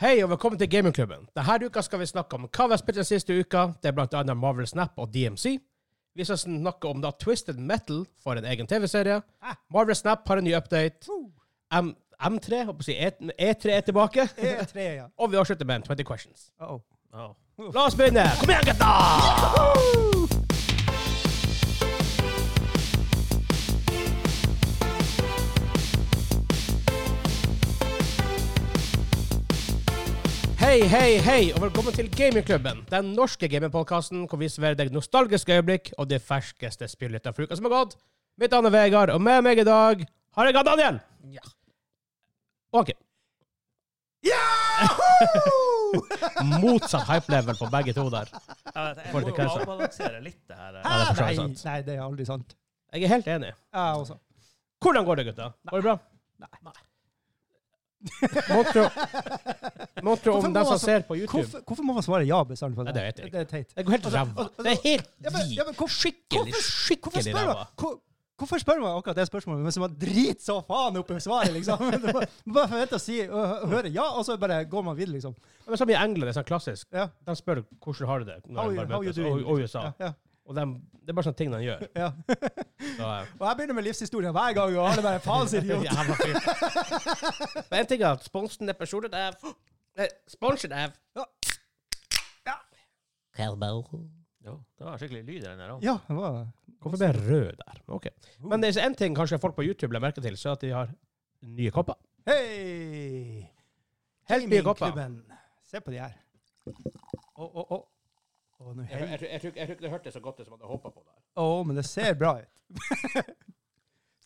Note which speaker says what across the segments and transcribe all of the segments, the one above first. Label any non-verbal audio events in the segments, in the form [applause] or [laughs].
Speaker 1: Hei og velkommen til Gamingklubben. Denne uka skal vi snakke om hva vi har spilt den siste uka. Det er blant annet Marvel Snap og DMC. Vi skal snakke om da Twisted Metal får en egen TV-serie. Marvel Snap har en ny update. M M3, håper jeg å si E- E3 er tilbake.
Speaker 2: E3, ja.
Speaker 1: Og vi avslutter med en 20 questions.
Speaker 2: Uh-oh.
Speaker 1: La oss begynne! Kom igjen, gutta! Hei, hei, hei, og velkommen til Gamingklubben. Den norske gamingpodkasten hvor vi serverer deg nostalgiske øyeblikk og de ferskeste spillene fra uka som har gått. Mitt navn er Vegard, og med meg i dag har jeg hatt Daniel.
Speaker 2: Ja.
Speaker 1: Ok,
Speaker 2: [laughs] Yahoo!
Speaker 1: motsatt hype level på begge to der.
Speaker 3: Ja,
Speaker 1: For
Speaker 3: Jeg må
Speaker 1: det
Speaker 3: jo
Speaker 1: kanskje.
Speaker 3: avbalansere litt det
Speaker 1: Ja,
Speaker 3: her.
Speaker 1: det er for så
Speaker 2: nei,
Speaker 1: vidt sant.
Speaker 2: nei, det er aldri sant.
Speaker 1: Jeg er helt enig.
Speaker 2: Jeg også.
Speaker 1: Hvordan går det, gutta? Går det bra?
Speaker 2: Nei.
Speaker 1: Må tro- Må tro
Speaker 2: Hvorfor
Speaker 1: om
Speaker 2: må
Speaker 1: de som
Speaker 2: man så-
Speaker 1: ser på YouTube.
Speaker 2: Hvorfor, hvorfor må man svare ja bestandig på det?
Speaker 1: Nei, det vet jeg ikke.
Speaker 2: Det er teit.
Speaker 1: Det går helt ræva. Det er helt
Speaker 2: altså, Ja, men- ja, men hvor-
Speaker 1: skikkelig,
Speaker 2: Hvorfor
Speaker 1: skikkelig
Speaker 2: spør,
Speaker 1: ræva.
Speaker 2: man, hvor, hvorfor spør man akkurat det spørsmålet hvis man driter så faen opp i svaret,
Speaker 1: [laughs]
Speaker 2: liksom? Det var- Bare forventer å si, å hø- høre ja, og så bare går man videre, liksom.
Speaker 1: Men som i England, det er sånn klassisk.
Speaker 2: Ja.
Speaker 1: De spør hvordan har du det når
Speaker 2: How
Speaker 1: de
Speaker 2: you-
Speaker 1: bare
Speaker 2: how you
Speaker 1: møtes,
Speaker 2: doing,
Speaker 1: og, og USA.
Speaker 2: Ja, ja,
Speaker 1: Og dem- det er bare sånne ting de gjør.
Speaker 2: ja. [laughs]
Speaker 1: Så, eh,
Speaker 2: Og jeg begynner med livshistorien hver gang, og alle bare faens
Speaker 1: [laughs]
Speaker 2: idiot.
Speaker 1: jævla fyr. Men en ting er at sponsen er Eh, personen av Nei, Sponsen av
Speaker 3: Jo, det var skikkelig lyd i den her òg.
Speaker 2: Ja, det var
Speaker 1: Hvorfor ble jeg rød der? Ok. Men det er en ting kanskje folk på YouTube legger merke til, så er at de har nye kopper.
Speaker 2: Hei!
Speaker 1: Helt nye kopper.
Speaker 2: Gamingklubben. Se på de her. Å, å, å. Å, nå
Speaker 1: Jeg,
Speaker 2: hei.
Speaker 1: jeg, jeg, tror- jeg tror ikke det hørtes så godt ut som jeg hadde håpa på. det.
Speaker 2: Å, men det ser bra ut.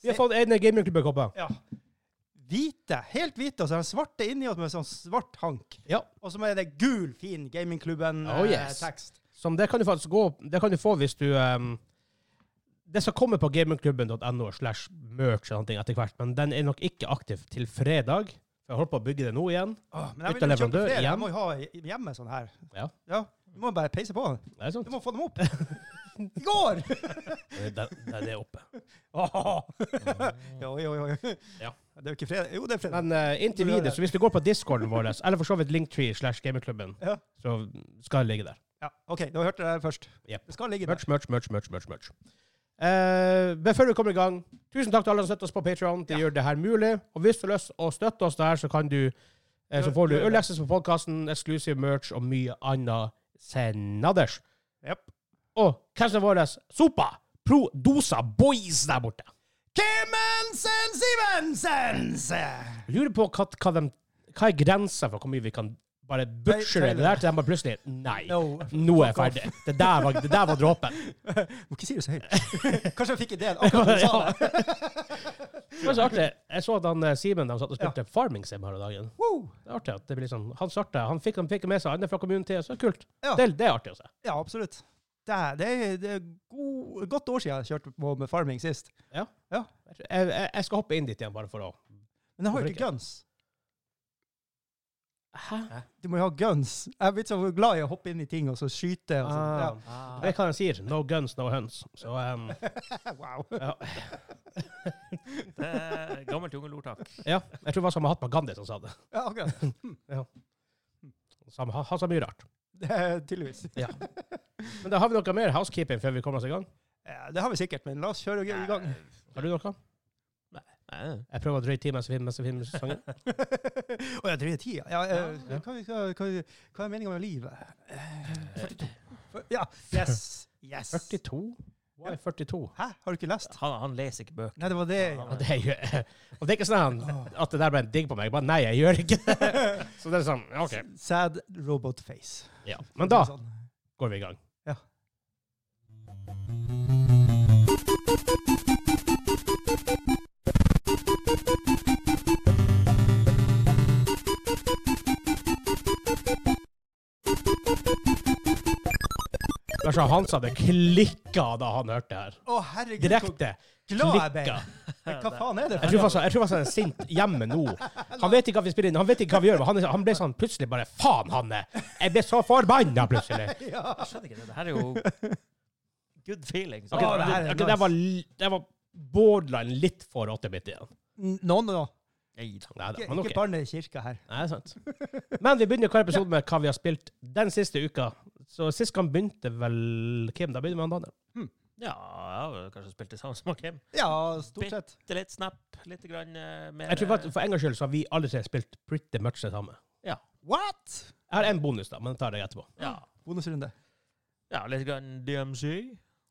Speaker 1: Vi har fått egne gamingklubber-kopper.
Speaker 2: Ja. Hvite, helt hvite, og så er den svarte inni oss med sånn svart hank.
Speaker 1: Ja.
Speaker 2: Og så er det gul, fin eh,
Speaker 1: Oh, yes.
Speaker 2: gamingklubben-tekst.
Speaker 1: Som det kan du faktisk gå Det kan du få hvis du ehm, Det skal komme på gamingklubben.no slash merch eller noe etter hvert, men den er nok ikke aktiv til fredag. For jeg holder på å bygge det nå igjen.
Speaker 2: men
Speaker 1: Bytte
Speaker 2: jeg vil jo kjøpe
Speaker 1: leverandør
Speaker 2: flere.
Speaker 1: igjen.
Speaker 2: Jeg må jo ha i- hjemme sånn her.
Speaker 1: Ja.
Speaker 2: Du må bare peise på.
Speaker 1: Det er [laughs]
Speaker 2: Du
Speaker 1: sant.
Speaker 2: må få dem opp. I går! [laughs]
Speaker 1: Den, den er oppe.
Speaker 2: Åh. jo, jo, jo.
Speaker 1: Ja.
Speaker 2: Det er jo ikke fredag. Jo, det er fredag.
Speaker 1: Men eh, inntil videre, så hvis du går på discorden vår, eller for så vidt linktree slash gamingklubben,
Speaker 2: Ja.
Speaker 1: så skal det ligge der.
Speaker 2: Ja, OK, da hørte dere det først.
Speaker 1: Jep.
Speaker 2: Det skal ligge der.
Speaker 1: Merch, merch, merch, merch, merch. merch. Eh, men før vi kommer i gang, tusen takk til alle som støtter oss på Patreon De gjør det her mulig. Og hvis du har lyst å støtte oss der, så kan du eh, Så
Speaker 2: Gjør-
Speaker 1: får du
Speaker 2: gjør det.
Speaker 1: øl-access på podkasten, exclusive merch og mye annet senaders.
Speaker 2: Jep.
Speaker 1: Og catchen vår Sopa! Pro Dosa Boys der borte.
Speaker 2: Kimmensen Sivensens!
Speaker 1: Jeg lurer på hva, hva, de, hva er grensa for hvor mye vi kan bare butchere
Speaker 2: Nei,
Speaker 1: det der til de bare plutselig Nei,
Speaker 2: No.
Speaker 1: nå er jeg ferdig. Det der var, det der var [laughs] dråpen.
Speaker 2: [laughs] Må ikke si det
Speaker 1: [laughs]
Speaker 2: så høyt. Kanskje jeg fikk ideen akkurat da du sa det.
Speaker 1: Det var så artig. Jeg så at han eh, Simen de satt og spilte Farming Sim her om dagen.
Speaker 2: Woo!
Speaker 1: Det er artig at det blir sånn. Han starta, han fikk, han fikk med seg andre fra kommunen til, så det er kult.
Speaker 2: Ja.
Speaker 1: Det, det er artig altså. å se.
Speaker 2: Ja, absolutt. Det er, det er, det er god, godt år siden jeg kjørte på med farming sist.
Speaker 1: Jeg, jeg, jeg skal hoppe inn dit igjen, bare for å
Speaker 2: Men jeg har jo
Speaker 1: Hvorfor
Speaker 2: ikke guns.
Speaker 1: Hæ?
Speaker 2: Du må jo ha guns. Jeg er blitt så glad i å hoppe inn i ting og så skyte. Og
Speaker 1: Ah.
Speaker 2: sånn.
Speaker 1: Jeg vet hva han sier. No guns, no huns. Så ehm,
Speaker 2: ja. Wow.
Speaker 1: ja.
Speaker 3: Det er gammelt jungelordtak.
Speaker 1: ja. Jeg tror det var samme Hatma Gandhi som sa det.
Speaker 2: Ja, akkurat. [laughs]
Speaker 1: Samme, han han sa mye rart.
Speaker 2: Det er tydeligvis.
Speaker 1: Men da har vi noe mer housekeeping før vi kommer oss i gang.
Speaker 2: Ja, det har vi sikkert, men la oss kjøre i gang.
Speaker 3: Eh,
Speaker 1: Har du noe? Jeg prøver å drøye tid mens vi mens vi filmer sangen.
Speaker 2: [laughs] Å ja, det er tida. Ja, eh,
Speaker 1: Ja.
Speaker 2: hva, hva, hva, hva er meninga med livet? Eh, 42. Ja. Yes. Yes.
Speaker 1: 42? Why 42?
Speaker 2: Hæ? Har du ikke lest?
Speaker 3: Han, han leser ikke bøker.
Speaker 2: Nei, det var det.
Speaker 1: Og det, er jo- og det er ikke sånn at det der ble en digg på meg. Bare nei, jeg gjør ikke det. [laughs] Så det er sånn, OK.
Speaker 2: Sad robot face.
Speaker 1: Ja. Men da
Speaker 2: Sånn.
Speaker 1: går vi i gang.
Speaker 2: Ja.
Speaker 1: Lars Arne Hansen hadde klikka da han hørte det her.
Speaker 2: Å, herregud,
Speaker 1: Direkte.
Speaker 2: hvor glad jeg ble.
Speaker 1: Klikka.
Speaker 2: Men Hva faen er det?
Speaker 1: Jeg tror faktisk jeg tror faktisk han er sint hjemme nå. Han vet ikke hva vi spiller inn, han vet ikke hva vi gjør. Men han, er- han ble sånn plutselig bare Faen, Hanne! Jeg ble så forbanna plutselig.
Speaker 2: [laughs] Ja.
Speaker 3: Jeg skjønner ikke det. Det her er jo good feeling.
Speaker 1: Ok,
Speaker 2: Å, Ah, det her er
Speaker 1: ok, det var, li- det var borderline litt for 8-bit igjen.
Speaker 2: N- Nå, nå, nå.
Speaker 3: Nei da.
Speaker 1: Nei da,
Speaker 2: Ikke,
Speaker 1: men
Speaker 2: ikke
Speaker 1: ok.
Speaker 2: barn i kirka her.
Speaker 1: Nei, det er sant. Men vi begynner hver episode med hva vi har spilt den siste uka. Så sist gang begynte vel Kim. Da begynner vi med han Daniel.
Speaker 3: Ja, jeg har jo kanskje spilt det samme som Kim.
Speaker 2: Ja, stort sett.
Speaker 3: Litt, litt snap, litt grann eh, mer
Speaker 1: Jeg tror faktisk, For en gangs skyld så har vi alle tre spilt pretty much det samme.
Speaker 2: What?!
Speaker 1: Jeg har en bonus, da, men den tar jeg etterpå.
Speaker 3: ja,
Speaker 2: Bonusrunde.
Speaker 3: ja, litt grann DMC.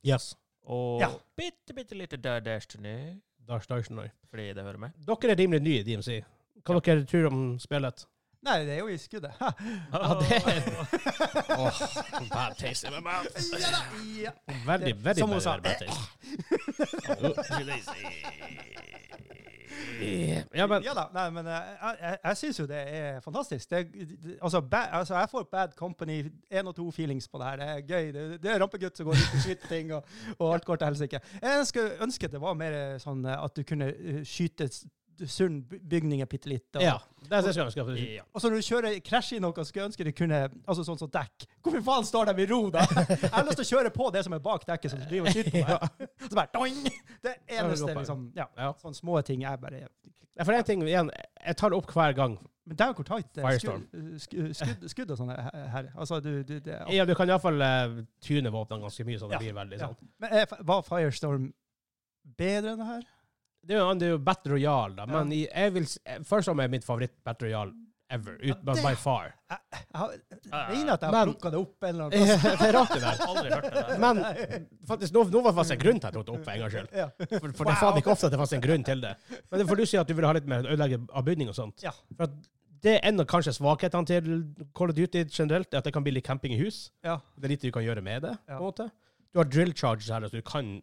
Speaker 1: Yes.
Speaker 3: Og
Speaker 2: Ja.
Speaker 3: bitte, bitte lite Dare Destiny,
Speaker 1: Dars, Dars, Dars.
Speaker 3: fordi det hører med.
Speaker 1: Dere er rimelig nye i DMC. Hva dere tror om
Speaker 2: [laughs]
Speaker 1: spillet?
Speaker 2: Nei, det er jo i skuddet. [laughs] Ha.
Speaker 1: Ja, det Åh, bad taste in my mouth.
Speaker 2: Ja, da. ja.
Speaker 1: Veldig,
Speaker 2: Det-
Speaker 1: veldig
Speaker 2: som hun sa, Ah.
Speaker 1: bad taste. Ja, men
Speaker 2: ja da. Nei, men eh, jeg, jeg, jeg syns jo det er fantastisk. Det, det, altså, ba, altså, jeg får Bad Company 1 og 2 feelings på det her. Det er gøy. Det, det er rampegutt som går ut og skyter ting, og, og alt går til helsike. Jeg skulle ønske det var mer eh, sånn eh, at du kunne eh, skyte s- sunn by- bygninger bitte litt. Og,
Speaker 1: ja, det er det jeg skal si.
Speaker 3: [laughs] Ja.
Speaker 2: Og så når du kjører krasjer i noe, skulle jeg ønske du kunne altså sånn som dekk. Hvorfor faen står de i ro, da? Jeg har lyst til å kjøre på det som er bak dekket, som driver [laughs] og skyter på meg. Så bare doing! Det
Speaker 1: er et
Speaker 2: eneste
Speaker 1: godt poeng.
Speaker 2: liksom, ja,
Speaker 1: Ja.
Speaker 2: sånne små ting jeg bare
Speaker 1: Ja, For en ting igjen, jeg tar det opp hver gang.
Speaker 2: Men det er jo hvor tight eh, det er
Speaker 1: Firestorm.
Speaker 2: skudd, skudd, skudd, skudd og sånn her. her. Altså, du, du, det,
Speaker 1: Ja, du kan iallfall uh, tune våpnene ganske mye, så det
Speaker 2: Ja,
Speaker 1: blir veldig
Speaker 2: ja.
Speaker 1: sånn.
Speaker 2: Men eh, var Firestorm bedre enn det her?
Speaker 1: Det er jo, det er jo Battle Royale, da, men
Speaker 2: Ja.
Speaker 1: i- jeg vil, s- eh, først om er mitt favoritt Battle Royale ever, ut,
Speaker 2: Ja,
Speaker 1: by,
Speaker 2: det-
Speaker 1: by far.
Speaker 2: Jeg, har- jeg
Speaker 3: Ja, ja.
Speaker 2: mener at jeg har
Speaker 1: Ah, Men-
Speaker 2: plukka [laughs] det opp en eller
Speaker 1: det
Speaker 2: annen plass.
Speaker 1: er rart det der.
Speaker 3: Aldri hørt det der.
Speaker 1: Men faktisk, nå, nå var det faktisk en grunn til at jeg tok det opp for en gangs skyld.
Speaker 2: [laughs]
Speaker 1: [laughs]
Speaker 2: Ja.
Speaker 1: For, for det er faen ikke ofte at det fanns en grunn til det. Men det får du si at du vil ha litt mer ødelegge av bygning og sånt.
Speaker 2: Ja.
Speaker 1: For at det er en av kanskje svakhetene til Call of Duty generelt, er at det kan bli litt camping i hus.
Speaker 2: Ja.
Speaker 1: Det er lite du kan gjøre med det.
Speaker 2: Ja.
Speaker 1: på en måte. Du har drill charges her, så du kan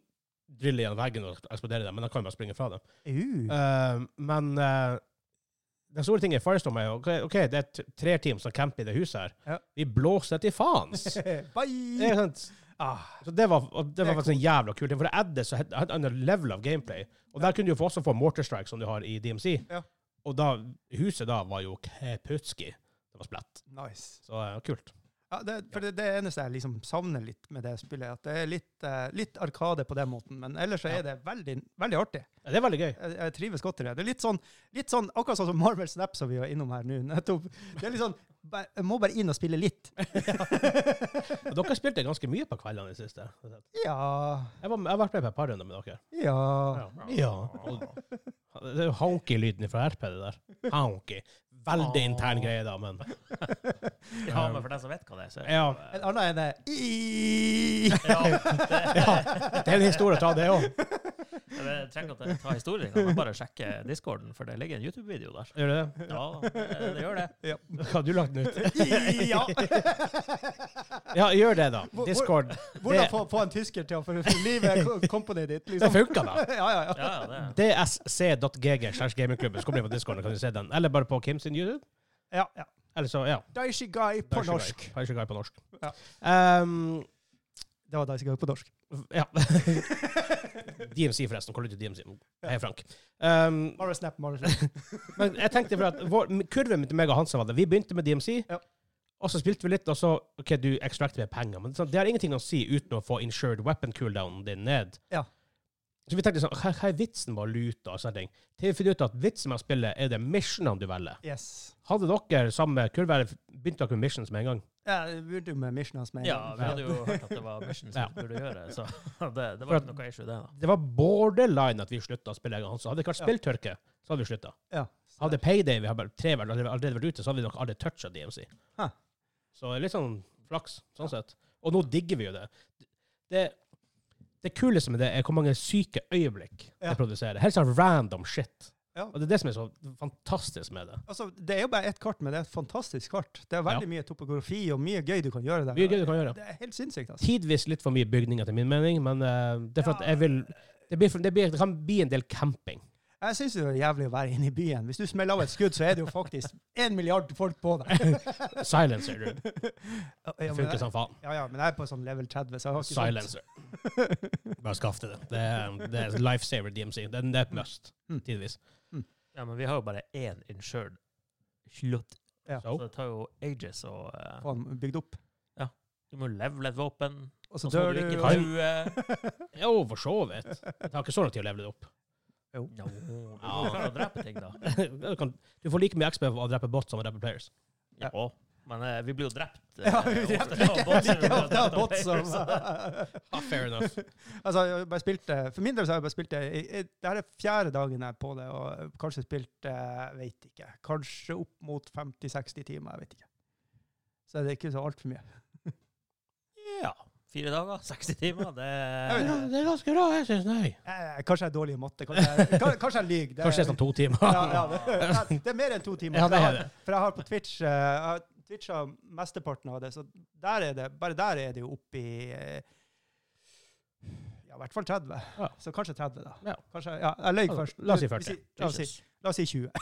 Speaker 1: drille gjennom veggen og eksplodere dem, men da kan du bare springe fra dem.
Speaker 2: Uh.
Speaker 1: Eh, men eh, den store tingen i Firestorm er jo OK, ok, det er t- tre team som camper i det huset her.
Speaker 2: Ja.
Speaker 1: Vi blåser til
Speaker 2: [laughs]
Speaker 1: faens! Det
Speaker 2: [laughs] Bye!
Speaker 1: er sånn sant.
Speaker 2: Ah,
Speaker 1: Så det var, og det
Speaker 2: Det
Speaker 1: var
Speaker 2: er
Speaker 1: faktisk en jævla kul ting, for det hadde så het- hadde en level av gameplay. Og der kunne du jo også få mortar strike, som du har i DMC.
Speaker 2: Ja.
Speaker 1: Og da, huset da var jo keputski. Det var splett.
Speaker 2: nice.
Speaker 1: Så eh, kult.
Speaker 2: Ja, det, for det, det eneste jeg liksom savner litt med det spillet, er at det er litt, eh, litt arkade på den måten. Men ellers så er det veldig, veldig artig.
Speaker 1: Ja, det er veldig gøy.
Speaker 2: Jeg, jeg trives godt i det. Det er litt sånn, litt sånn akkurat sånn som Marvel Snap som vi var innom her nå. Nettopp. Det er litt sånn ba- Jeg må bare inn og spille [laughs] litt.
Speaker 1: Og dere har spilt det ganske mye på kveldene i det siste. Jeg,
Speaker 2: Ja
Speaker 1: var, jeg har vært med på et par runder med dere.
Speaker 2: Ja.
Speaker 1: Ja. Det er jo honky-lyden fra RP, det der. Honky. Veldig intern greie, da, men
Speaker 3: Ja, men for den som vet hva det er, så er det
Speaker 1: Ja.
Speaker 2: En annen enn det. I-
Speaker 1: Det er en historie å ta, det òg.
Speaker 3: Jeg trenger ikke at jeg tar historien, kan jeg bare sjekke discorden, for det ligger en YouTube-video der.
Speaker 1: Gjør det det?
Speaker 3: Ja, det, det gjør det.
Speaker 2: Ja.
Speaker 1: Hva har du lagt den ut?
Speaker 2: I- [laughs] ja.
Speaker 1: Ja, gjør det, da.
Speaker 2: Hvor- hvor-
Speaker 1: Discord.
Speaker 2: Hvordan få, få en tysker til å forlive companyet ditt,
Speaker 1: Det
Speaker 2: liksom?
Speaker 1: funka, da.
Speaker 2: Ja, ja, ja.
Speaker 3: Ja, ja, det.
Speaker 1: dsc.gg slash gamingklubben. Så kommer vi på Discord, kan du se den. Eller bare på Kim sin YouTube.
Speaker 2: ja, ja.
Speaker 1: Eller så, ja.
Speaker 2: Daishi Guy på
Speaker 1: Daishigai.
Speaker 2: norsk.
Speaker 1: Daishigai på norsk.
Speaker 2: Ja.
Speaker 1: Um,
Speaker 2: Det var Daishi Guy på norsk.
Speaker 1: ja. [laughs] DMC, forresten. Hvor er du DMC? Hei, Frank. Um,
Speaker 2: Mario Snap, Mario Snap.
Speaker 1: men jeg tenkte for at vår, kurven min til meg og Hansen var det. Vi begynte med DMC,
Speaker 2: Ja.
Speaker 1: og så spilte vi litt, og så OK, du extracter med penger, men sånn, det har ingenting å si uten å få insured weapon cooldownen din ned.
Speaker 2: Ja.
Speaker 1: Så vi tenkte sånn Hva, hva er vitsen med å lute og sånne ting? Til vi finner ut at vitsen med å spille er det missionene du velger.
Speaker 2: Yes.
Speaker 1: Hadde dere samme kurve, eller begynte dere med missions med en gang?
Speaker 2: Ja, vi begynte jo med Mission House med en
Speaker 3: Ja,
Speaker 2: gang.
Speaker 3: vi hadde jo hørt at det var Mission som
Speaker 1: Ja.
Speaker 3: burde gjøre det, så [laughs] det, det
Speaker 1: For
Speaker 3: var
Speaker 1: at-
Speaker 3: ikke noe issue, det. da.
Speaker 1: Det var borderline at vi slutta å spille en gang. Hansen. Hadde dere ikke hatt
Speaker 2: Ja.
Speaker 1: spilltørke, så hadde vi slutta.
Speaker 2: Ja.
Speaker 1: Hadde Payday vi har bare tre vært, allerede vært ute, så hadde vi nok aldri toucha DMC.
Speaker 2: Hæ.
Speaker 1: Så litt sånn flaks, sånn sett. Og nå digger vi jo det. Det, det kuleste med det er hvor mange syke øyeblikk
Speaker 2: Ja.
Speaker 1: det produserer. Helt sånn random shit.
Speaker 2: Ja.
Speaker 1: Og det er det som er så fantastisk med det.
Speaker 2: Altså, det er jo bare ett kart, men det er et fantastisk kart. Det er veldig mye topografi og mye gøy du kan gjøre der.
Speaker 1: Mye gøy du kan gjøre.
Speaker 2: Det er helt sinnssykt, altså.
Speaker 1: Tidvis litt for mye bygning, etter min mening, men eh, det er for at
Speaker 2: Ja.
Speaker 1: jeg vil det, blir, for- det, blir, det kan bli en del camping.
Speaker 2: Jeg syns det er jævlig å være inne i byen. Hvis du smeller av et skudd, så er det jo faktisk én milliard folk på deg.
Speaker 1: Silencer, du.
Speaker 2: Ja,
Speaker 1: Det
Speaker 2: [laughs] ja, men
Speaker 1: funker
Speaker 2: jeg-
Speaker 1: som faen.
Speaker 2: Ja, ja, men jeg er på sånn level 30, så jeg har ikke sånt.
Speaker 1: Silencer. Bare skaff deg det. Det er, det er lifesaver DMC. Det er- det er et must,
Speaker 2: Mm.
Speaker 1: tidvis.
Speaker 3: Ja, men vi har jo bare én insured slott,
Speaker 2: Ja.
Speaker 1: Oh.
Speaker 3: så det tar jo ages å eh,
Speaker 2: Faen, bygd opp.
Speaker 3: Du må levele et våpen,
Speaker 2: Og så
Speaker 3: og så må
Speaker 2: dør
Speaker 3: du
Speaker 2: du.
Speaker 3: ikke
Speaker 1: Kan-
Speaker 2: [laughs]
Speaker 3: true.
Speaker 1: Jo, for så vidt. Det tar ikke så lang tid å levele det opp.
Speaker 2: Jo.
Speaker 3: No, du klarer å drepe ting, da.
Speaker 1: du, kan, du får like mye XP av å drepe bots som å drepe players.
Speaker 3: Ja. Men eh, vi blir jo drept. eh,
Speaker 2: Ja, vi drepte
Speaker 3: ofte.
Speaker 2: ikke
Speaker 3: bots,
Speaker 2: like [laughs] ofte av
Speaker 3: drept
Speaker 2: bots som
Speaker 3: players, så-
Speaker 1: Ah, fair enough.
Speaker 2: Altså, jeg har bare spilt det. For min del så har jeg bare spilt det i- i- Det her er fjerde dagen jeg er på det, og kanskje spilt eh, Vet ikke. Kanskje opp mot 50-60 timer, jeg vet ikke. Så det er ikke så altfor mye.
Speaker 3: Ja. Fire dager, 60 timer, det
Speaker 2: vet ikke.
Speaker 1: [laughs] det er ganske bra, jeg syns. Nei.
Speaker 2: Eh, kanskje jeg er dårlig i matte. Kanskje jeg, kan- kanskje jeg lyver. Det-
Speaker 1: Kanskje det er sånn to timer.
Speaker 2: ja,
Speaker 1: [laughs]
Speaker 2: ja, det, det er mer enn to timer.
Speaker 1: Ja, det er
Speaker 2: for, jeg har, for jeg har på Twitch eh, jeg har Twitcha mesteparten av det, så der er det, bare der er det jo oppi eh, ja, i hvert fall 30.
Speaker 1: Ja.
Speaker 2: Så kanskje 30, da.
Speaker 1: Ja.
Speaker 2: Kanskje, ja, jeg løy
Speaker 1: Altså,
Speaker 2: først.
Speaker 1: la oss si
Speaker 2: Vi
Speaker 1: 40.
Speaker 2: sier- La oss si,
Speaker 3: Jesus.
Speaker 2: la oss si 20.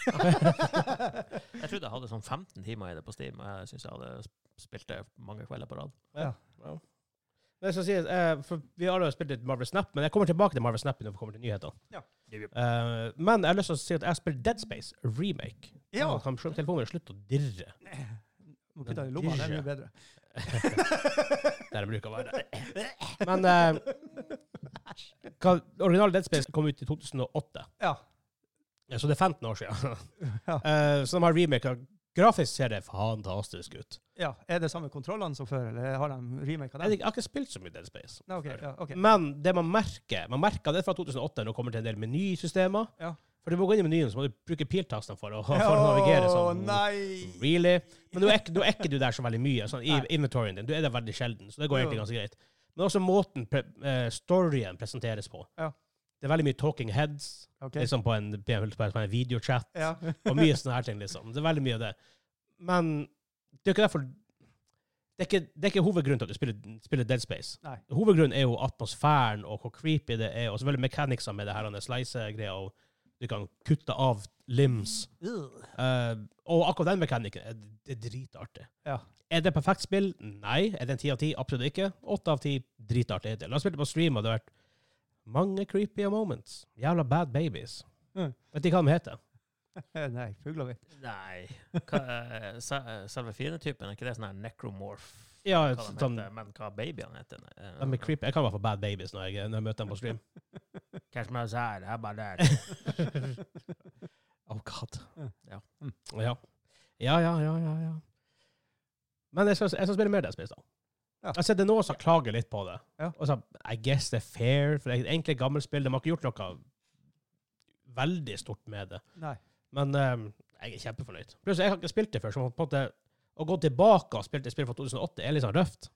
Speaker 3: Jeg trodde jeg hadde sånn 15 timer i det på Steam. og Jeg syns jeg hadde sp- spilt det mange kvelder på rad.
Speaker 1: Men jeg skal si, eh, for vi har jo spilt litt Marvel Snap, men jeg kommer tilbake til Marvel Snap når vi kommer til nyhetene.
Speaker 2: Ja.
Speaker 1: Eh, men jeg har lyst til å si at jeg spiller Dead Space Remake. Sånn
Speaker 2: Ja.
Speaker 1: Og Kan telefonen min slutte å
Speaker 2: [laughs]
Speaker 1: dirre
Speaker 2: Må putte den i lomma, det er mye bedre.
Speaker 1: der den bruker å være? Men eh, hva- original Dead Space kom ut i 2008,
Speaker 2: [laughs] Ja.
Speaker 1: Ja, så det er 15 år siden.
Speaker 2: [laughs] Ja.
Speaker 1: Eh, så de har remaka. Grafisk ser det fantastisk ut.
Speaker 2: ja. Er det samme kontrollene som før, eller har de remake av
Speaker 1: Jeg,
Speaker 2: dem?
Speaker 1: jeg har ikke spilt så mye Dead Space.
Speaker 2: Nei, ok, ja, ok.
Speaker 1: Men det man merker Man merker det fra 2008 når det kommer til en del menysystemer.
Speaker 2: Ja.
Speaker 1: For du må gå inn i menyen, så må du bruke piltastene for å, [laughs] for å navigere.
Speaker 2: Å,
Speaker 1: Sånn.
Speaker 2: nei!
Speaker 1: Really? Men nå er, ikke- nå er ikke du der så veldig mye sånn, i
Speaker 2: Nei.
Speaker 1: inventoryen din. Du er der veldig sjelden, så det går egentlig
Speaker 2: Jo.
Speaker 1: ganske greit. Men også måten pre eh, storyen presenteres på.
Speaker 2: Ja.
Speaker 1: Det er veldig mye talking heads,
Speaker 2: Ok.
Speaker 1: liksom på en, på en, på en videochat,
Speaker 2: Ja.
Speaker 1: og mye sånne her ting, liksom. Det er veldig mye av det. Men det er ikke derfor Det er ikke, det er ikke hovedgrunnen til at du spiller, spiller Dead Space.
Speaker 2: Nei.
Speaker 1: Hovedgrunnen er jo atmosfæren og hvor creepy det er, og selvfølgelig mechanicsa med det her denne slice-greia, og du kan kutte av limbs. Eh, og akkurat den mekanikken er, er dritartig.
Speaker 2: Ja. [laughs]
Speaker 1: Er det perfekt spill? Nei. Er det en ti av ti? Absolutt ikke. Åtte av ti dritartig hittil. La oss spille på stream, og det har vært mange creepy moments. Jævla bad babies.
Speaker 2: Mm.
Speaker 1: Vet ikke hva de heter.
Speaker 2: Nei, fugler vi.
Speaker 3: Nei. Hva, eh, se- eh, selve fiendetypen, er ikke det sånn her necromorph?
Speaker 1: Ja,
Speaker 3: Hva de
Speaker 1: sånn,
Speaker 3: heter, men hva babyene heter? eh,
Speaker 1: de er creepy. Jeg kan i hvert fall bad babies når jeg, når jeg møter dem på stream.
Speaker 3: Cash Mouse her, her, bare
Speaker 1: [laughs]
Speaker 3: der.
Speaker 1: Oh god.
Speaker 3: Ja.
Speaker 2: Mm.
Speaker 1: Ja. Ja, ja, ja, ja, ja. Men jeg skal, jeg skal spille mer Dead Space, da.
Speaker 2: Ja.
Speaker 1: Jeg har sett det er noen som klager litt på det.
Speaker 2: Ja.
Speaker 1: Og så, I guess det er fair, for det er egentlig et gammelt spill. De har ikke gjort noe veldig stort med det.
Speaker 2: Nei.
Speaker 1: Men ehm, jeg er kjempefornøyd. Pluss, jeg har ikke spilt det før, så på en måte å gå tilbake og spille et spill fra 2008 er litt sånn røft.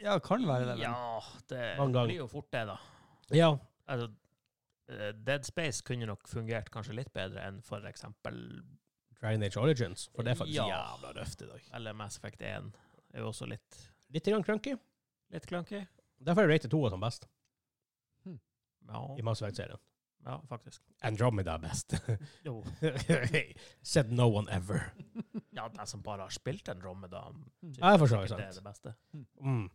Speaker 2: Ja, kan være det. vel.
Speaker 3: Ja, det
Speaker 1: Mange ganger.
Speaker 3: blir jo fort det, da.
Speaker 1: Ja.
Speaker 3: Altså, eh, Dead Space kunne nok fungert kanskje litt bedre enn for eksempel
Speaker 1: Dragon Age Origins, for det er faktisk
Speaker 3: Ja.
Speaker 1: jævla røft i dag.
Speaker 3: Eller Mass Effect 1. Det er jo også litt,
Speaker 1: Litt grann crunky.
Speaker 3: litt clunky.
Speaker 1: Derfor er Rated 2 som best
Speaker 3: Ja,
Speaker 1: i Mass Effect-serien.
Speaker 3: ja faktisk.
Speaker 1: Andromeda er best. [laughs]
Speaker 3: Jo.
Speaker 1: Said no one ever.
Speaker 3: Ja, de som bare har spilt en romme, da. synes
Speaker 1: Mm. Ja, jeg forstår,
Speaker 3: sikkert
Speaker 1: sant.
Speaker 3: Det er det beste.
Speaker 1: Mm.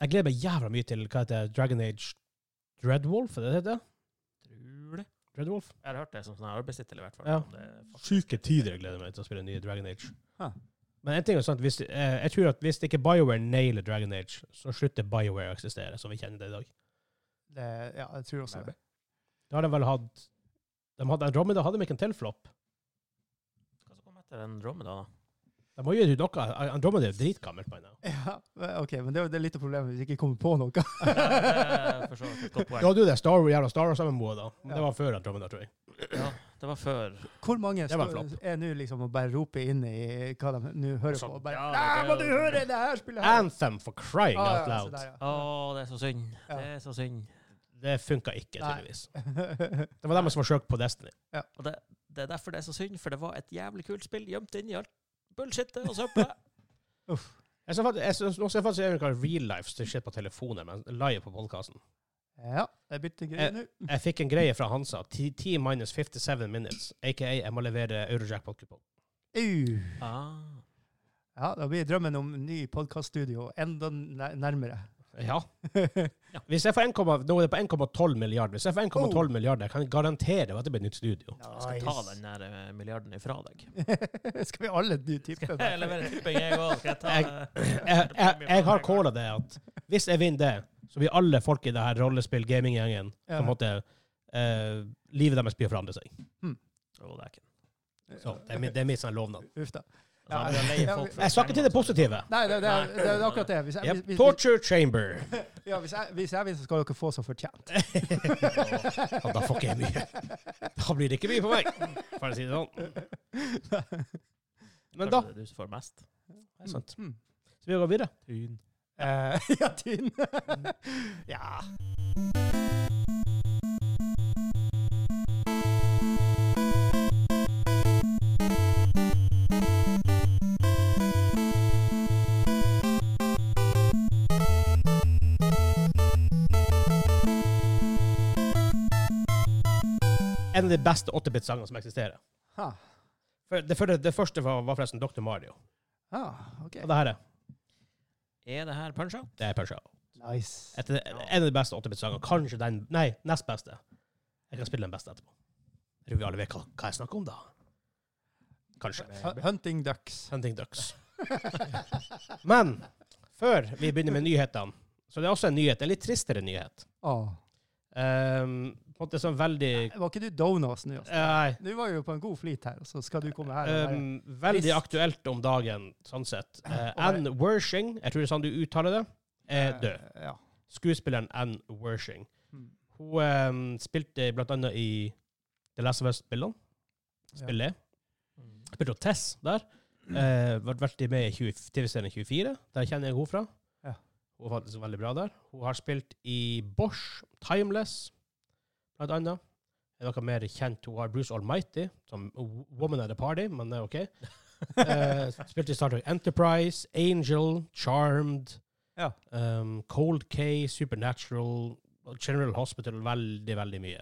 Speaker 1: Jeg gleder meg jævla mye til hva heter det? Dragon Age Dreadwolf, er det det heter?
Speaker 3: Tror det.
Speaker 1: Dreadwolf?
Speaker 3: Jeg har hørt det som sånn arbeidstittel, i hvert fall.
Speaker 1: Ja.
Speaker 3: om det er faktisk-
Speaker 1: Syke tider jeg gleder meg til å spille nye Dragon Age.
Speaker 2: Huh.
Speaker 1: Men en ting er sant, hvis, eh, jeg tror at hvis ikke BioWare nailer Dragon Age, så slutter BioWare å eksistere, som vi kjenner det i dag.
Speaker 2: Det, ja, jeg tror også det.
Speaker 1: Da har de vel hatt de hadde Andromeda hadde de ikke en tilflopp.
Speaker 3: Hva som kom etter en romme, da? da?
Speaker 1: De må jo gjøre noe. Andromeda er dritgammelt på nå.
Speaker 2: Ja, men OK, men det er jo det er litt av problemet hvis vi ikke kommer på noe.
Speaker 3: Ja, det er for så vidt et godt
Speaker 1: Da
Speaker 3: poeng.
Speaker 1: hadde jo det Star Wars jævla Star Wars-MMO-et, da. Men
Speaker 2: Ja.
Speaker 1: Det var før Andromeda, tror jeg.
Speaker 3: Ja, det var før.
Speaker 2: Hvor mange
Speaker 1: Det var
Speaker 2: står-
Speaker 1: flott.
Speaker 2: er nå liksom å bare rope inn i hva de nå hører
Speaker 1: Sånn,
Speaker 2: på? og Bare,
Speaker 3: ja,
Speaker 2: Nei,
Speaker 3: det-
Speaker 2: må du høre det her spillet her!
Speaker 1: Anthem for crying
Speaker 2: Ah,
Speaker 1: out
Speaker 2: ja,
Speaker 1: loud.
Speaker 2: så der,
Speaker 3: Å, det er så synd. Det er så synd.
Speaker 1: Det funka ikke,
Speaker 2: Nei.
Speaker 1: tydeligvis. Det var dem som forsøkte på Destiny.
Speaker 3: Og det, det er derfor det er så synd, for det var et jævlig kult spill gjemt inni alt bullshitet og
Speaker 1: [laughs]
Speaker 3: søpla.
Speaker 1: Jeg ser faktisk, jeg synes, nå ser jeg faktisk jeg gjør noe real life til shit på telefoner, men live på podcasten.
Speaker 2: [laughs] ja. ja, det er bitte gøy
Speaker 1: Eh,
Speaker 2: nå.
Speaker 1: Jeg fikk en greie fra Hansa. 10 10 minus 57 minutes, aka jeg må levere Eurojackpot-kupong.
Speaker 2: Au.
Speaker 3: Ah.
Speaker 2: Ja, da blir drømmen om ny podkaststudio enda nær- nærmere.
Speaker 1: [laughs] Ja. Hvis jeg får 1, nå er det på 1,12 milliarder. Hvis jeg får 1,12
Speaker 2: Oh.
Speaker 1: milliarder, jeg kan garantere at det blir nytt studio.
Speaker 3: Jeg skal ta den der eh, milliarden ifra deg.
Speaker 2: [laughs] Skal vi alle ny type?
Speaker 3: Jeg leverer tipping, jeg òg. Skal jeg ta
Speaker 1: Jeg- Jeg, jeg, jeg har calla det at hvis jeg vinner det, så blir alle folk i det her rollespill-gaminggjengen
Speaker 2: Ja.
Speaker 1: på en måte eh, livet deres blir å forandre seg.
Speaker 3: Å, det er ikke
Speaker 1: Så det er min, det er min sånn lovnad.
Speaker 2: Uff da.
Speaker 3: Altså, han blir å leie folk for å
Speaker 1: Jeg snakker til det
Speaker 3: trenge,
Speaker 1: positive.
Speaker 2: Nei, det, det, er, det er akkurat det. Hvis jeg,
Speaker 1: Yep.
Speaker 2: hvis, hvis,
Speaker 1: Torture [laughs] chamber.
Speaker 2: ja, hvis, [laughs] jeg, hvis jeg vinner, så skal dere få som fortjent.
Speaker 1: Ja, da får ikke jeg mye. Da blir det ikke mye på meg, for å si det sånn. Men da
Speaker 3: Kanskje det er du som får mest.
Speaker 1: Det er sant.
Speaker 2: Mm.
Speaker 1: Så vi går videre.
Speaker 2: Eh, [laughs] ja, tynn. ja.
Speaker 1: En av de beste 8-bit-sangene som eksisterer.
Speaker 2: Ha.
Speaker 1: For det, for det, det første var, var forresten Dr. Mario.
Speaker 2: Ah, ok.
Speaker 1: Og det her er
Speaker 3: Er det her puncha?
Speaker 1: det er Punch-Out.
Speaker 2: Nice.
Speaker 1: Et- En av de beste 8-bit-sangene. Kanskje den Nei, nest beste. Jeg kan spille den beste etterpå. Jeg tror vi alle vet hva, hva jeg snakker om, da. Kanskje.
Speaker 2: Hu- Hunting ducks. [laughs]
Speaker 1: Hunting Ducks. Men før vi begynner med nyhetene, så det er også en nyhet. En litt tristere nyhet.
Speaker 2: Ah.
Speaker 1: Ehm, på en måte sånn veldig
Speaker 2: Var ikke du downa oss nå? Jostein?
Speaker 1: Nei.
Speaker 2: Du var jo på en god flyt her, så skal du komme her. og være-
Speaker 1: Um, veldig
Speaker 2: Trist.
Speaker 1: aktuelt om dagen, sånn sett. Eh,
Speaker 2: Og det-
Speaker 1: Anne Wershing, jeg tror det er sånn du uttaler det, er død.
Speaker 2: Eh, Ja.
Speaker 1: Skuespilleren Anne Wershing.
Speaker 2: Mm.
Speaker 1: Hun em, spilte blant annet i The Last of Us-spillene. Spiller. Spilte hun Tess der.
Speaker 2: Mm.
Speaker 1: Eh, Vært veldig med i 20 TV-serien 24. Der kjenner jeg henne fra.
Speaker 2: Ja.
Speaker 1: Hun var faktisk veldig bra der. Hun har spilt i Bosch, Timeless, blant annet. Er noe mer kjent? Hun har Bruce Almighty, som Woman at a Party, men det er OK.
Speaker 2: [laughs]
Speaker 1: Eh, spilte i Star Trek Enterprise, Angel, Charmed,
Speaker 2: Ja.
Speaker 1: um, Cold K, Supernatural, General Hospital, veldig, veldig mye.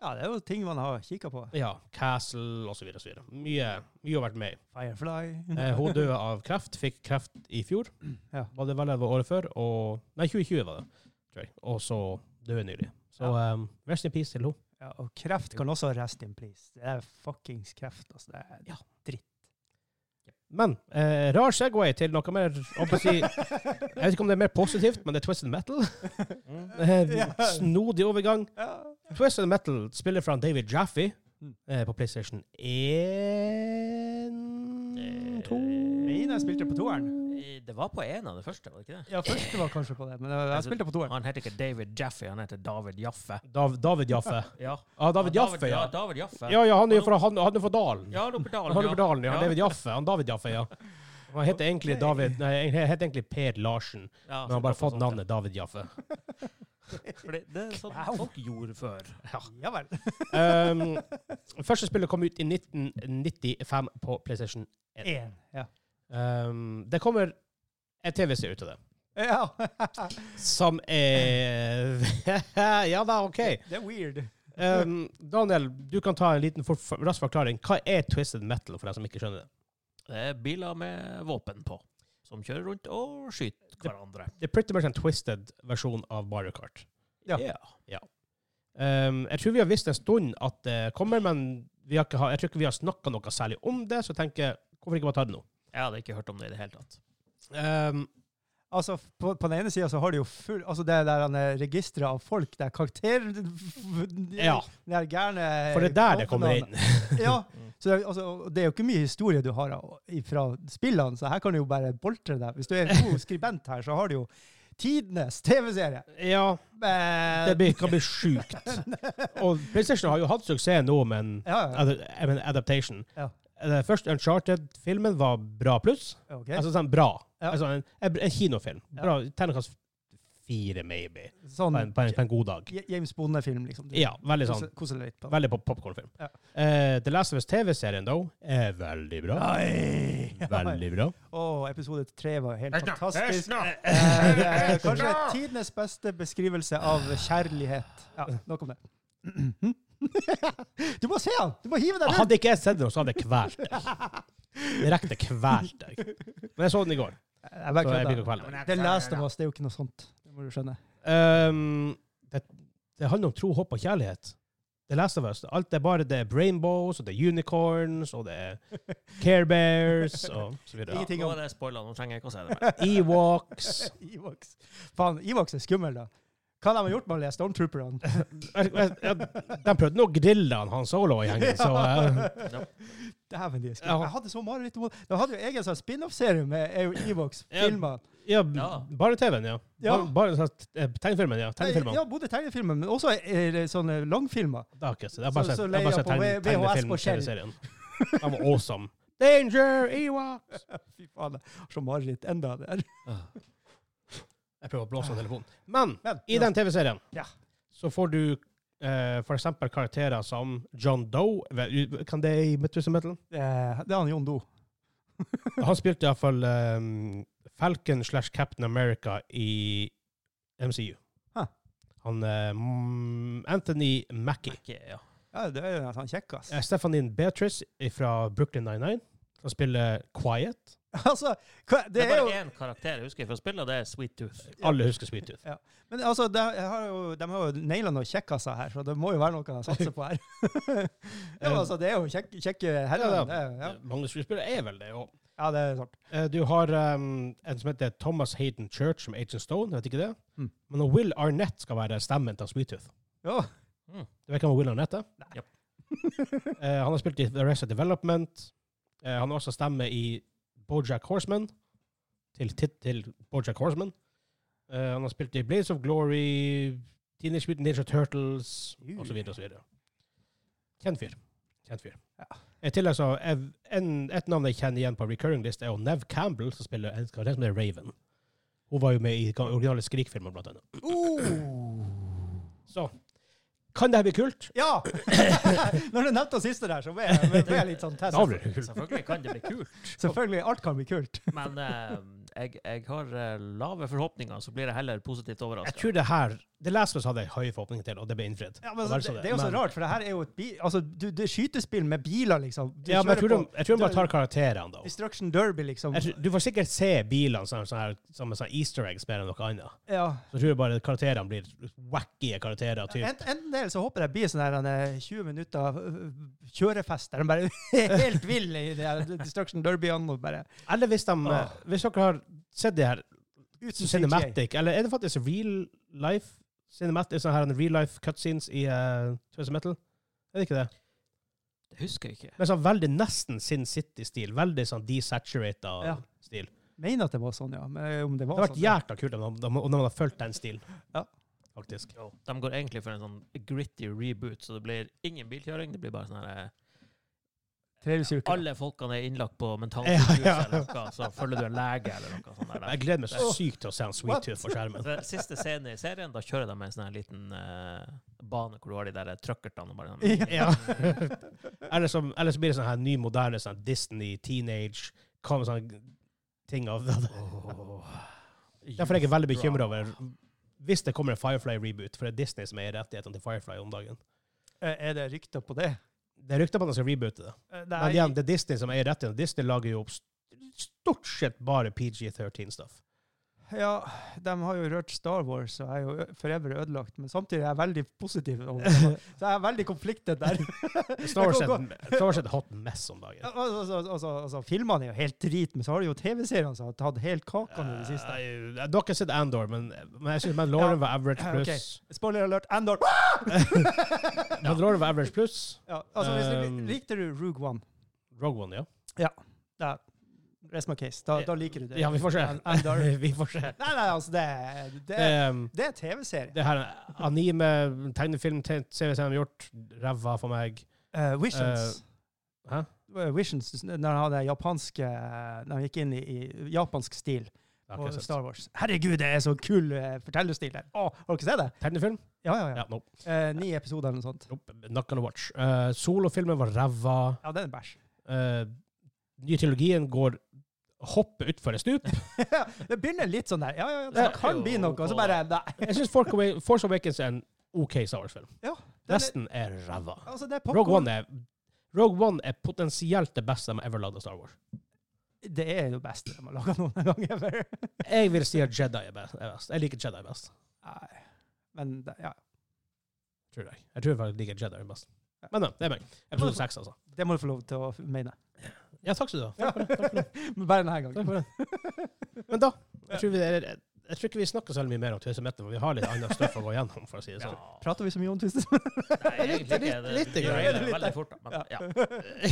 Speaker 2: ja, det er jo ting man har kikka på.
Speaker 1: Ja, Castle osv. osv. Mye, mye har vært med. i.
Speaker 2: Firefly.
Speaker 1: Eh, hun døde av kreft, fikk kreft i fjor.
Speaker 2: Ja.
Speaker 1: Var det vel det var året før? Og, nei, 2020 var det, tror jeg. Og så døde hun nylig. Så um, rest in peace til henne.
Speaker 2: Ja, og kreft kan også rest in peace. Det er fuckings kreft, altså. Det er [laughs]
Speaker 1: Ja.
Speaker 2: dritt.
Speaker 1: Men eh, rar Segway til noe mer jeg holdt på å si, Jeg vet ikke om det er mer positivt, men det er Twisted Metal.
Speaker 2: [laughs]
Speaker 1: Eh, Snodig overgang.
Speaker 2: Ja.
Speaker 1: Twisted Metal spiller fra David Jaffe
Speaker 2: Mm.
Speaker 1: eh, på PlayStation 1 2
Speaker 2: Mina Eh, spilte på toeren.
Speaker 3: Eh, Det var på en av det første, var det ikke det?
Speaker 2: Ja, første var kanskje på det, men jeg
Speaker 1: Altså,
Speaker 2: spilte på toeren.
Speaker 3: Han heter ikke David Jaffe, han heter David Jaffe.
Speaker 1: Dav, David Jaffe.
Speaker 3: Ja,
Speaker 1: Ah, David Jaffe,
Speaker 3: ja.
Speaker 1: ja.
Speaker 3: David Jaffe.
Speaker 1: Ja, ja, han er jo fra, han, han er fra Dalen.
Speaker 3: Ja, oppe i dalen,
Speaker 1: Han er fra Dalen, ja.
Speaker 3: Ja.
Speaker 1: Han David Jaffe. Han David Jaffe, ja. Han heter egentlig
Speaker 2: Ok.
Speaker 1: David Nei, han heter egentlig Per Larsen, men
Speaker 3: Ja, sånn,
Speaker 1: han har bare fått navnet David Jaffe.
Speaker 3: Fordi det er sånn
Speaker 2: Wow.
Speaker 3: folk gjorde før.
Speaker 1: ah.
Speaker 2: Ja vel.
Speaker 1: Um, første spillet kom ut i 1995 på PlayStation 1.
Speaker 2: Én. Ja.
Speaker 1: Um, det kommer en TV-serie ut av det.
Speaker 2: ja.
Speaker 1: Som er [laughs] Ja da, OK.
Speaker 2: Det er weird.
Speaker 1: Um, Daniel, du kan ta en liten for, for, rask forklaring. Hva er twisted metal, for deg som ikke skjønner det?
Speaker 3: Det er biler med våpen på, som kjører rundt og skyter hverandre.
Speaker 1: Det er pretty much en twisted versjon av Mario Kart.
Speaker 2: Ja.
Speaker 1: Um, jeg tror vi har visst en stund at det kommer, men vi har ikke, ha- jeg tror ikke vi har snakka noe særlig om det, så jeg tenker hvorfor ikke bare ta det nå?
Speaker 3: Jeg hadde ikke hørt om det i det hele tatt.
Speaker 1: Um,
Speaker 2: Altså, på, på den ene sida så har de jo full Altså, det der han, eh, registeret av folk, det er karakterer
Speaker 1: Ja.
Speaker 2: Det er gærne
Speaker 1: for det er der det kommer inn. [laughs]
Speaker 2: Ja.
Speaker 1: Mm.
Speaker 2: Så det, er- altså, det er jo ikke mye historie du har av- fra spillene, så her kan du jo bare boltre deg. Hvis du er en
Speaker 1: [laughs]
Speaker 2: god skribent her, så har du jo tidenes TV-serie.
Speaker 1: Ja, det
Speaker 2: Men-
Speaker 1: blir, kan bli
Speaker 2: [laughs]
Speaker 1: sjukt. Og PlayStation har jo hatt suksess nå med en
Speaker 2: Ja,
Speaker 1: ad, jeg mener adaptation.
Speaker 2: Ja.
Speaker 1: Eh, Først Uncharted-filmen var bra pluss.
Speaker 2: ja. ok.
Speaker 1: Altså sånn bra.
Speaker 2: Ja.
Speaker 1: Altså, en, en- en kinofilm.
Speaker 2: Ja.
Speaker 1: Bra, Terningkast fire, maybe. På en,
Speaker 2: Sånn
Speaker 1: på, en, på en god dag.
Speaker 2: J- James Bonde-film, liksom.
Speaker 1: Ja, veldig sånn.
Speaker 2: Kose deg litt på
Speaker 1: Veldig pop popkornfilm.
Speaker 2: Ja.
Speaker 1: Eh, The Last of Us TV-serien, though, er veldig bra.
Speaker 2: Nei!
Speaker 1: [laughs] Veldig bra.
Speaker 2: [laughs] Å, episode tre var helt
Speaker 3: Hysj nå, hysj
Speaker 2: fantastisk.
Speaker 3: nå!
Speaker 2: Eh, det er kanskje tidenes beste beskrivelse av kjærlighet. Ja, nok om det. [clears throat] Du må se han! Du må hive deg rundt!
Speaker 1: Hadde ikke jeg sett den, så hadde jeg kvalt deg. Direkte kvalt deg. Men jeg så den i går,
Speaker 2: Jeg
Speaker 1: så jeg blir
Speaker 2: bare
Speaker 1: ikke kvalt.
Speaker 2: Det leste av oss, det er jo ikke noe sånt. Det må du skjønne.
Speaker 1: Um, det, det handler om tro, håp og kjærlighet. The Last of Us. Alt er bare det er rainbows, og det er unicorns, og det er Care Bears, og så videre.
Speaker 2: Ingenting
Speaker 3: Nå
Speaker 2: om
Speaker 3: er det spoiler, nå trenger jeg ikke å si det mer.
Speaker 1: Ewoks.
Speaker 2: Evox. Faen, Evox er skummel, da. Hva de har gjort med alle
Speaker 1: [laughs]
Speaker 2: de stormtrooperne?
Speaker 1: Jeg- jeg- jeg- De prøvde nå å grille han, han Solo og gjengen, så eh,
Speaker 3: Ja.
Speaker 2: [laughs] Dæven, de er skrevet.
Speaker 1: Ja.
Speaker 2: Jeg hadde så mareritt om det. De hadde jo egen sånn spin-off-serie med Evox
Speaker 1: Ja.
Speaker 2: filmer.
Speaker 1: Ja,
Speaker 3: Ja.
Speaker 1: bare TV-en, ja.
Speaker 2: Ja.
Speaker 1: Bare, bare sånn, eh, tegnefilmen, ja. Tegnefilmen.
Speaker 2: Ja, både tegnefilmer, men også eh, sånne langfilmer.
Speaker 1: Det har jeg ikke sett. Jeg har bare
Speaker 2: Så- så
Speaker 1: sett, jeg har bare
Speaker 2: leier
Speaker 1: sett
Speaker 2: på
Speaker 1: tegne,
Speaker 2: V- VHS
Speaker 1: tegnefilm
Speaker 2: på
Speaker 1: og
Speaker 2: Shell.
Speaker 1: serien. Den var
Speaker 2: [laughs]
Speaker 1: awesome. Danger, Ewoks!
Speaker 2: Fy faen, jeg har så mareritt enda der. [laughs]
Speaker 1: [laughs] Jeg prøver å blåse av telefonen. Men
Speaker 2: Men,
Speaker 1: i den TV-serien
Speaker 2: Ja.
Speaker 1: så får du eh, for eksempel karakterer som John Doe. Vel, Kan det i Tusen Metal?
Speaker 2: [laughs] Eh, det er han Jon Do.
Speaker 1: Han spilte iallfall um, Falcon slash Captain America i MCU.
Speaker 2: Huh.
Speaker 1: Han eh, mm, Anthony Mackie.
Speaker 3: Ikke, ja.
Speaker 2: Ja, det er jo en sånn kjekkas.
Speaker 1: Eh, Stephanie Beatrice fra Brooklyn 99. Han spiller Quiet.
Speaker 2: [laughs] Altså, hva, det,
Speaker 3: Det er
Speaker 2: er jo
Speaker 3: bare én karakter jeg husker fra spillet, og det er Sweet Tooth.
Speaker 1: Alle husker Sweet Tooth.
Speaker 2: Men altså, de har jo, de har jo naila noen kjekkasser her, så det må jo være noe de satser på her. [laughs] ja, men altså, det er jo kjekke, kjekke herrer.
Speaker 1: Ja,
Speaker 2: Ja,
Speaker 1: da.
Speaker 2: det, er- ja.
Speaker 1: Eh, Mange skuespillere er vel det. Og,
Speaker 2: ja, det er sant.
Speaker 1: eh, du har um, en som heter Thomas Hayden Church som Agent Stone, vet ikke det?
Speaker 2: Mm.
Speaker 1: Men han Will Arnett skal være stemmen til Sweet Tooth.
Speaker 2: Ja.
Speaker 1: Du vet hvem han Will Arnett er?
Speaker 3: Nei. Japp.
Speaker 1: [laughs] Eh, han har spilt i The Rest of Development. Eh, han har også stemme i Bojack Horseman, til, tit- til Bojack Horseman. Eh, han har spilt i Blades of Glory, Teenage Mutant Ninja Turtles,
Speaker 2: Uh.
Speaker 1: osv. osv. Kjent fyr. Kjent fyr.
Speaker 2: Ja.
Speaker 1: I tillegg så ev- en, Et navn jeg kjenner igjen på recurring list, er jo Nev Campbell, som spiller en karakter som heter Raven. Hun var jo med i ga- originale Skrik-filmer, blant annet. Så kan det her bli kult?
Speaker 2: Oh! ja! [laughs] Når du nevnte det siste der, så ble jeg, ble jeg litt sånn test.
Speaker 1: Da blir det kult.
Speaker 3: Selvfølgelig kan det bli kult,
Speaker 2: Selvfølgelig, alt kan bli kult.
Speaker 3: men eh, jeg, jeg har eh, lave forhåpninger, så blir jeg heller positivt
Speaker 1: Jeg
Speaker 3: overraska.
Speaker 1: tror det her The Last of Us hadde jeg høye forhåpninger til, og det ble innfridd.
Speaker 2: Ja, men
Speaker 1: Og vel så
Speaker 2: altså, det, det er jo så
Speaker 1: men-
Speaker 2: rart, for det her er jo et bi altså, du, det er skytespill med biler, liksom. Du
Speaker 1: Ja, men jeg
Speaker 2: kjører
Speaker 1: tror, de,
Speaker 2: på
Speaker 1: jeg tror de bare tar karakterene, da.
Speaker 2: Destruction Derby, liksom.
Speaker 1: Jeg tror, du får sikkert se bilene som, som, her, som en sånn easter eggs mer enn noe annet.
Speaker 2: Ja.
Speaker 1: Så jeg tror jeg bare karakterene blir wacky karakterer. Typ.
Speaker 2: Ent, enten det, eller så håper jeg det blir sånn her en, eh, 20 minutter øh, kjørefest der de bare [laughs] er helt ville i det her Destruction Derby-ene og bare
Speaker 1: Eller hvis, de, eh,
Speaker 2: Åh.
Speaker 1: hvis dere har sett det her
Speaker 2: uten CGI.
Speaker 1: cinematic, eller er det faktisk real life cinematic, sånn her en real life cutscenes i uh, Twist Metal? Er det ikke det?
Speaker 3: Det husker jeg ikke.
Speaker 1: Men sånn veldig nesten Sin City-stil. Veldig sånn desaturata
Speaker 2: Ja.
Speaker 1: stil.
Speaker 2: Mener at det var sånn, ja. Men om det
Speaker 1: Det
Speaker 2: var
Speaker 1: hadde vært
Speaker 2: sånn.
Speaker 1: jækla kult om de- om de hadde fulgt den stilen.
Speaker 2: Ja.
Speaker 1: Faktisk.
Speaker 3: De går egentlig for en sånn gritty reboot, så det blir ingen bilkjøring. Det blir bare sånn her eh,
Speaker 2: Trehjulssirkel. [laughs]
Speaker 3: Alle folkene er innlagt på
Speaker 1: Ja,
Speaker 3: mentalsykehus
Speaker 1: ja.
Speaker 3: eller noe, så følger du en lege eller noe sånt. der.
Speaker 1: [laughs] Jeg gleder meg så
Speaker 2: Åh.
Speaker 1: sykt til å se en
Speaker 2: What?
Speaker 1: Sweet Tooth på skjermen.
Speaker 3: Så Siste scenen i serien, da kjører de med en sånn her liten eh, bane hvor du har de der truckertene og bare sånn. [laughs]
Speaker 1: Ja. Eller så, eller så blir det sånn her ny, moderne sånn Disney, teenage kom sånn ting av [laughs] det. Derfor er jeg veldig bekymra over hvis det kommer en Firefly-reboot, for det er Disney som eier rettighetene til Firefly om dagen.
Speaker 2: Eh, [laughs] Er det rykter på det?
Speaker 1: Det er rykter på at de skal reboote det.
Speaker 2: Eh,
Speaker 1: Men igjen, det er Disney som eier rettighetene. Disney lager jo st- stort sett bare PG-13-stuff.
Speaker 2: Ja, de har jo rørt Star Wars og er jo ø- for evig ødelagt, men samtidig er jeg veldig positiv. Over
Speaker 1: [laughs]
Speaker 2: det. Så jeg er veldig konfliktet der. [laughs]
Speaker 1: Star Wars
Speaker 2: Jeg kan
Speaker 1: er- Star Wars er et hot mess om
Speaker 2: Ja,
Speaker 1: dagen.
Speaker 2: Altså, altså, altså, altså, filmene er jo helt drit, men så har du jo TV-seriene som har tatt helt kaken i det siste.
Speaker 1: Eh, Dere har ikke sett Andor, men, men jeg syns Mandalorian var average
Speaker 2: Ok.
Speaker 1: pluss.
Speaker 2: Spoiler alert, Andor!
Speaker 1: Mandalorian var average pluss.
Speaker 2: Ja, altså, hvis
Speaker 1: Um,
Speaker 2: du, likte du Rogue One?
Speaker 1: Rogue One, ja.
Speaker 2: Ja, rest my case. Da, da liker du det.
Speaker 1: Ja, vi får se.
Speaker 2: An- Andor. Nei,
Speaker 1: [laughs] vi får se.
Speaker 2: [laughs] nei, altså, det, det,
Speaker 1: Det,
Speaker 2: det er TV-serie.
Speaker 1: det her er anime, tegnefilm, te- serie som de har gjort, ræva for meg.
Speaker 2: Eh, Visions.
Speaker 1: hæ?
Speaker 2: Eh, Visions, når han hadde japanske Når han gikk inn i, i japansk stil
Speaker 1: Det har
Speaker 2: på
Speaker 1: ikke jeg sett.
Speaker 2: Star Wars. Herregud, det er så kul eh, fortellerstil der! Å, har dere sett det?
Speaker 1: Tegnefilm?
Speaker 2: Ja, ja, ja.
Speaker 1: Ja, nope.
Speaker 2: Eh, ni episoder eller noe sånt.
Speaker 1: nope. Not gonna watch. Eh, solofilmen var ræva.
Speaker 2: Ja, den er bæsj. [laughs]
Speaker 1: Eh, nye trilogien går hopper utfor et stup.
Speaker 2: det begynner litt sånn der. Ja, ja, ja, det
Speaker 3: Det er
Speaker 2: kan
Speaker 3: jo
Speaker 2: bli noe, og så
Speaker 3: ok,
Speaker 2: bare Nei.
Speaker 1: Jeg syns Force Awakens er en OK Star Wars-film.
Speaker 2: Ja, den er-
Speaker 1: Resten er ræva.
Speaker 2: Altså, det er
Speaker 1: Rogue
Speaker 2: popcorn.
Speaker 1: One er Rogue One er potensielt det beste de ever lagde av Star Wars.
Speaker 2: Det er jo best de har laga noen gang ever. [laughs]
Speaker 1: Jeg vil si at Jedi er best- er best. Jeg liker Jedi best,
Speaker 2: Nei. Men det, ja.
Speaker 1: tror jeg. Jeg tror jeg liker Jedi best. Men ja, det er meg. Episode seks, altså.
Speaker 2: det må du få lov til å mene.
Speaker 1: Ja, takk skal du ha.
Speaker 2: Men [laughs] bare denne gangen.
Speaker 1: Takk for det. Men da jeg tror vi det er, Jeg tror ikke vi snakker så veldig mye mer om Twisted Metal, for vi har [laughs] litt annet stoff å gå gjennom, for å si det sånn.
Speaker 3: Ja.
Speaker 2: Prater vi så mye om Twisted?
Speaker 3: Nei,
Speaker 1: Litt-
Speaker 2: [laughs]
Speaker 3: egentlig ikke. Det-
Speaker 1: litt-
Speaker 3: det gjør
Speaker 2: litt-
Speaker 3: det
Speaker 2: litt-
Speaker 3: veldig fort, da. Men,
Speaker 1: [laughs]
Speaker 3: ja.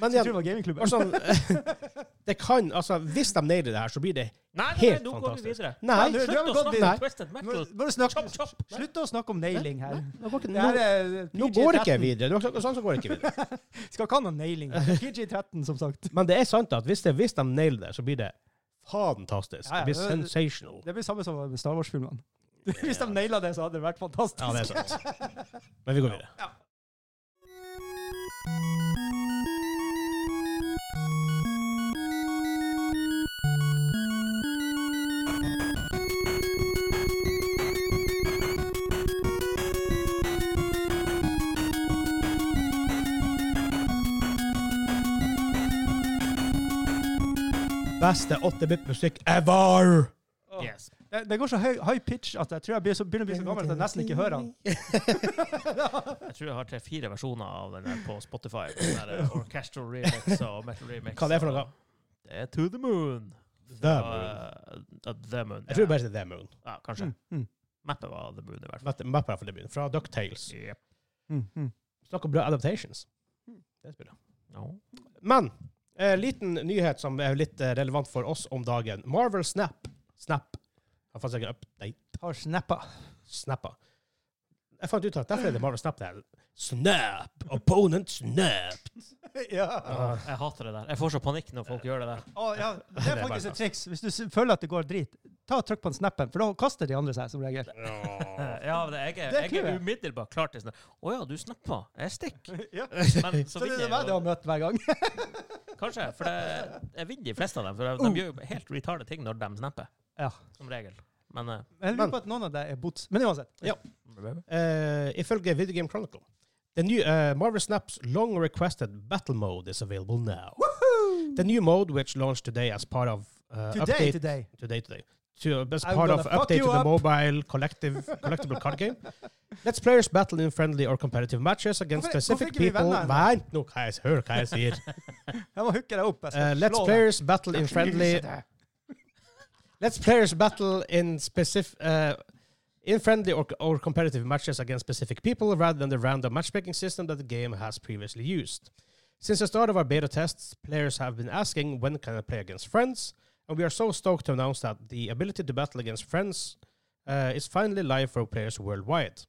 Speaker 1: Men igjen,
Speaker 2: Jeg tror det var gamingklubben.
Speaker 1: bare sånn Det kan Altså, hvis de nailer det her, så blir det
Speaker 3: Nei, nei,
Speaker 1: Helt
Speaker 3: nå går vi
Speaker 1: fantastisk.
Speaker 3: videre.
Speaker 1: Nei!
Speaker 2: Nei, du-
Speaker 3: Slutt
Speaker 2: har
Speaker 3: å
Speaker 2: gått
Speaker 3: snakke
Speaker 1: videre.
Speaker 3: om Twisted Metal.
Speaker 2: Må- Bare snakk,
Speaker 3: Chop, chop.
Speaker 2: slutt å snakke om nailing her.
Speaker 1: Nå går ikke,
Speaker 2: Det
Speaker 1: nå,
Speaker 2: her er
Speaker 1: nå
Speaker 2: PG-13.
Speaker 1: går ikke jeg videre. Det var sånn som går ikke videre.
Speaker 2: Skal ikke ha noe nailing. her. PG-13, som sagt.
Speaker 1: Men det er sant at hvis, det, hvis de nailer det, så blir det fantastisk.
Speaker 2: Ja, ja,
Speaker 1: Det blir
Speaker 2: det-
Speaker 1: sensational.
Speaker 2: Det blir samme som med Star Wars-filmene.
Speaker 1: [laughs]
Speaker 2: Hvis de naila det, så hadde det vært fantastisk.
Speaker 1: Ja, det er sant. Men vi går videre. Beste 8-bit-musikk ever!
Speaker 2: Åh.
Speaker 3: Yes.
Speaker 2: Det, det går så høy, high pitch at jeg tror jeg blir så, begynner å bli så gammel at jeg nesten ikke hører han.
Speaker 3: Jeg tror jeg har tre-fire versjoner av den her på Spotify. Den der eh, orchestral remix og metal remix.
Speaker 1: Hva er det for noe?
Speaker 3: Det er To The Moon.
Speaker 1: The
Speaker 3: Og,
Speaker 1: Moon.
Speaker 3: eh, the Moon.
Speaker 1: Jeg tror
Speaker 3: ja.
Speaker 1: bare det er The Moon.
Speaker 3: ja, Kanskje.
Speaker 2: Mm,
Speaker 3: Mappet var The Moon, i hvert fall.
Speaker 1: Mappe- Mappe er fra The Moon. Fra DuckTales.
Speaker 3: Yep.
Speaker 2: mm, mm.
Speaker 1: Snakk om bra adaptations. Det spiller.
Speaker 3: No.
Speaker 1: Men eh, liten nyhet som er litt eh, relevant for oss om dagen. Marvel Snap. Snap. Jeg fant ikke update.
Speaker 2: Har snappa.
Speaker 1: Snappa. Jeg fant ut at derfor er det Marvel Snap det her. Snap! Opponent Snap!
Speaker 2: [laughs] ja.
Speaker 1: Ah.
Speaker 3: Jeg hater det der. Jeg får så panikk når folk gjør det der.
Speaker 2: Å, ja. Det
Speaker 1: Det er
Speaker 2: er
Speaker 1: bare
Speaker 2: faktisk
Speaker 1: sant.
Speaker 2: et triks. Hvis du s- føler at det går drit, ta og trykk på den snappen, for da kaster de andre seg som regel.
Speaker 1: [laughs] Ja.
Speaker 3: [laughs] Ja, men jeg er,
Speaker 2: Det er
Speaker 3: jeg er
Speaker 2: clouet.
Speaker 3: umiddelbart klar til sånn Å ja, du snappa. Jeg
Speaker 1: [laughs]
Speaker 3: stikker.
Speaker 2: ja.
Speaker 3: Men så
Speaker 2: Så det
Speaker 3: vinner
Speaker 2: er
Speaker 3: jeg
Speaker 2: meg du
Speaker 3: jo.
Speaker 2: har møtt hver gang. [laughs]
Speaker 3: Kanskje. For det, jeg vinner de fleste av dem. For
Speaker 1: Uh.
Speaker 3: de gjør jo helt retarde ting når de snapper.
Speaker 2: Ja.
Speaker 3: Som regel. Men eh,
Speaker 2: Jeg
Speaker 1: Men-
Speaker 2: lurer på at noen av deg er bots. Men uansett.
Speaker 1: Eh, ifølge Video Game Chronicle. The new eh, Marvel Snap's long requested battle mode is available now. The new mode, which launched today as part of uh,
Speaker 2: Today,
Speaker 1: update
Speaker 2: today.
Speaker 1: today today. To, as
Speaker 2: I'm
Speaker 1: part
Speaker 2: gonna
Speaker 1: of
Speaker 2: fuck
Speaker 1: update to
Speaker 2: you
Speaker 1: the
Speaker 2: up.
Speaker 1: mobile collective collectible card game, lets players battle in friendly or competitive matches against
Speaker 2: Hvorfor-
Speaker 1: specific
Speaker 2: hvorfor ikke vi
Speaker 1: people.
Speaker 2: venner ennå?
Speaker 1: Vent nå, hva jeg hør hva jeg sier.
Speaker 2: [laughs] Jeg må hooke deg opp. Jeg
Speaker 1: Uh,
Speaker 2: skal
Speaker 1: let's
Speaker 2: slå deg.
Speaker 1: players battle in friendly. Let's players battle in specific. Uh, in friendly or, or competitive matches against specific people rather than the random matchmaking system that the game has previously used. Since the start of our beta tests, players have been asking when can I play against friends, and we are so stoked to announce that the ability to battle against friends uh, is finally live for players worldwide.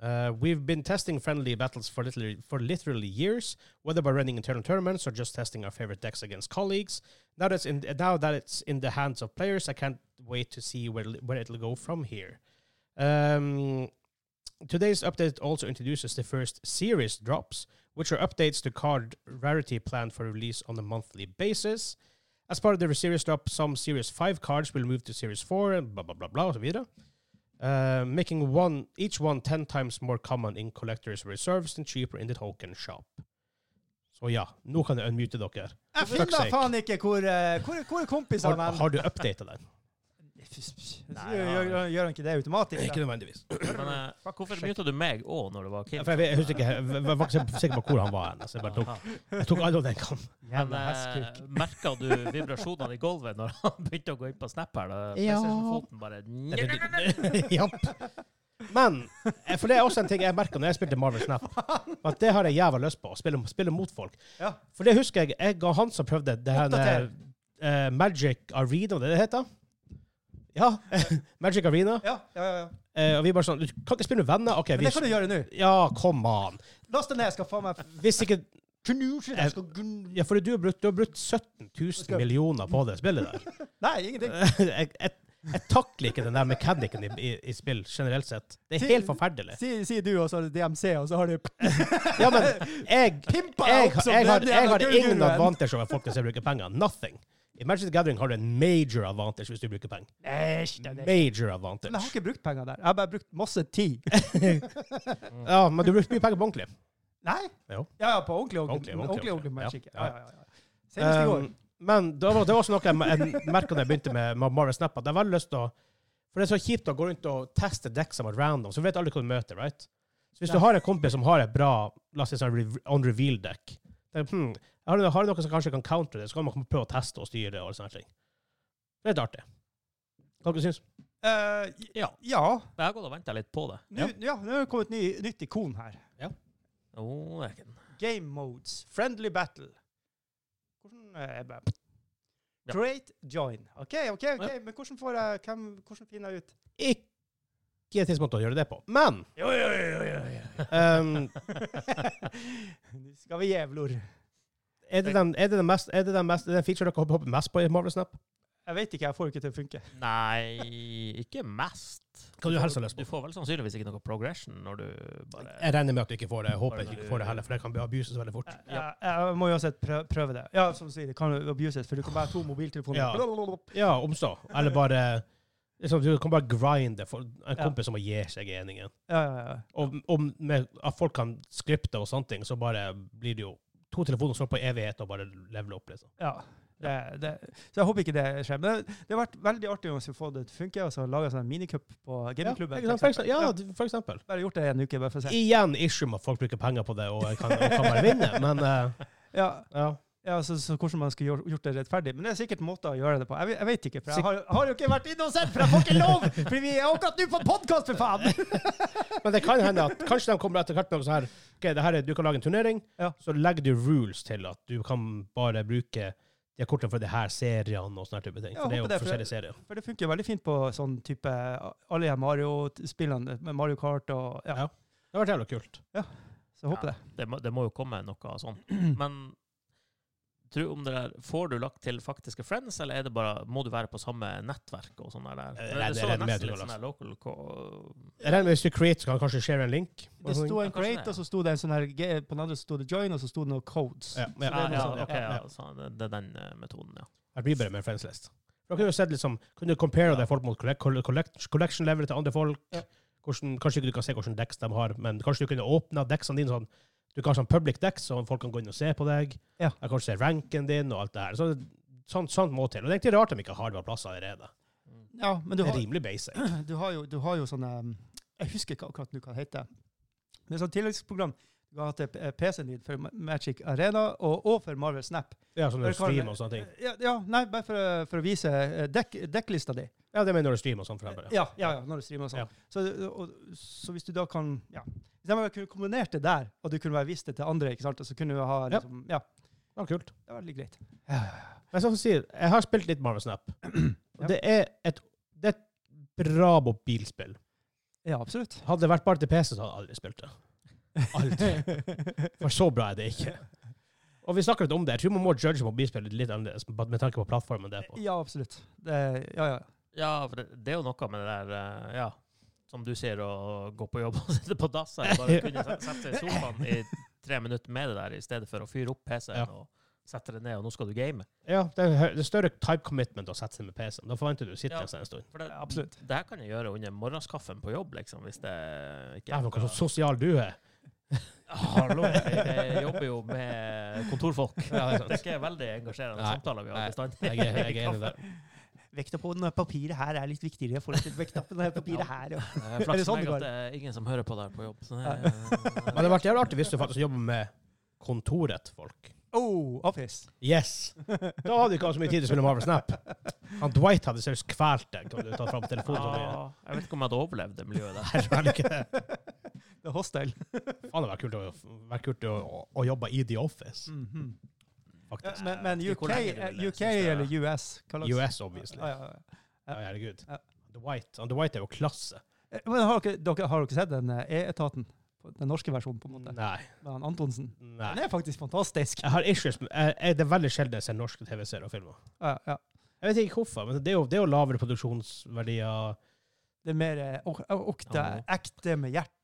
Speaker 1: Uh, we've been testing friendly battles for literally, for literally years, whether by running internal tournaments or just testing our favorite decks against colleagues. Now that's in now that it's in the hands of players, I can't wait to see where where it'll go from here. Um, today's update also introduces the first series drops, which are updates to card rarity planned for release on a monthly basis. As part of the series drop, some Series 5 cards will move to Series 4 and blah blah blah blah, og så videre. Uh, making one each one 10 times more common in collectors reserves and cheaper in the token shop. Så ja, nå kan jeg unmute dere.
Speaker 2: Jeg
Speaker 1: For fuck's
Speaker 2: finner
Speaker 1: sake.
Speaker 2: faen ikke hvor, eh, hvor, hvor er kompisene
Speaker 1: Har,
Speaker 2: mine.
Speaker 1: har du updata den?
Speaker 3: Nei,
Speaker 2: Gjør, gjør, gjør han ikke det automatisk? da?
Speaker 1: nødvendigvis.
Speaker 3: Men eh, hvorfor muta du meg òg når det var Kim?
Speaker 1: For jeg, jeg husker ikke, jeg var ikke sikker på hvor han var hen. Så jeg bare tok,
Speaker 3: Aha.
Speaker 1: jeg tok alle den kan.
Speaker 3: Men
Speaker 2: Jævla
Speaker 1: eh,
Speaker 2: hestkuk.
Speaker 3: merka du vibrasjonene i gulvet når han [laughs] begynte å gå inn på snap her? Da
Speaker 1: Ja.
Speaker 3: PlayStation-foten bare
Speaker 1: [laughs] Japp. Men eh, for det er også en ting jeg merka når jeg spilte Marvel
Speaker 2: [laughs]
Speaker 1: Snap, at det har jeg jævla lyst på. Å spille, spille mot folk.
Speaker 2: Ja.
Speaker 1: For det husker jeg jeg og han som prøvde det her eh,
Speaker 2: Oppdater.
Speaker 1: eh, Magic Arena, det det heter. Ja. [laughs] Magic Arena.
Speaker 2: Ja, ja, ja, ja.
Speaker 1: Eh, og vi bare sånn Du kan ikke spille med venner? OK,
Speaker 2: Men
Speaker 1: vi
Speaker 2: det kan du gjøre nå.
Speaker 1: Ja, kom an.
Speaker 2: Last det ned. Jeg skal faen meg
Speaker 1: Hvis ikke
Speaker 2: Jeg
Speaker 1: Eh,
Speaker 2: skal gun-
Speaker 1: Ja, for du har brukt, du har brukt 17 000 millioner på det spillet der.
Speaker 2: Nei, ingenting.
Speaker 1: [laughs] jeg, jeg, jeg takler ikke den der mekanikken i, i, i spill generelt sett. Det er helt forferdelig.
Speaker 2: Si, si du, og så har du DMC, og så har du
Speaker 1: Ja, men jeg,
Speaker 2: [laughs] pimpa deg
Speaker 1: jeg,
Speaker 2: opp som
Speaker 1: jeg, har,
Speaker 2: den
Speaker 1: jeg
Speaker 2: jævla
Speaker 1: har ingen
Speaker 2: gullgulven.
Speaker 1: advantage over folk hvis jeg bruker penger. Nothing. I Magic the Gathering har du en major advantage hvis du bruker penger.
Speaker 2: Æsj,
Speaker 1: Major
Speaker 2: den er- Men jeg har
Speaker 1: advantage.
Speaker 2: ikke brukt penger der. Jeg har bare brukt masse tid.
Speaker 1: Ja, men du brukte mye penger på ordentlig.
Speaker 2: Nei?
Speaker 1: Jo.
Speaker 2: Ja, ja, på ordentlig
Speaker 1: Ordentlig,
Speaker 2: ordentlig.
Speaker 1: ordentlig,
Speaker 2: Ordentlig ordentlig
Speaker 1: ordentlig.
Speaker 2: magic.
Speaker 1: Ja,
Speaker 2: Ja, ja, ja. ja. Senest i går.
Speaker 1: Um, men det var, det var også noe jeg, jeg merket da jeg begynte med med Marvel Snap, at jeg har veldig lyst til å For det er så kjipt å gå rundt og teste dekk som er random, så vet aldri hva du møter, right? Så hvis du
Speaker 2: Ja.
Speaker 1: har en kompis som har et bra la oss si sånn rev- on reveal-dekk hmm, har, du- har du noe som kanskje kan counter det, så kan man prøve å teste og styre det og sånne ting. Det er litt artig. Hva dere syns
Speaker 2: Eh, j-
Speaker 3: Ja.
Speaker 2: ja.
Speaker 3: Jeg har gått og venta litt på det.
Speaker 2: Nå ja, nå er det kommet ny, nytt ikon her.
Speaker 3: Oh, det er ikke den.
Speaker 2: Game modes. Friendly battle. Hvordan eh, jeg bare-
Speaker 3: Ja.
Speaker 2: Create, join. OK, OK, ok, men hvordan får jeg hvem, Hvordan finner jeg ut
Speaker 1: Ikke tidspunkt å gjøre det på. Men
Speaker 2: Jo, jo, jo, jo, jo.
Speaker 1: ehm,
Speaker 2: Nå skal vi jævlor.
Speaker 1: er
Speaker 2: [laughs]
Speaker 1: det den, er det den, mest, er det den, mest, er det den feature dere hopper hopper mest på i Marvel Snap?
Speaker 2: Jeg vet ikke, jeg får det ikke til å funke.
Speaker 3: Nei, ikke mest.
Speaker 1: Hva du helst har lyst på?
Speaker 3: Du får vel sannsynligvis ikke noe progression når du bare
Speaker 1: Jeg regner med at du ikke får det. Jeg håper ikke du ikke får det heller, for det kan bli abuses veldig fort.
Speaker 2: Jeg, jeg, jeg må uansett prøve, prøve det. Ja, som du sier, det kan jo abuses, for du kan bare ha to mobiltelefoner.
Speaker 1: Ja. Ja, omstå. [laughs] Eller bare liksom, Du kan bare grinde for en
Speaker 2: Ja.
Speaker 1: kompis som må gi seg i eningen.
Speaker 2: Ja, ja, ja.
Speaker 1: Og om med, at folk kan skripte og sånne ting, så bare blir det jo to telefoner som står på evighet og bare leveler opp, liksom.
Speaker 2: Ja. Det, det. Så jeg håper ikke det skjer. Men det, det har vært veldig artig å få det til å funke, og så lage sånn minicup på gamingklubben.
Speaker 1: Ja,
Speaker 2: for
Speaker 1: for eksempel.
Speaker 2: eksempel.
Speaker 1: Ja,
Speaker 2: Ja,
Speaker 1: for eksempel.
Speaker 2: Bare gjort det en uke, bare for å se.
Speaker 1: Igjen issue med at folk bruker penger på det og kan, og kan bare vinne, men eh,
Speaker 2: Ja,
Speaker 1: ja.
Speaker 2: ja så, så hvordan man skulle gjort, gjort det rettferdig. Men det er sikkert måter å gjøre det på. Jeg, ve- jeg vet ikke, for jeg har, har jo ikke vært inne og sett, for jeg får ikke lov! Fordi vi er akkurat nå på podkast, for
Speaker 1: [laughs]
Speaker 2: faen!
Speaker 1: Men det kan hende at kanskje de kommer etter hvert med noe sånn her OK, det her er, du kan lage en turnering,
Speaker 2: Ja.
Speaker 1: så legger du rules til at du kan bare bruke de kortene for de her seriene og sånne her type ting.
Speaker 2: Ja,
Speaker 1: For det er
Speaker 2: håper det,
Speaker 1: jo
Speaker 2: for-
Speaker 1: forskjellige serier.
Speaker 2: For det funker veldig fint på sånn type alle de her Mario-spillene med Mario Kart og Ja,
Speaker 1: Ja. Det har vært jævla kult.
Speaker 2: så jeg håper det.
Speaker 3: det må, det må jo komme noe sånt.
Speaker 1: [clears throat]
Speaker 3: Men tro om det der, får du lagt til faktiske friends, eller er det bare, må du være på samme nettverk og sånn der?
Speaker 1: Jeg
Speaker 3: Det,
Speaker 1: regner-
Speaker 3: det så
Speaker 1: jeg regner med at
Speaker 3: nesten
Speaker 1: Eh, det
Speaker 3: litt
Speaker 1: går
Speaker 3: sånn der local co-
Speaker 1: Jeg regner med hvis du create, så kan du kanskje share en link.
Speaker 2: Det sto
Speaker 3: Ja,
Speaker 2: en
Speaker 3: kanskje
Speaker 2: create,
Speaker 3: det, ja.
Speaker 2: og så sto det en sånn her G- På den andre så sto det join, og så sto det noen codes.
Speaker 1: Ja, liksom- ja,
Speaker 3: Ja,
Speaker 2: noe
Speaker 3: ja,
Speaker 2: sånt, ja.
Speaker 3: ok, ja, så det, det er den eh, metoden, ja.
Speaker 1: Jeg blir bare med friends list. Da kunne du sett liksom, kunne du compare det folk mot collect, collect, collection level til andre folk.
Speaker 2: Ja.
Speaker 1: Hvordan, kanskje ikke du kan se hvordan decks de har, men kanskje du kunne åpne decksene dine sånn. Du kan ha sånn public decks, så folk kan gå inn og se på deg.
Speaker 2: Ja.
Speaker 1: Jeg kan kanskje se ranken din og alt det her. Så, sånt, sånt må til. Og det er egentlig rart de ikke har det på plass allerede.
Speaker 2: Ja, men du
Speaker 1: Det
Speaker 2: har,
Speaker 1: er rimelig basic.
Speaker 2: [clears throat] du har jo, du har jo sånne um, Jeg husker ikke akkurat nå hva det heter. Det er sånn tilleggsprogram du kan ha til eh, PC-en din for Ma- Magic Arena og, og for Marvel Snap.
Speaker 1: Ja, sånn når
Speaker 2: Bare
Speaker 1: du
Speaker 2: kan-
Speaker 1: streamer og sånne ting.
Speaker 2: Ja, ja nei, bare for, å- for å vise eh, dekk, dekklista di.
Speaker 1: Ja, det mener når du streamer og sånn, for eksempel.
Speaker 2: Ja, ja, ja, når du streamer og sånn.
Speaker 1: Ja.
Speaker 2: Så, og, så hvis du da kan ja. Hvis jeg kunne kombinert det der, og du kunne være vist det til andre, ikke sant? så kunne du ha
Speaker 1: Ja.
Speaker 2: liksom, ja.
Speaker 1: Ja, kult.
Speaker 2: det var veldig greit.
Speaker 1: Men som jeg sier, jeg har spilt litt Marvel
Speaker 2: [clears throat]
Speaker 1: Snap. Og det er et, det er et bra mobilspill.
Speaker 2: Ja, absolutt.
Speaker 1: Hadde det vært bare til PC, så hadde jeg aldri spilt det. Aldri. For så bra er det ikke. Og vi snakker litt om det. Jeg tror man må judge mobilspillet litt annerledes med tanke på plattformen det er på.
Speaker 2: Ja, absolutt. Det, ja, ja.
Speaker 3: Ja, for det, det er jo noe med det der, eh, ja, som du sier, å gå på jobb [laughs] og sitte på dass, eller bare kunne sette, sette seg i sofaen i tre minutter med det der, i stedet for å fyre opp PC-en
Speaker 1: Ja.
Speaker 3: og sette det ned, og nå skal du game.
Speaker 1: Ja, det er, hø- det er større type commitment å sette seg med PC-en. Da forventer du å sitte
Speaker 3: Ja.
Speaker 1: en stund.
Speaker 3: For det,
Speaker 2: Ja, absolutt.
Speaker 3: det her kan jeg gjøre under morgenskaffen på jobb, liksom, hvis det ikke
Speaker 1: Dæven, hva så sosial du er.
Speaker 3: [laughs] Hallo, jeg, jeg jobber jo med kontorfolk.
Speaker 1: Ja, det er sant.
Speaker 3: det er ikke veldig engasjerende
Speaker 1: Nei.
Speaker 3: samtaler vi
Speaker 1: Nei.
Speaker 3: har bestandig.
Speaker 1: Jeg er, jeg er enig
Speaker 3: [laughs]
Speaker 1: der.
Speaker 2: Vekta på den papiret her er litt viktigere i forhold til vekta på det papiret her. Ja.
Speaker 3: [laughs] Eh,
Speaker 2: Er
Speaker 3: Flaks
Speaker 2: det sånn
Speaker 3: for meg
Speaker 2: det
Speaker 3: at det er ingen som hører på der på jobb. Så det, [laughs]
Speaker 2: Ja.
Speaker 1: Men det hadde vært jævlig artig hvis du faktisk jobber med kontoret til folk.
Speaker 2: Oh, Office.
Speaker 1: Yes! Da hadde du ikke hatt så mye tid til å spille Marvel Snap. Han Dwight hadde seriøst kvalt deg. Kan du ta fram telefonen så mye?
Speaker 3: ja, jeg vet ikke om jeg hadde overlevd det miljøet der.
Speaker 1: Nei, vel ikke det.
Speaker 2: [laughs] Det er hostile.
Speaker 1: Faen, det hadde vært kult, å, vært kult å, å jobbe i The Office,
Speaker 2: ja,
Speaker 1: faktisk.
Speaker 2: Mhm. men, men
Speaker 3: Ikke
Speaker 2: UK,
Speaker 3: hvor lenge du
Speaker 2: eh,
Speaker 3: ville,
Speaker 2: UK
Speaker 3: synes jeg.
Speaker 2: eller US? Hva slags-
Speaker 1: US, obviously.
Speaker 2: Ja, ja, ja.
Speaker 1: Ja, herregud.
Speaker 2: Ja.
Speaker 1: Dwight, han Dwight er jo klasse.
Speaker 2: Eh, Men har dere, dere, har dere sett den eh, E-etaten? På Den norske versjonen, på en måte.
Speaker 1: Nei.
Speaker 2: Med han Antonsen.
Speaker 1: nei.
Speaker 2: Den er faktisk fantastisk.
Speaker 1: Jeg har issues med jeg, jeg, Det er veldig sjelden jeg ser norske TV-serier og filmer.
Speaker 2: Ja, ja.
Speaker 1: Jeg vet ikke hvorfor, men det er jo, det er jo lavere produksjonsverdier.
Speaker 2: Det er mer eh, ok- okte,
Speaker 3: Ja.
Speaker 2: ekte med hjerte,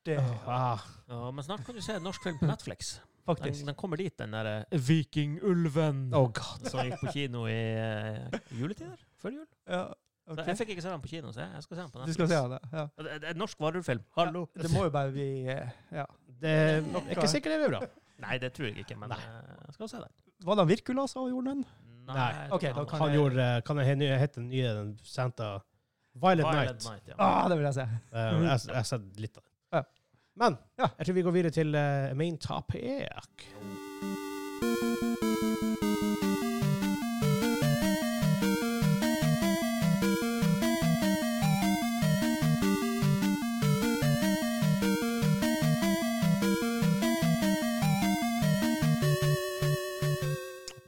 Speaker 1: Ah,
Speaker 3: [laughs] Ja, men snart kan du se en norsk film på Netflix. Den,
Speaker 2: faktisk.
Speaker 3: den kommer dit, den derre
Speaker 2: Mm.
Speaker 3: Vikingulven
Speaker 1: oh god.
Speaker 3: som gikk på kino i eh, juletider? Før jul?
Speaker 2: Ja,
Speaker 3: Så
Speaker 2: ok.
Speaker 3: Jeg fikk ikke se den på kino, så jeg, jeg skal se den på
Speaker 2: Du
Speaker 3: Netflix.
Speaker 2: skal se det. Ja.
Speaker 3: Det er- det er En norsk varulvfilm. Hallo!
Speaker 2: Det må jo bare bli eh, ja.
Speaker 1: Det jeg er ikke sikkert det blir bra.
Speaker 3: Nei, det tror jeg ikke, men
Speaker 1: Nei.
Speaker 3: eh, jeg skal se den.
Speaker 2: Var det han Virkula som gjorde den?
Speaker 1: Nei.
Speaker 3: jeg tror
Speaker 2: Ok, da
Speaker 3: ikke han-
Speaker 2: kan
Speaker 1: Han
Speaker 2: jeg-
Speaker 1: gjorde eh, Kan den nye- hete den nye den Santa Violet,
Speaker 3: Violet
Speaker 1: Night.
Speaker 3: Night, ja.
Speaker 2: Ah, det vil jeg se.
Speaker 1: Eh, jeg jeg har sett litt av den.
Speaker 2: Ja.
Speaker 1: Men
Speaker 2: Ja.
Speaker 1: jeg tror vi går videre til eh, main topic.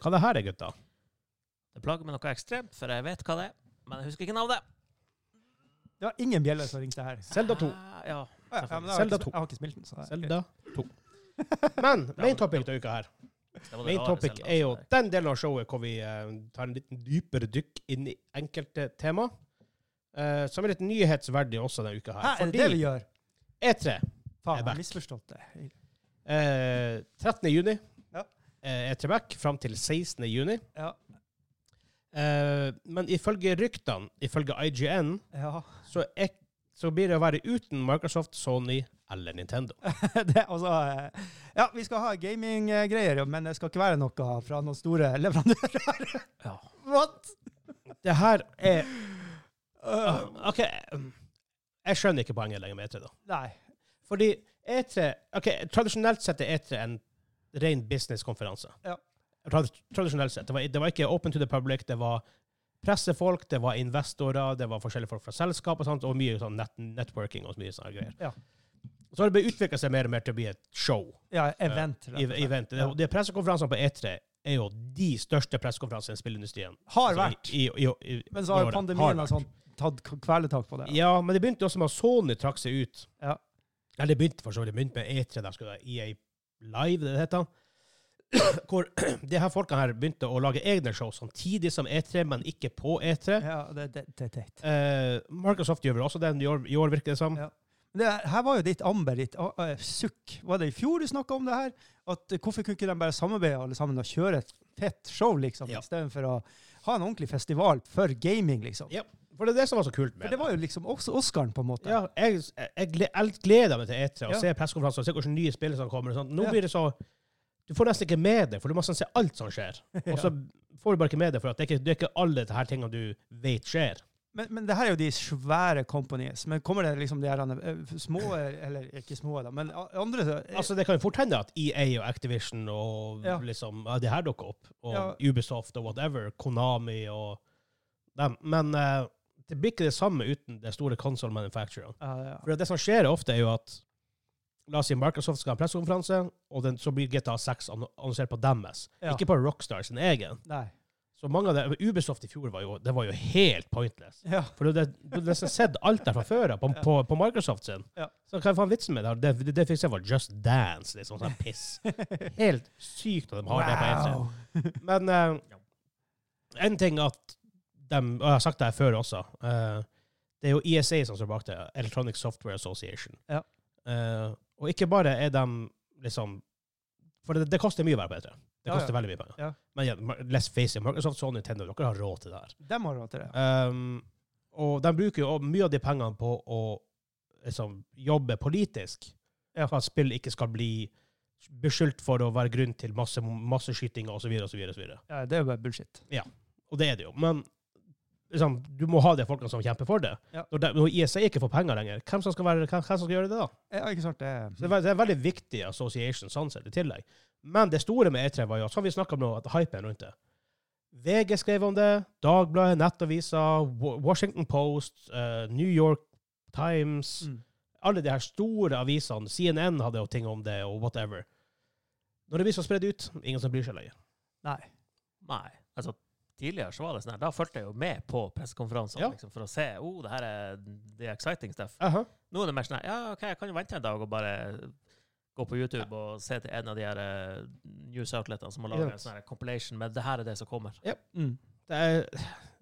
Speaker 1: Hva det her er, gutta?
Speaker 3: Det plager meg noe ekstremt, for jeg vet hva det er, men jeg husker ikke navnet.
Speaker 2: Det var ingen bjeller som ringte her.
Speaker 1: Zelda 2.
Speaker 3: Ah, Ja.
Speaker 2: Ja, ja, men jeg har
Speaker 1: Zelda
Speaker 2: ikke-
Speaker 1: 2.
Speaker 2: Jeg har ikke spilt den. Så det er greit.
Speaker 1: Selda 2.
Speaker 2: [laughs]
Speaker 1: Men main topic til uka her
Speaker 3: Det var det
Speaker 1: Main
Speaker 3: rare
Speaker 1: topic
Speaker 3: Zelda,
Speaker 1: er jo
Speaker 3: altså.
Speaker 1: den delen av showet hvor vi eh, tar en liten dypere dykk inn i enkelte tema. eh, som er litt nyhetsverdig også denne uka her.
Speaker 2: Hæ, er det det vi
Speaker 1: Fordi E
Speaker 2: gjør?
Speaker 1: E3
Speaker 2: Faen,
Speaker 1: Jeg er back.
Speaker 2: jeg har misforstått det.
Speaker 1: eh, 13. juni
Speaker 2: Ja.
Speaker 1: eh, er tilbake fram til 16. juni.
Speaker 2: Ja.
Speaker 1: Eh, men ifølge ryktene, ifølge IGN,
Speaker 2: ja. [laughs]
Speaker 1: så, er, så blir det å være uten Microsoft, Sony eller Nintendo.
Speaker 2: det, altså, eh, ja, vi skal ha gaminggreier, men det skal ikke være noe fra noen store leverandører.
Speaker 3: Ja.
Speaker 2: [laughs] What?
Speaker 1: Det her er
Speaker 2: Uh,
Speaker 1: OK, um, jeg skjønner ikke poenget lenger med E3, da.
Speaker 2: nei.
Speaker 1: Fordi E3 OK, tradisjonelt sett er E3 en ren businesskonferanse.
Speaker 2: Ja.
Speaker 1: Trad tradisjonelt sett. Det var, det var ikke open to the public, det var pressefolk, det var investorer, det var forskjellige folk fra selskap og sånt, og mye sånn net networking og mye sånne greier.
Speaker 2: Ja.
Speaker 1: Så har det utvikla seg mer og mer til å bli et show.
Speaker 2: Ja, event. rett og
Speaker 1: i-
Speaker 2: slett.
Speaker 1: event.
Speaker 2: Ja.
Speaker 1: Det- De pressekonferansene på E3 er jo de største pressekonferansene i spillindustrien.
Speaker 2: Har
Speaker 1: Altså,
Speaker 2: vært.
Speaker 1: i- i- i- i-
Speaker 2: Men så har
Speaker 1: i året.
Speaker 2: jo
Speaker 1: Har
Speaker 2: pandemien og
Speaker 1: vært.
Speaker 2: sånn tatt k- kvelertak på det.
Speaker 1: Ja, men det begynte jo også med at Sony trakk seg ut.
Speaker 2: Ja.
Speaker 1: Eller det begynte for så vidt det begynte med E3, der skulle det være EA Live, det det heter. [clears throat] Hvor [clears throat] de her folkene her begynte å lage egne show samtidig som E3, men ikke på E3.
Speaker 2: Ja, det, det, det er teit.
Speaker 1: Eh, Microsoft gjør vel også det i år, i år virker det som.
Speaker 2: Ja. Men Det, her var jo ditt amber, ditt ah, ah, sukk. Var det i fjor du snakka om det her? At eh, Hvorfor kunne ikke de bare samarbeide alle sammen og kjøre et fett show, liksom,
Speaker 1: Ja.
Speaker 2: istedenfor å ha en ordentlig festival for gaming, liksom?
Speaker 1: Ja, For det er det som var så kult
Speaker 2: For
Speaker 1: med
Speaker 2: det var jo liksom også Oscaren, på en måte.
Speaker 1: Ja, jeg, jeg, gle- jeg gleder meg til E3 og
Speaker 2: Ja.
Speaker 1: ser pressekonferanser og ser hvilke nye spill som kommer. og sånt. Nå
Speaker 2: Ja.
Speaker 1: blir det så Du får nesten ikke med deg, for du må nesten se alt som skjer.
Speaker 2: [laughs]
Speaker 1: Og så får du bare ikke med deg, for at det er ikke, det er ikke alle de her tingene du vet skjer.
Speaker 2: Men, men det her er jo de svære companies. Men kommer det liksom de her eh, små, eh, eller ikke små, da, men a- andre eh,
Speaker 1: Altså, Det kan jo fort hende at EA og Activision og
Speaker 2: Ja.
Speaker 1: liksom, ja, det her dukker opp, og
Speaker 2: Ja.
Speaker 1: Ubisoft og whatever, Konami og dem. Men eh, det blir ikke det samme uten det store console manufacturer.
Speaker 2: ja, ja.
Speaker 1: For det som skjer ofte, er jo at La oss si Microsoft skal ha en pressekonferanse, og den, så blir GTA 6 anno- annonsert på deres,
Speaker 2: Ja.
Speaker 1: ikke på Rockstar sin egen.
Speaker 2: Nei.
Speaker 1: Så mange av det, Ubisoft i fjor var jo, det var jo helt pointless. [laughs]
Speaker 2: Ja.
Speaker 1: For du har nesten sett alt der fra før av, på,
Speaker 2: Ja.
Speaker 1: på, på Microsoft sin.
Speaker 2: Ja.
Speaker 1: Så hva er faen vitsen med det? Det, det, det fikk jeg var Just Dance, liksom. Sånn
Speaker 2: [laughs]
Speaker 1: piss. Helt sykt at de har det
Speaker 2: Wow.
Speaker 1: på E3. Men eh, en ting at de, og jeg har sagt det her før også, eh, det er jo ESA som står bak det, Electronic Software Association.
Speaker 2: Ja.
Speaker 1: Eh, og ikke bare er de liksom For det, det koster mye å være på E3. Det
Speaker 2: Ja, ja.
Speaker 1: koster veldig mye penger.
Speaker 2: Ja.
Speaker 1: Men ja, let's face it, Microsoft, Sony, Nintendo, dere har råd til det her.
Speaker 2: De har råd til det.
Speaker 1: Um, og de bruker jo mye av de pengene på å liksom, jobbe politisk,
Speaker 2: Ja.
Speaker 1: for at spill ikke skal bli beskyldt for å være grunn til masse masseskytinger osv. Og, så videre, og, så videre, og, så videre.
Speaker 2: Ja, det er jo bare bullshit.
Speaker 1: og det er det jo. Men liksom, du må ha de folkene som kjemper for det.
Speaker 2: Ja.
Speaker 1: Når, de, når ISA ikke får penger lenger, hvem som skal, være, hvem, hvem som skal gjøre det da?
Speaker 2: Ja, ikke sant? Det,
Speaker 1: Så det, er, ve- det er en veldig viktig association sånn sett, i tillegg. Men det store med E3 var jo, som vi snakket om nå, at hypen rundt det. VG skrev om det, Dagbladet, Nettavisa, Wa- Washington Post, eh, New York Times,
Speaker 2: Mm.
Speaker 1: alle de her store avisene, CNN hadde jo ting om det, og whatever. Når det blir så spredt ut, ingen som bryr seg lenger.
Speaker 2: Nei.
Speaker 3: Nei. Altså, tidligere så var det sånn her. Da fulgte jeg jo med på pressekonferansene
Speaker 1: Ja.
Speaker 3: liksom, for å se. Oh, det her er the exciting stuff. Nå er det mer sånn her, ja, ok, jeg kan jo vente en dag og bare gå på YouTube og se til en av de her eh, news outletene som har laget
Speaker 1: Ja.
Speaker 3: en sånn her compilation med det her er det som kommer.
Speaker 2: Mm.
Speaker 1: Det er,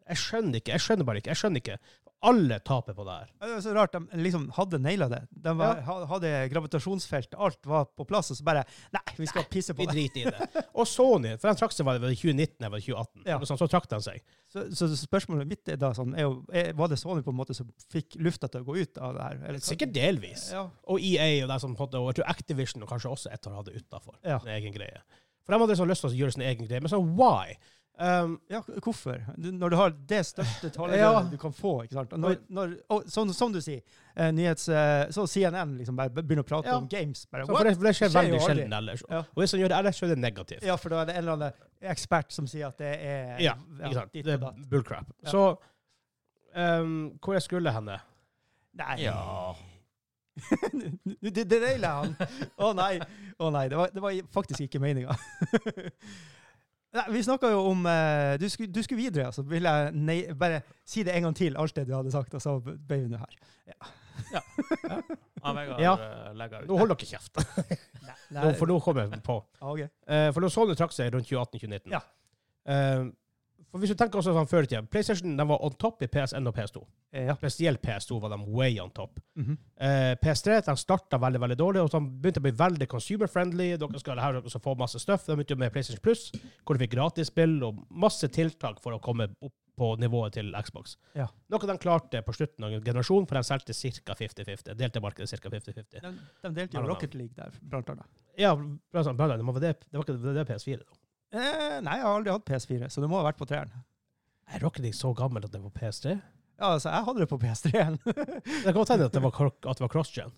Speaker 1: jeg skjønner ikke, jeg skjønner bare ikke, jeg skjønner ikke. Alle taper på det her.
Speaker 2: Ja, Det er så rart. De liksom hadde naila det. De var, ha- hadde gravitasjonsfelt, alt var på plass, og så bare Nei, vi skal pisse på
Speaker 1: Vi
Speaker 2: det.
Speaker 1: driter i det.
Speaker 2: [laughs]
Speaker 1: Og Sony, for den trakk seg var det vel i 2019 eller 2018,
Speaker 2: Ja.
Speaker 1: Noe sånt, så trakk den seg.
Speaker 2: Så, så spørsmålet mitt er da sånn er jo, er, Var det Sony på en måte som fikk lufta til å gå ut av det her? Eller-
Speaker 1: Sikkert delvis.
Speaker 2: Ja.
Speaker 1: Og EA og de som hadde, og jeg tror Activision og kanskje også et har hatt det utafor.
Speaker 2: Ja.
Speaker 1: En egen greie. For de hadde liksom lyst til å gjøre sin egen greie, men sånn why? Um,
Speaker 2: Ja, k- hvorfor? Du- Når du har det største tallet
Speaker 1: Ja.
Speaker 2: du kan få. ikke sant? Og Når, når, og, sånn, som du sier, eh, nyhets, eh, så CNN liksom bare begynner å prate
Speaker 1: Ja.
Speaker 2: om games. Bare,
Speaker 1: så for
Speaker 2: What?
Speaker 1: det, for det skjer
Speaker 2: Skjer
Speaker 1: veldig
Speaker 2: jo aldri.
Speaker 1: sjelden ellers.
Speaker 2: Ja.
Speaker 1: Og hvis de gjør det ellers, så er det negativt.
Speaker 2: Ja, for da er det en eller annen ekspert som sier at det er
Speaker 1: Ja,
Speaker 2: ja,
Speaker 1: ikke sant?
Speaker 2: ditt
Speaker 1: Det
Speaker 2: og
Speaker 1: er
Speaker 2: datt.
Speaker 1: bullcrap.
Speaker 2: Ja.
Speaker 1: Så um, hvor jeg skulle henne
Speaker 2: Nei.
Speaker 3: Ja.
Speaker 2: Du du- du naila han! Å nei. Å nei, det var, det var faktisk ikke meninga. [laughs] Nei, vi snakka jo om eh, du, skulle, du skulle videre, så vil jeg nei, bare si det en gang til, alt det du hadde sagt, og så ble vi nå her.
Speaker 3: Ja, Vegard
Speaker 1: Ja.
Speaker 3: eh, legger ut.
Speaker 1: Nå holder dere kjeft, nå, for nå kommer jeg på.
Speaker 2: Ja, ok.
Speaker 1: Eh, for Lars Holme trakk seg rundt 2018-2019.
Speaker 2: Ja.
Speaker 1: Eh, for hvis du tenker også sånn før i tida, PlayStation den var on top i PS1 og PS2.
Speaker 2: Eh, Ja.
Speaker 1: Spesielt PS2 var de way on top.
Speaker 2: Mhm.
Speaker 1: Eh, PS3 de starta veldig veldig dårlig, og så begynte de å bli veldig consumer-friendly. Dere skal her, dere skal få masse stuff. De begynte jo med PlayStation Plus, hvor du fikk gratisspill og masse tiltak for å komme opp på nivået til Xbox.
Speaker 2: Ja.
Speaker 1: Noe de klarte på slutten av generasjonen, for de solgte ca. 50-50. Delte markedet ca. 50-50.
Speaker 2: De, de delte
Speaker 1: I don't
Speaker 2: jo
Speaker 1: know.
Speaker 2: Rocket League der, blant annet.
Speaker 1: Ja, bra sagt, bra sagt. det var det, det var ikke det, det PS4, da.
Speaker 2: Eh, nei, jeg har aldri hatt PS4, så det må ha vært på treeren.
Speaker 1: Er Rocket League så gammel at det var PS3?
Speaker 2: Ja, altså, jeg hadde det på PS3-en.
Speaker 1: Det kan godt hende at det var, kro- at det var cross-gen.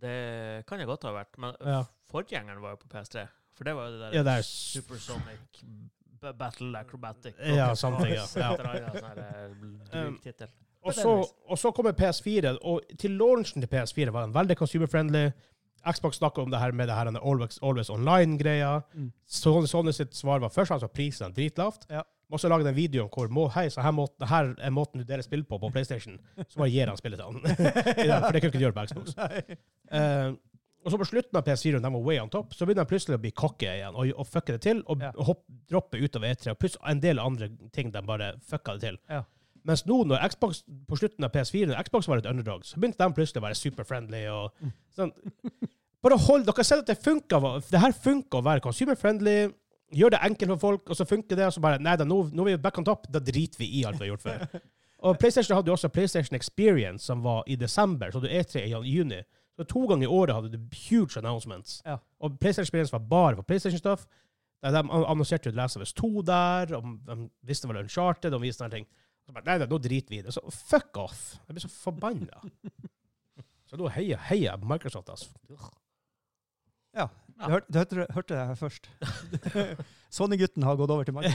Speaker 3: Det kan jeg godt ha vært, men
Speaker 1: Ja.
Speaker 3: forgjengeren var jo på PS3. For det var jo det der
Speaker 1: Ja, det er s-
Speaker 3: Supersonic B- Battle Acrobatic.
Speaker 1: Ja, something,
Speaker 3: [laughs]
Speaker 1: ja. Ja.
Speaker 3: sånn eh,
Speaker 1: Um,
Speaker 3: tittel.
Speaker 1: Og så, og så kommer PS4, og til launchen til PS4 var den veldig consumer-friendly. Xbox snakka om det her med det her den Always, always Online-greia.
Speaker 2: Mm.
Speaker 1: Sony, Sony sitt svar var først altså prisen er dritlavt.
Speaker 2: Ja.
Speaker 1: Og så lagde de en video om hvor må, hei, så her, må, her er måten du deler spill på på PlayStation. Så bare gir han spillet til han. [laughs] Ja, For det kunne ikke du gjøre på Xbox. Eh, og så på slutten av PS4, når de var way on top, så begynner de plutselig å bli cocky igjen og, og fucke det til, og
Speaker 2: Ja.
Speaker 1: hopp, droppe ut av E3, og plutselig en del andre ting de bare fucka det til.
Speaker 2: Ja.
Speaker 1: Mens nå, når Xbox, på slutten av PS4, når Xbox var et underdog, så begynte de plutselig å være super-friendly og
Speaker 2: Mm.
Speaker 1: sånn. Bare hold, dere ser at det funker, hva- det her funker å være consumer-friendly, gjør det enkelt for folk, og så funker det, og så bare, nei da, nå, nå er vi back on top, da driter vi i alt vi har gjort før.
Speaker 2: [laughs]
Speaker 1: Og PlayStation hadde jo også PlayStation Experience, som var i desember, så du E3 i juni. Så to ganger i året hadde du huge announcements.
Speaker 2: Ja.
Speaker 1: Og PlayStation Experience var bare for PlayStation-stuff. De de annonserte jo Last of Us 2 der, og de visste vel Uncharted, og viste sånne ting. Så bare, nei, nei, nå driter vi i det. Så fuck off! Jeg blir så forbanna.
Speaker 2: [laughs]
Speaker 1: så nå heier heier jeg på Microsoft, altså.
Speaker 2: [laughs] Du, hørte, du hørte, hørte det her [laughs] først. Sony-gutten har gått over til meg.
Speaker 1: [laughs]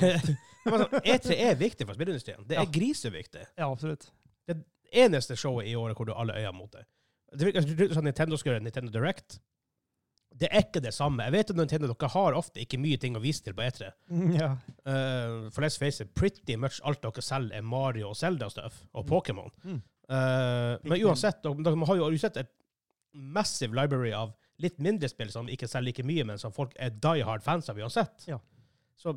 Speaker 1: Det var sånn, E3 er viktig for spillindustrien. Det er
Speaker 2: Ja.
Speaker 1: griseviktig.
Speaker 2: Ja, absolutt.
Speaker 1: eneste showet i året hvor du har alle øya mot deg. Det virker som sånn Nintendo skal gjøre en Nintendo Direct. Det er ikke det samme. Jeg vet at Nintendo dere har ofte ikke mye ting å vise til på E E3.
Speaker 2: Mm, [laughs] Ja.
Speaker 1: Eh, for let's face it, pretty much alt dere selger er Mario og Zelda-stuff, og Pokémon.
Speaker 2: Mm.
Speaker 1: Eh, men uansett, dere, dere har jo uansett et massive library av litt mindre spill som ikke selger like mye, men som folk er die hard fans av uansett.
Speaker 2: Ja.
Speaker 1: Så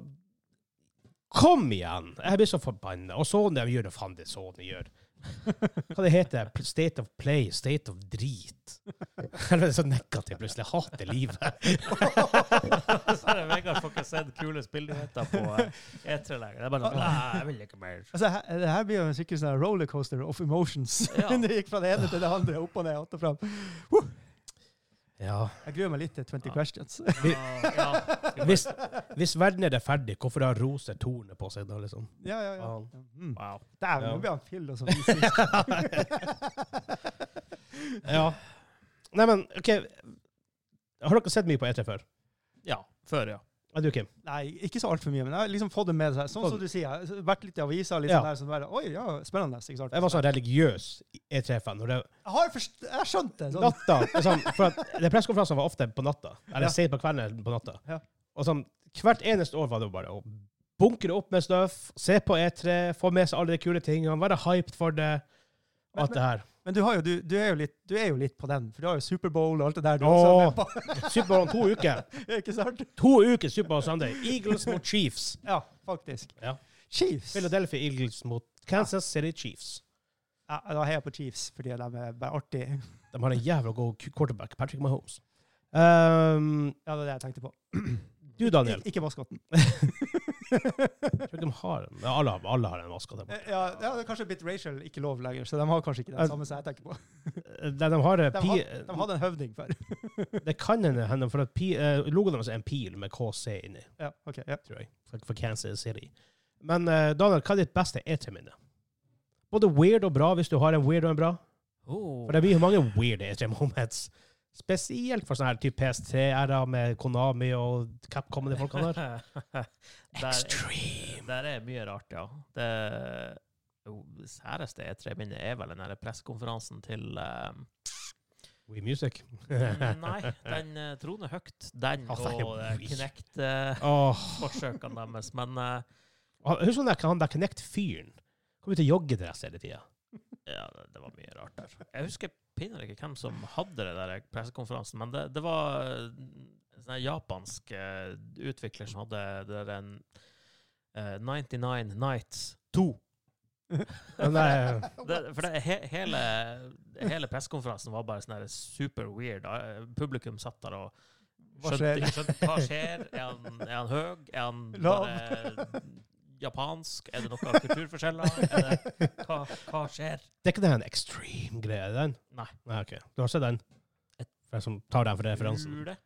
Speaker 1: kom igjen! Jeg blir så forbanna. Og Sony de gjør det faen det Sony gjør. Hva det heter det? State of play, state of drit. Eller [laughs] det er så negativt plutselig. Jeg hater livet.
Speaker 2: [laughs]
Speaker 3: Så er det Vegard får ikke sett kule spillnyheter på eh, E3 lenger. Det er bare sånn Nei, jeg vil ikke mer.
Speaker 2: Altså, her, det her blir jo en skikkelig sånn rollercoaster of emotions. [laughs]
Speaker 3: Ja.
Speaker 2: det gikk fra det ene til det andre, opp og ned, att og fram.
Speaker 1: Ja.
Speaker 2: Jeg gruer meg litt til 20
Speaker 3: Ja.
Speaker 2: questions. [laughs]
Speaker 3: Ja, ja.
Speaker 1: Hvis, hvis verden er rettferdig, hvorfor har roser tornet på seg da, liksom?
Speaker 2: Ja, ja, ja.
Speaker 1: Faen.
Speaker 2: Mm.
Speaker 3: Wow.
Speaker 2: Dæven,
Speaker 1: Ja.
Speaker 2: nå blir han fyll og sånn.
Speaker 1: [laughs]
Speaker 2: Nei,
Speaker 1: Ja. Nei, men, OK Har dere sett mye på E3 før?
Speaker 3: Ja. Før, ja.
Speaker 1: Ja, du, Kim?
Speaker 2: ikke så altfor mye, men jeg har liksom fått det med seg. Sånn
Speaker 1: Fått-
Speaker 2: som du sier, jeg har vært litt i avisa, litt
Speaker 1: Ja.
Speaker 2: sånn der, sånn bare, oi, ja, spennende. Ikke sant?
Speaker 1: Jeg var sånn religiøs E3-fan. og det-
Speaker 2: Jeg har forst jeg har skjønt det. Sånn.
Speaker 1: Natta liksom, For at det pressekonferansen var ofte på natta. Eller
Speaker 2: Ja.
Speaker 1: sent på kvelden eller på natta.
Speaker 2: Ja.
Speaker 1: Og sånn, hvert eneste år var det jo bare å bunkre opp med stuff, se på E3, få med seg alle de kule tingene, være hyped for det. og
Speaker 2: Men-
Speaker 1: Alt det her.
Speaker 2: Men du, har jo, du, du, er jo litt, du er jo litt på den, for du har jo Superbowl og alt det der. Du
Speaker 1: Åh.
Speaker 2: også er
Speaker 1: Superbowl om to uker.
Speaker 2: med på. [laughs] ikke sant?
Speaker 1: To uker Superbowl Sunday. Eagles mot Chiefs.
Speaker 2: Ja, faktisk.
Speaker 1: Ja.
Speaker 2: Chiefs! Ja,
Speaker 1: Philadelphia Eagles mot Kansas City Chiefs.
Speaker 2: da heier jeg på Chiefs, fordi de er bare artige.
Speaker 1: De har en jævla god quarterback, Patrick Mahomes. Ehm,
Speaker 2: Ja, det var det jeg tenkte på.
Speaker 1: du, Daniel.
Speaker 2: Ik ikke maskotten.
Speaker 1: Jeg tror ikke de har en. Ja, alle, har- alle har en maske. De,
Speaker 2: Eh, Ja, ja, det er kanskje blitt racial ikke lov lenger, så de har kanskje ikke den samme som jeg tenker på.
Speaker 1: de, de har eh,
Speaker 2: De,
Speaker 1: pi,
Speaker 2: had, de hadde en
Speaker 1: [laughs]
Speaker 2: høvding før.
Speaker 1: Det kan hende- hende, for at pi, eh, logoen deres er en pil med KC inni,
Speaker 2: Ja, ok. Ja.
Speaker 1: tror jeg. For, for Kansas City. Men eh, Daniel, hva er ditt beste E3-minne? Både weird og bra, hvis du har en weird og en bra.
Speaker 3: Oh.
Speaker 1: For det blir jo mange weird E3-moments. Spesielt for sånne her type PS3-æra med Konami og Capcom og de folkene der.
Speaker 3: [laughs] Der,
Speaker 1: Extreme.
Speaker 3: der er mye rart, ja. Det [laughs] jo, det særeste E3-minnet er vel den der pressekonferansen til eh,
Speaker 1: We Music.
Speaker 3: Nei,
Speaker 1: [laughs]
Speaker 3: den eh, troner høyt, den
Speaker 1: Altså, det er
Speaker 3: og eh,
Speaker 1: Wii.
Speaker 3: Kinect-forsøkene
Speaker 1: Åh.
Speaker 3: deres. Men eh,
Speaker 1: Han- Husk han der, han der Connect-fyren. Kom ut i joggedress hele tida.
Speaker 3: ja, det- det var mye rart der. Jeg husker pinner ikke hvem som hadde det der pressekonferansen, men det, det var eh, en sånn her japansk eh, utvikler som hadde det der en eh, 99 Nights 2.
Speaker 1: Men eh,
Speaker 3: [laughs] Det, for det, he, hele, hele pressekonferansen var bare sånn her super weird. Eh, Publikum satt der og
Speaker 2: Hva
Speaker 3: skjønte,
Speaker 2: skjer?
Speaker 3: skjønte hva skjer. Er han, er han høy? Er han
Speaker 2: Lav?
Speaker 3: bare japansk? Er det noen kulturforskjeller? Er det, hva, hva skjer?
Speaker 1: [laughs] det er ikke den extreme greia, den?
Speaker 3: Nei.
Speaker 1: Nei, ok. Du har sett den? For jeg som tar den for referansen.
Speaker 3: Tror det.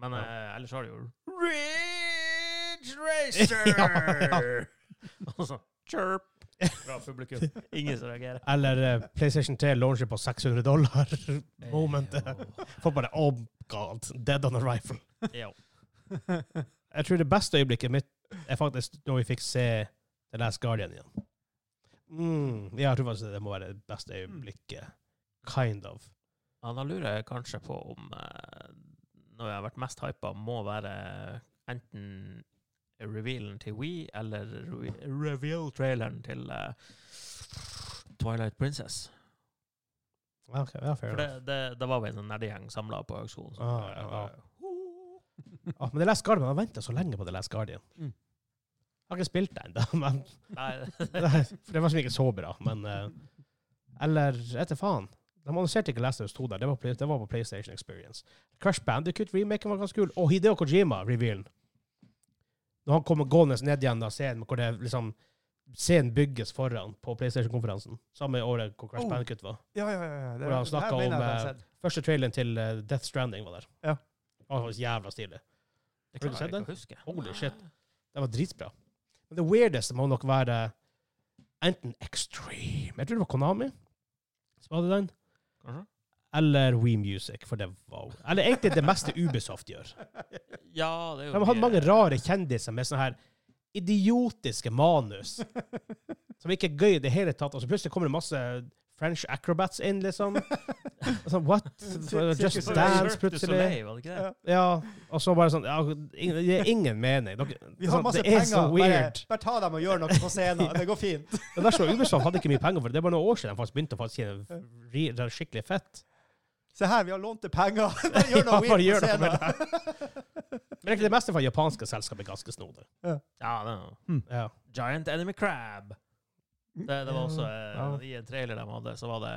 Speaker 3: Men
Speaker 1: Ja.
Speaker 3: eh, ellers har det jo Ridge Racer!
Speaker 1: [laughs] Ja,
Speaker 3: Og så chirp fra Altså. publikum. Ingen som reagerer.
Speaker 1: Eller eh, PlayStation 3 launcher på 600 dollar. [laughs] Momentet.
Speaker 3: Eh, jo.
Speaker 1: For bare Oh god, dead on a rifle.
Speaker 3: Jo.
Speaker 1: Jeg tror det beste øyeblikket mitt er faktisk da vi fikk se The Last Guardian igjen. Mm, ja, jeg tror faktisk det må være det beste øyeblikket. Kind of.
Speaker 3: Ja, da lurer jeg kanskje på om eh, når jeg har vært mest hypa, må være enten revealen til We eller re reveal-traileren til eh, Twilight Princess.
Speaker 1: Ja, ok, ja, fair
Speaker 3: For det,
Speaker 1: enough.
Speaker 3: det, det var vi en sånn nerdegjeng samla på auksjon. så-
Speaker 1: Ah, ja, ja. Ah, men The Last Guardian, jeg har venta så lenge på The Last Guardian.
Speaker 2: Mm.
Speaker 1: Jeg har ikke spilt det ennå, [laughs] men
Speaker 3: Nei, [laughs]
Speaker 1: Nei, for det var som ikke så bra. Men eh, Eller etter faen. De annonserte ikke Last of Us 2 der. Det var, pla- det var på PlayStation Experience. Crash Bandicoot-remaken var ganske kul. Og Hideo Kojima-revealen. Når han kommer gående ned igjen av scenen hvor det liksom Scenen bygges foran på PlayStation-konferansen. Samme året hvor Crash
Speaker 2: Oh.
Speaker 1: Bandicoot var.
Speaker 2: Ja, ja, ja. ja. Det,
Speaker 1: Hvor han
Speaker 2: det her
Speaker 1: snakket
Speaker 2: mener
Speaker 1: om,
Speaker 2: jeg at jeg har
Speaker 1: eh,
Speaker 2: sett.
Speaker 1: Første traileren til eh, Death Stranding var der.
Speaker 2: Ja.
Speaker 1: Og det var jævla stilig.
Speaker 3: det
Speaker 1: Har du
Speaker 3: klarer
Speaker 1: sett
Speaker 3: jeg ikke
Speaker 1: den?
Speaker 3: å huske.
Speaker 1: Holy shit. Det var dritbra. Men det weirdeste må nok være enten Extreme Jeg tror det var Konami som hadde den.
Speaker 3: Kanskje?
Speaker 1: Eller We Music, for det var Eller egentlig det meste Ubisoft gjør.
Speaker 3: Ja, det er
Speaker 1: De
Speaker 3: jo
Speaker 1: har hatt
Speaker 3: mye-
Speaker 1: mange rare kjendiser med sånne her idiotiske manus som ikke er gøy i det hele tatt, og så plutselig kommer det masse French acrobats inn, liksom. Og sånn, what? Just
Speaker 2: Circus-
Speaker 1: Dance,
Speaker 3: Cirque du
Speaker 1: plutselig.
Speaker 3: Soleil, var det ikke det?
Speaker 2: Ja.
Speaker 1: Ja, og så bare sånn ja, ingen- Det er ingen mening. Dere-
Speaker 2: [laughs] Vi har
Speaker 1: sånn,
Speaker 2: masse
Speaker 1: det er
Speaker 2: penger.
Speaker 1: så
Speaker 2: Bare,
Speaker 1: weird.
Speaker 2: bare ta dem og gjør noe på
Speaker 1: [laughs]
Speaker 2: scenen. Det går fint.
Speaker 1: Det verste var Ubisoft hadde ikke mye penger for det. Det er bare noen år siden de faktisk begynte å faktisk tjene ri- det er skikkelig
Speaker 2: [laughs]
Speaker 1: fett.
Speaker 2: Se her, vi har lånt deg
Speaker 1: [laughs]
Speaker 2: penger. [laughs] Bare gjør
Speaker 1: Ja,
Speaker 2: noe
Speaker 1: bare
Speaker 2: weird
Speaker 1: gjør
Speaker 2: på
Speaker 1: noe med
Speaker 2: scenen.
Speaker 1: Men egentlig det meste fra japanske selskap er ganske snodig.
Speaker 3: Ja, det er jo-
Speaker 1: Ja.
Speaker 3: Giant Enemy Crab. Det, det var også eh,
Speaker 1: Ja.
Speaker 3: I en trailer de hadde, så var det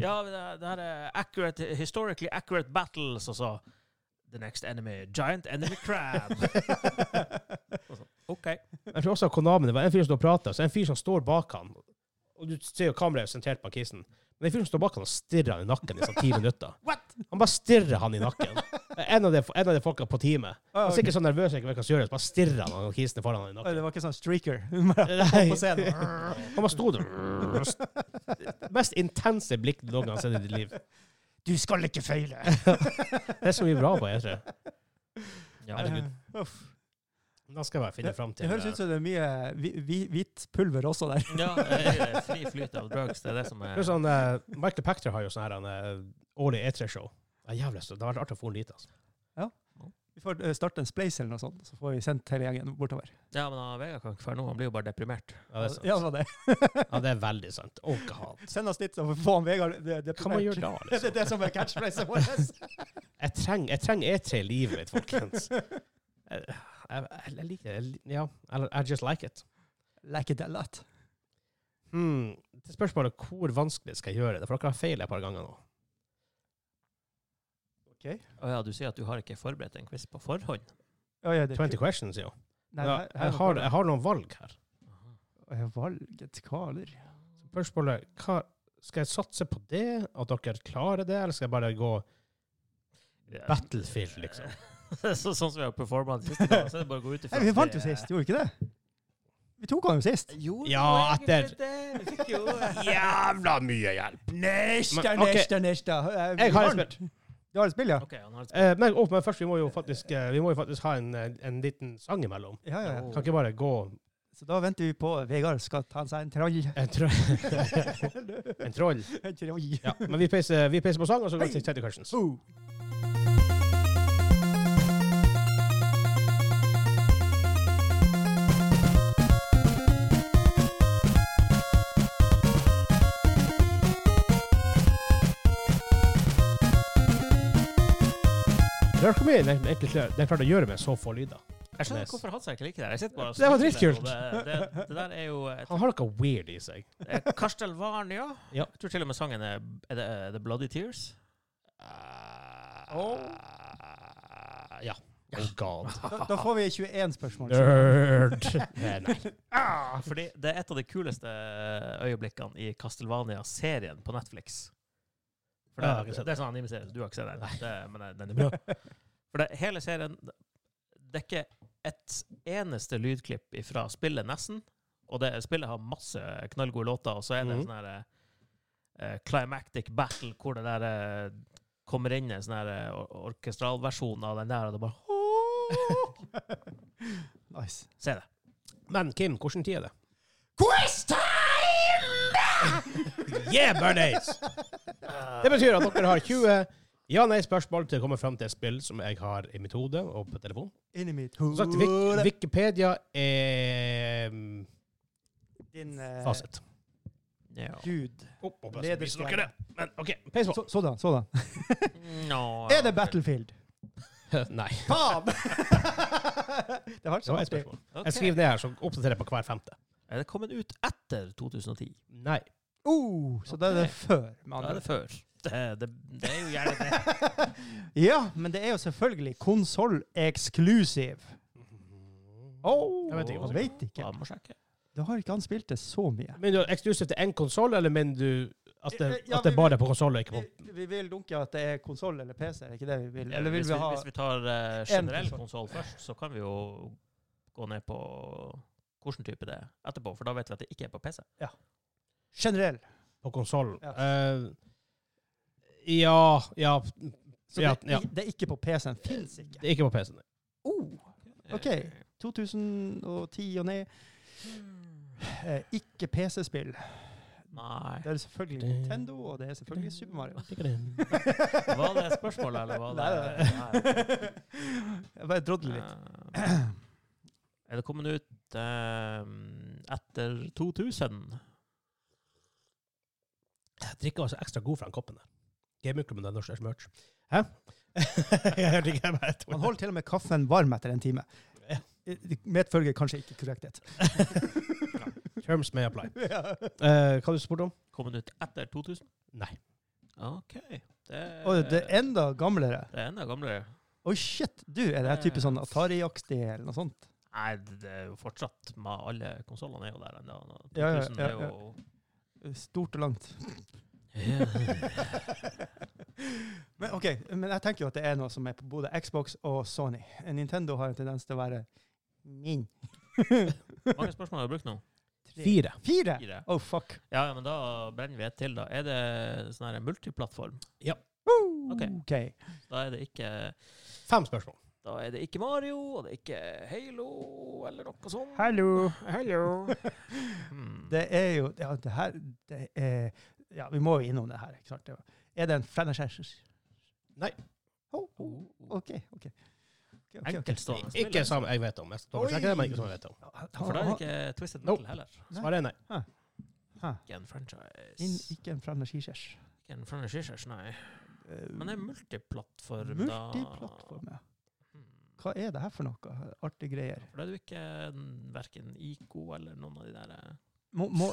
Speaker 3: Ja, det, det her er accurate, historically accurate battles, og så The next enemy. Giant enemy
Speaker 1: [laughs]
Speaker 3: crab. Og så, OK.
Speaker 1: Jeg tror også at Konami, det var en fyr som står og prater, så er det en fyr som står bak han. Og du ser jo kameraet er sentrert bak kissen. Men det er en fyr som står bak han og stirrer han i nakken i sånn ti
Speaker 2: [laughs]
Speaker 1: minutter. Han bare stirrer han i nakken. Det er En av de, en av de folka på teamet. Han
Speaker 2: Ah,
Speaker 1: er
Speaker 2: ok.
Speaker 1: sikkert så nervøs jeg ikke sånn- vet hva som gjøres, bare stirrer han og kissen foran han i
Speaker 2: Oi,
Speaker 1: nakken.
Speaker 2: Det var ikke sånn streaker. [laughs] Opp på
Speaker 1: [laughs]
Speaker 2: scenen.
Speaker 1: Han bare sto der. Mest intense blikk du noen gang har sett i ditt liv.
Speaker 2: Du skal ikke [laughs] feile.
Speaker 1: Det er så mye bra på E3.
Speaker 3: Ja.
Speaker 1: Herregud.
Speaker 2: Uff.
Speaker 1: Da skal jeg bare finne fram til eh,
Speaker 2: Det høres ut som det er mye hvi- hvi- hvitt pulver også der.
Speaker 3: ja, det er fri flyt av drugs. Det er det som
Speaker 1: Det
Speaker 3: er
Speaker 1: er sånn, eh, Michael Pachter har jo sånn her han, eh, årlig E3-show. Det er jævlig stort. Det har vært artig å få en dit, altså.
Speaker 2: Vi får eh, starte en spleis eller noe sånt, så får vi sendt hele gjengen bortover.
Speaker 3: Ja, men han, Vegard kan ikke være noe. Han blir jo bare deprimert.
Speaker 1: Ja, det er sant.
Speaker 2: Ja, det var det.
Speaker 1: Ja, det er veldig sant. Oh, God.
Speaker 2: Send oss dit, så får han Vegard det, det
Speaker 1: Hva man gjør da,
Speaker 2: Det
Speaker 1: liksom?
Speaker 2: er det som er catchphrasen vår.
Speaker 1: [laughs] Jeg trenger jeg trenger E3 i livet mitt, folkens. Jeg, jeg, jeg liker det. Jeg li- Ja, eller I just like it.
Speaker 2: [laughs] Like it a lot.
Speaker 1: Hmm. Det spørs bare hvor vanskelig skal jeg gjøre det, for dere har feil et par ganger nå.
Speaker 3: Å ja, du sier at du har ikke forberedt en quiz på forhånd?
Speaker 2: Oi, ja, det er
Speaker 1: 20 questions, jo.
Speaker 2: Nei,
Speaker 1: Ja,
Speaker 2: her- her
Speaker 1: jeg,
Speaker 2: er
Speaker 1: har,
Speaker 2: det-
Speaker 1: jeg har noen valg her.
Speaker 2: Oi, Valget kaler.
Speaker 1: Spørsmålet hva, skal jeg satse på det, at dere klarer det, eller skal jeg bare gå Battlefield, liksom?
Speaker 3: [laughs] så, sånn som vi har performa de siste dagene, så er det bare å gå
Speaker 1: [laughs]
Speaker 3: ut ifra
Speaker 2: Nei, vi
Speaker 3: at
Speaker 2: vant jo
Speaker 3: det-
Speaker 2: sist, gjorde vi ikke det? Vi tok han jo sist.
Speaker 3: Jo, det
Speaker 1: Ja,
Speaker 3: var egentlig
Speaker 1: etter-
Speaker 3: det. Vi fikk jo eh. [laughs]
Speaker 1: Jævla mye hjelp!
Speaker 2: Nesta,
Speaker 1: Men, ok.
Speaker 2: nesta, nesta. Eh, vi
Speaker 1: Jeg har et
Speaker 2: vant. Du har et spill, ja?
Speaker 3: Ok, han har et
Speaker 1: Eh, men, å, men først, vi må jo faktisk, eh, vi må jo faktisk ha en, eh, en liten sang imellom.
Speaker 2: Ja, ja, ja.
Speaker 1: Kan ikke bare gå
Speaker 2: Så da venter vi på Vegard skal ta seg en [laughs] trall.
Speaker 1: En, tro [laughs] en troll.
Speaker 2: En trall.
Speaker 1: Ja. Men vi peiser, vi peiser på sang, og så går vi til Teddy Questions.
Speaker 2: Oh.
Speaker 1: Rør hvor mye den egentlig klar- den klarte å gjøre med så få lyder.
Speaker 3: Jeg skjønner
Speaker 1: Yes.
Speaker 3: hvorfor Hansa ikke liker det. Jeg sitter bare og
Speaker 1: Det var
Speaker 3: smiler, og
Speaker 1: dritkult.
Speaker 3: Det, det, det der er jo et,
Speaker 1: Han har noe weird i seg.
Speaker 3: eh, Castelvania.
Speaker 1: [laughs] Ja.
Speaker 3: Jeg tror til og med sangen er, er det eh, The Bloody Tears.
Speaker 2: Oh.
Speaker 1: Ah, Ja. Oh god.
Speaker 2: Da, da får vi 21 spørsmål.
Speaker 1: Nerd. [laughs] Nei, nei.
Speaker 3: Ah, [laughs] fordi det er et av de kuleste eh, øyeblikkene i Castelvania-serien på Netflix. For det,
Speaker 1: Ja, jeg har ikke sett
Speaker 3: det er sånn anime-serie, så du har ikke sett den. Det, men det- den er
Speaker 1: [laughs]
Speaker 3: bra. For det, hele serien Det er ikke et eneste lydklipp fra spillet, nesten. Og det, spillet har masse knallgode låter, og så er det en
Speaker 1: Mhm.
Speaker 3: sånn her eh, climactic battle hvor det der eh, kommer inn en sånn her eh, or orkestralversjon av den der, og det
Speaker 1: [laughs]
Speaker 3: bare [laughs]
Speaker 2: Nice.
Speaker 3: Se det.
Speaker 1: Men Kim, hvordan tid er det?
Speaker 2: Quiz time!
Speaker 1: Yeah, buddies! Det betyr at dere har 20 ja-nei-spørsmål til å komme fram til et spill som jeg har i mitt hode og på telefon.
Speaker 2: Inni mitt
Speaker 1: Som sagt, Wik
Speaker 2: hode.
Speaker 1: Wikipedia er mm,
Speaker 2: Din eh,
Speaker 1: fasit.
Speaker 3: Ja.
Speaker 2: gud.
Speaker 1: Opp, opp, altså,
Speaker 2: Leder-
Speaker 1: viser dere det. Men OK, peis på.
Speaker 2: Så- Sådan, sådan.
Speaker 1: Ah,
Speaker 3: Nå,
Speaker 2: Er det Battlefield?
Speaker 1: [laughs] Nei.
Speaker 2: Faen! [laughs] det var ikke
Speaker 1: Det
Speaker 2: så
Speaker 1: var et
Speaker 2: artig.
Speaker 1: spørsmål.
Speaker 3: Ok.
Speaker 1: Jeg skriver ned her, så oppdaterer jeg på hver femte.
Speaker 3: Er det kommet ut etter 2010?
Speaker 1: Nei.
Speaker 2: Uh, så da er det
Speaker 3: Ok.
Speaker 2: før. Med
Speaker 3: Da
Speaker 2: andre.
Speaker 3: er det før. Det, det, det er jo gjerne det.
Speaker 2: [laughs] Ja, men det er jo selvfølgelig konsoll exclusive. Oh,
Speaker 1: Jeg vet ikke hva som-
Speaker 2: vet
Speaker 3: [laughs] Ja,
Speaker 2: ikke.
Speaker 3: må sjekke.
Speaker 2: Da har ikke han spilt det så mye.
Speaker 1: Mener du eksklusivt til én konsoll, eller mener du at det,
Speaker 2: Eh, Ja,
Speaker 1: at det
Speaker 2: vi-
Speaker 1: bare er på konsoll og ikke
Speaker 2: Vi,
Speaker 1: på
Speaker 2: vi vil dunke at det er konsoll eller PC, er det ikke det vi vil? Eller vil
Speaker 3: hvis, vi,
Speaker 2: vi ha
Speaker 3: hvis vi tar eh, generell
Speaker 2: konsol.
Speaker 3: konsoll først, så kan vi jo gå ned på hvilken type det er etterpå, for da vet vi at det ikke er på PC.
Speaker 2: generell?
Speaker 1: på konsollen.
Speaker 2: Ja.
Speaker 1: Eh, ja, ja,
Speaker 2: Så
Speaker 1: Ja,
Speaker 2: det,
Speaker 1: ja.
Speaker 2: det er ikke på PC-en. Fins ikke.
Speaker 1: det er ikke på PC-en.
Speaker 2: Oh, Ok.
Speaker 3: Eh,
Speaker 2: 2010 og ned.
Speaker 3: Hmm.
Speaker 2: Eh, ikke PC-spill.
Speaker 3: Nei.
Speaker 2: Det er selvfølgelig Nintendo, og det er selvfølgelig Super Mario.
Speaker 3: [laughs] Var det spørsmålet, eller var det
Speaker 2: Nei, nei. Jeg bare drodler litt.
Speaker 3: Eh, Er det kommet ut eh, etter 2000?
Speaker 1: Jeg drikker altså ekstra god fra den koppen der. Gamingklubben er norsk merch.
Speaker 2: [laughs]
Speaker 1: Hæ? jeg hørte ikke jeg bare
Speaker 2: Man holder til og med kaffen varm etter en time.
Speaker 1: Ja.
Speaker 2: Medfølger kanskje ikke korrekthet.
Speaker 1: [laughs] Terms may apply.
Speaker 2: [laughs] Ja.
Speaker 1: Eh, hva du spurte om?
Speaker 3: Kommet ut etter 2000?
Speaker 1: Nei.
Speaker 3: OK. Det,
Speaker 2: Og det er enda gamlere.
Speaker 3: det er enda gamlere.
Speaker 2: Oi, shit! Du, er det her type sånn Atari-aktig eller noe sånt?
Speaker 3: Nei, det det er jo fortsatt med alle konsollene er jo der ennå.
Speaker 2: Ja, ja,
Speaker 3: 2000 er
Speaker 2: ja, ja.
Speaker 3: jo-
Speaker 2: Stort og langt. [laughs] men ok, men jeg tenker jo at det er noe som er på både Xbox og Sony. Nintendo har en tendens til å være min.
Speaker 3: Mange spørsmål har jeg brukt nå.
Speaker 1: Fire.
Speaker 2: Fire!
Speaker 3: Fire.
Speaker 2: Oh, fuck.
Speaker 3: Ja, ja, men da brenner vi et til, da. Er det sånn her multiplattform?
Speaker 2: Woo!
Speaker 3: Ok.
Speaker 2: ok.
Speaker 3: Da er det ikke
Speaker 1: Fem spørsmål.
Speaker 3: Da er det ikke Mario, og det er ikke Halo, eller noe sånt. [laughs]
Speaker 2: Hallo!
Speaker 3: Hello. Hmm.
Speaker 2: Det er jo Ja, det her det er, Ja, vi må jo innom det her. ikke sant? Det var- Er det en franchise?
Speaker 1: Nei.
Speaker 2: Oh, oh, OK. ok. Ok, ok, ok.
Speaker 3: Enkeltstående spill.
Speaker 1: Ikke som jeg vet om. Jeg skal
Speaker 2: Oi!
Speaker 1: sjekke det, men ikke som jeg vet om.
Speaker 3: For da er det ikke Twisted
Speaker 1: Nope.
Speaker 3: Metal heller.
Speaker 1: Svaret er nei.
Speaker 3: Ikke en franchise.
Speaker 2: Inn, ikke en franchise.
Speaker 3: Ikke en franchise, nei.
Speaker 2: Eh,
Speaker 3: Men det er multiplattform, da.
Speaker 2: Multiplattform, ja.
Speaker 3: Hmm.
Speaker 2: Hva er det her for noe artige greier?
Speaker 3: For da er du ikke verken IK eller noen av de der eh,
Speaker 2: Må, må,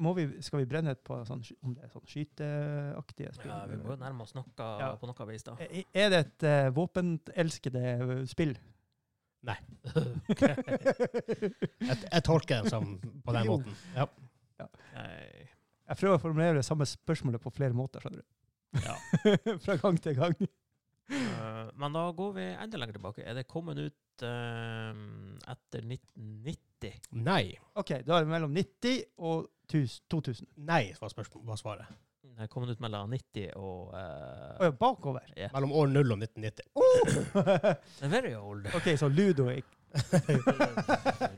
Speaker 2: må vi, skal vi brenne et på sånn, sky- om det er sånn skyteaktige spill?
Speaker 3: Ja, vi må jo nærme oss noe
Speaker 2: Ja.
Speaker 3: på noe vis, da.
Speaker 2: Er- Er det et eh, våpenelskede eh, spill? [laughs]
Speaker 1: Jeg, jeg tolker det som på den
Speaker 2: Jo.
Speaker 1: måten. Ja.
Speaker 3: Nei.
Speaker 2: Jeg prøver å formulere det samme spørsmålet på flere måter, skjønner du.
Speaker 3: Ja.
Speaker 2: [laughs] Fra gang til gang.
Speaker 3: Eh, Men da går vi enda lenger tilbake. Er det kommet ut eh, etter 1990?
Speaker 1: Nei.
Speaker 2: OK, da er det mellom 90 og 1000 2000.
Speaker 1: Nei var, spørsmål, var svaret.
Speaker 3: Det er kommet ut mellom 90 og eh,
Speaker 2: Å ja, [laughs] bakover.
Speaker 3: ja.
Speaker 1: Mellom år 0 og 1990.
Speaker 2: Oh!
Speaker 3: Very old.
Speaker 2: OK, så Ludo er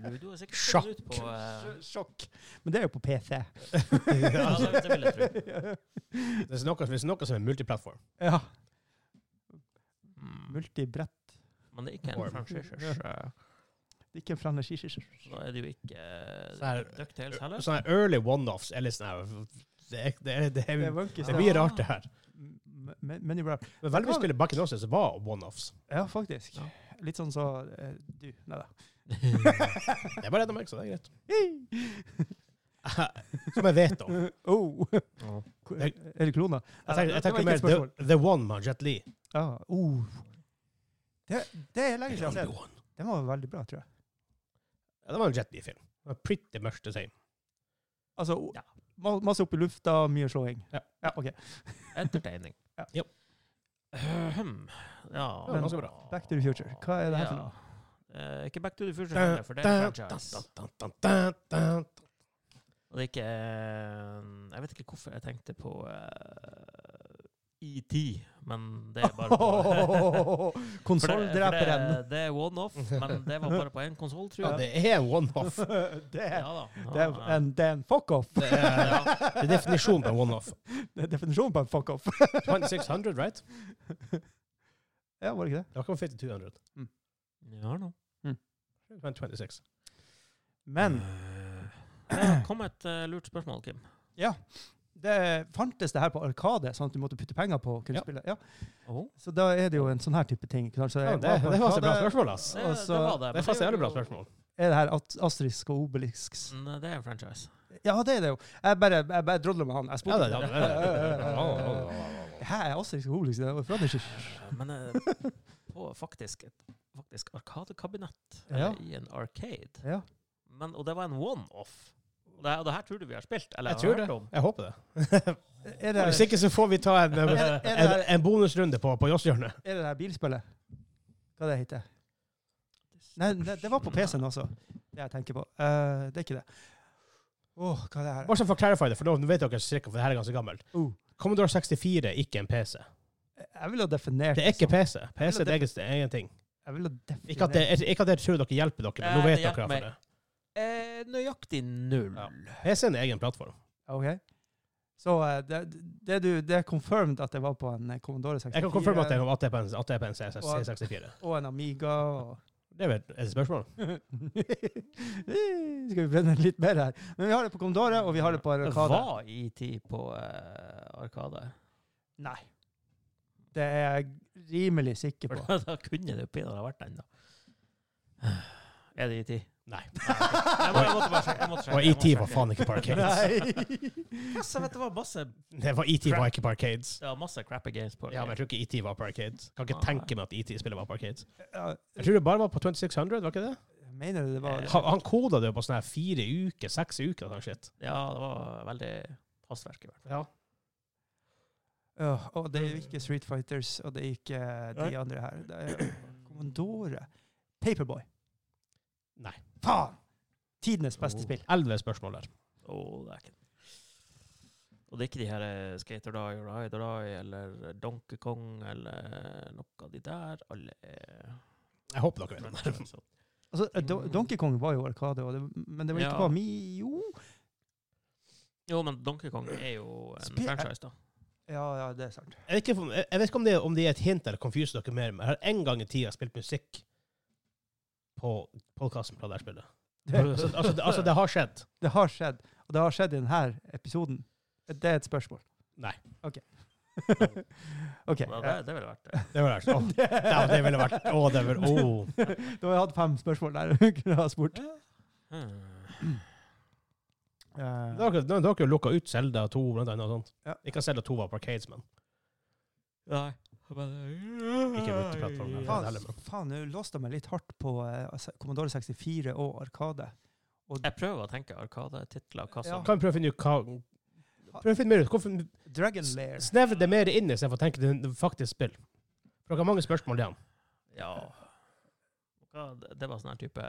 Speaker 3: Ludo er sikkert
Speaker 1: Sjakk.
Speaker 3: kommet ut på eh,
Speaker 2: Sj- Sjokk. Men det er jo på PC.
Speaker 3: ja, altså, det, det vil jeg tro.
Speaker 1: Det er noe, hvis noe som er multiplattform.
Speaker 2: Ja.
Speaker 3: Mm.
Speaker 2: Multibrett.
Speaker 3: Men det er ikke
Speaker 1: Form.
Speaker 3: en franchises. eh,
Speaker 2: Det er Ikke en franchise.
Speaker 3: Da er det jo ikke
Speaker 1: Så her-
Speaker 3: uh, DuckTales heller.
Speaker 1: Sånne early one-offs eller sånne her- det er, det, er, det, er,
Speaker 2: Det er
Speaker 1: det
Speaker 2: wonky
Speaker 1: er
Speaker 2: stuff.
Speaker 1: mye rart, det her.
Speaker 2: M- m- Many rap.
Speaker 1: Men veldig mye spill back in Osses var one-offs.
Speaker 2: [laughs] Ja, faktisk.
Speaker 3: Ja.
Speaker 2: Litt sånn så eh, du. Nei
Speaker 1: [laughs]
Speaker 2: da. Mm.
Speaker 1: Det er bare redd meg, så det er greit. [laughs] Som jeg vet om.
Speaker 2: Oh. [laughs]
Speaker 3: Ja.
Speaker 2: Hvor- Er det klona?
Speaker 1: Jeg tenker, jeg
Speaker 2: Det
Speaker 1: tenker
Speaker 2: var ikke et
Speaker 1: mer The,
Speaker 2: spørsmål.
Speaker 1: The One med Jet Lee.
Speaker 2: Ja. Oh. Det, det er lenge
Speaker 1: The
Speaker 2: siden jeg har sett.
Speaker 1: One.
Speaker 2: Den var veldig bra, tror jeg.
Speaker 1: Ja, det var en Jet Lee-film. Det var Pretty much the same.
Speaker 2: Altså, o-
Speaker 3: Ja.
Speaker 2: ma- masse opp i lufta, mye slåing.
Speaker 1: Ja.
Speaker 2: ok.
Speaker 3: Entertaining.
Speaker 2: Ja.
Speaker 1: Yep.
Speaker 3: Ahem. ja,
Speaker 2: Ja,
Speaker 3: men-
Speaker 1: ganske bra.
Speaker 2: Back to the future. Hva er det her for
Speaker 3: Ja.
Speaker 2: noe?
Speaker 3: Eh, ikke Back to the Future, heller, for det er en franchise.
Speaker 1: Det
Speaker 3: Og det er ikke eh, Jeg vet ikke hvorfor jeg tenkte på eh, ET, men det er
Speaker 2: [laughs]
Speaker 3: bare på For det- for
Speaker 2: Konsolldreperen.
Speaker 3: Det, det er one-off, men det var bare på én konsoll, tror jeg.
Speaker 1: er en one-off.
Speaker 2: [laughs] Det er
Speaker 3: da.
Speaker 2: det er
Speaker 3: Ja,
Speaker 2: en, det er en fuck-off.
Speaker 1: Det er, det er definisjonen på en one-off.
Speaker 2: [laughs] Det er definisjonen på en fuck-off.
Speaker 1: 2600, right?
Speaker 2: Ja, var det ikke det?
Speaker 1: Det var ikke 5200.
Speaker 3: ja da.
Speaker 1: Det var en 26.
Speaker 2: Men
Speaker 3: Det kom et eh, lurt spørsmål, Kim.
Speaker 2: ja, det fantes det her på Arkade, sånn at du måtte putte penger på å kunne
Speaker 1: Ja.
Speaker 2: spille. Ja.
Speaker 3: Oh.
Speaker 2: Så da er det jo en sånn her type ting. ikke sant? Så
Speaker 1: Ja,
Speaker 2: jeg
Speaker 1: det, det var så bra
Speaker 2: Arkade,
Speaker 1: spørsmål, ass.
Speaker 3: Det,
Speaker 2: Og
Speaker 3: det
Speaker 2: så-
Speaker 3: var det.
Speaker 1: Det
Speaker 3: men
Speaker 1: er fast
Speaker 3: jo-
Speaker 1: jævlig bra spørsmål.
Speaker 2: Er det her At- Asterisk og Obelix?
Speaker 3: Mm, Det er en franchise.
Speaker 2: Ja, det er det jo. Jeg bare, jeg bare drodler med han. Jeg
Speaker 1: Ja,
Speaker 2: spurte
Speaker 1: det, ja, det,
Speaker 2: ikke.
Speaker 1: det, det,
Speaker 2: [laughs] Hæ, er Asterisk og Obelix? Det var fra det [laughs]
Speaker 3: Men eh, på faktisk et faktisk arkadekabinett
Speaker 2: Ja.
Speaker 3: eller i en arcade.
Speaker 2: Ja.
Speaker 3: Men, og det var en one-off. Og det, og det her tror du vi har spilt? Eller
Speaker 1: Jeg tror
Speaker 3: har
Speaker 1: det.
Speaker 3: hørt om?
Speaker 1: Jeg håper det.
Speaker 2: Er det,
Speaker 1: Hvis ikke så får vi ta en,
Speaker 2: er, er, det
Speaker 1: en,
Speaker 2: her,
Speaker 1: en bonusrunde på, på Jåsshjørnet.
Speaker 2: er det her bilspillet? Hva det heter Nei, det, det var på PC-en også, det jeg tenker på. Eh, det er ikke det. Åh, hva er det her?
Speaker 1: Bare sånn for å clarify det, for nå vet dere cirka, for det her er ganske gammelt.
Speaker 2: Oh.
Speaker 1: Commodore 64 er ikke en PC.
Speaker 2: Jeg ville ha definert
Speaker 1: Det er ikke
Speaker 2: som-
Speaker 1: PC. PC er det egen- det er egen ting.
Speaker 2: Jeg ville ha definert
Speaker 1: Ikke at det, ikke at det tror dere hjelper dere, men nå
Speaker 3: Nei,
Speaker 1: vet
Speaker 3: det
Speaker 1: dere
Speaker 3: hjelper
Speaker 1: for det.
Speaker 3: Eh, nøyaktig null.
Speaker 1: Ja. PC er en egen plattform.
Speaker 2: OK. Så eh, det, det, du, det er confirmed at det var på en eh, Commodore 64
Speaker 1: Jeg kan konfirmere at det at det er på en, at det er på en CS
Speaker 2: Og-
Speaker 1: C64.
Speaker 2: og en Amiga. Og [laughs]
Speaker 1: Det er vel et spørsmål.
Speaker 2: Skal vi brenne litt mer her? Men vi har det på Commodore, og vi har det på Arkade.
Speaker 3: Var ET på eh, Arkade?
Speaker 2: Nei. Det er jeg rimelig sikker
Speaker 3: For [laughs]
Speaker 2: på.
Speaker 3: da, da kunne det jo pinadø ha vært den, da. [sighs] Er det ET?
Speaker 1: Nei.
Speaker 3: Jeg, må, jeg måtte bare sjekke. jeg måtte sjekke,
Speaker 1: Og
Speaker 3: jeg måtte
Speaker 1: ET var
Speaker 3: sjekke.
Speaker 1: faen ikke på Arcades.
Speaker 2: Nei. [laughs]
Speaker 3: Yes, jeg vet, det var masse,
Speaker 1: Det var ET var ikke på Arcades.
Speaker 3: det var masse crappy games på
Speaker 1: Ja, men jeg tror ikke ET var på Arcades. Kan ikke
Speaker 3: Nei.
Speaker 1: tenke meg at ET-spillet var på Arcades.
Speaker 2: Ja,
Speaker 1: Jeg tror det bare var på 2600, var ikke det?
Speaker 2: Mener du det var
Speaker 1: Han, han koda det jo på sånne her fire uker, seks uker og sånn shit.
Speaker 3: Ja, det var veldig hastverk i hvert fall.
Speaker 1: Ja.
Speaker 2: Ja, og det er jo ikke Street Fighters, og det er ikke eh, de
Speaker 1: Nei.
Speaker 2: andre her. Det er Commandore. Paperboy.
Speaker 1: Nei.
Speaker 2: Faen! Tidenes beste
Speaker 3: Oh.
Speaker 2: spill.
Speaker 1: Elleve spørsmål der.
Speaker 3: Å, det er ikke Og det er ikke de her eh, Skater Die or Ride or Die eller Donkey Kong eller noe av de der. Alle er sånn.
Speaker 1: Jeg håper dere vet
Speaker 3: [laughs]
Speaker 1: det.
Speaker 3: franchise.
Speaker 2: Altså, eh, Do
Speaker 1: Mm.
Speaker 2: Donkey Kong var jo Arkade, og det, men det var ikke
Speaker 3: Ja.
Speaker 2: på Mi... Jo!
Speaker 3: Jo, men Donkey Kong er jo en
Speaker 2: Spi-
Speaker 3: franchise, da.
Speaker 2: Ja, ja, det er sant.
Speaker 1: Jeg vet ikke, om- jeg vet ikke om, det, om det er et hint eller confuser dere mer, men jeg har en gang i tida spilt musikk på podkasten fra det her spillet. [laughs]
Speaker 2: Det,
Speaker 1: Altså, altså, det, altså, det har skjedd.
Speaker 2: [laughs] det har skjedd, og det har skjedd i denne episoden. Det er et spørsmål.
Speaker 1: Nei. [laughs]
Speaker 2: OK. OK.
Speaker 3: Ja, det,
Speaker 2: eh,
Speaker 3: det ville vært det.
Speaker 1: Det var
Speaker 2: [laughs]
Speaker 1: det. Åh, dæven, det ville vært Å, det ville Åh.
Speaker 2: Da har jeg hatt fem spørsmål der [laughs] du kunne ha spurt.
Speaker 3: Hmm.
Speaker 2: Eh,
Speaker 1: Dere dere har jo lukka ut Selda 2 blant annet. og sånt.
Speaker 2: Ja.
Speaker 1: Ikke at Zelda 2 var på Arcades, men
Speaker 3: Nei. Ikke
Speaker 1: multiplattform,
Speaker 3: Ja.
Speaker 1: men-
Speaker 2: Faen,
Speaker 1: heller,
Speaker 2: faen, nå låste jeg meg litt hardt på eh, altså, Commodore 64 og Arkade.
Speaker 3: Jeg prøver å tenke Arkade-titler. Hva som
Speaker 1: kan vi prøve å finne ut hva Prøv å finne mer ut. Hvorfor
Speaker 2: Dragon Lair.
Speaker 1: snevre det mer inn istedenfor å tenke det er faktisk spill? For dere har mange spørsmål igjen.
Speaker 3: Ja. Hva, det, det var sånn her type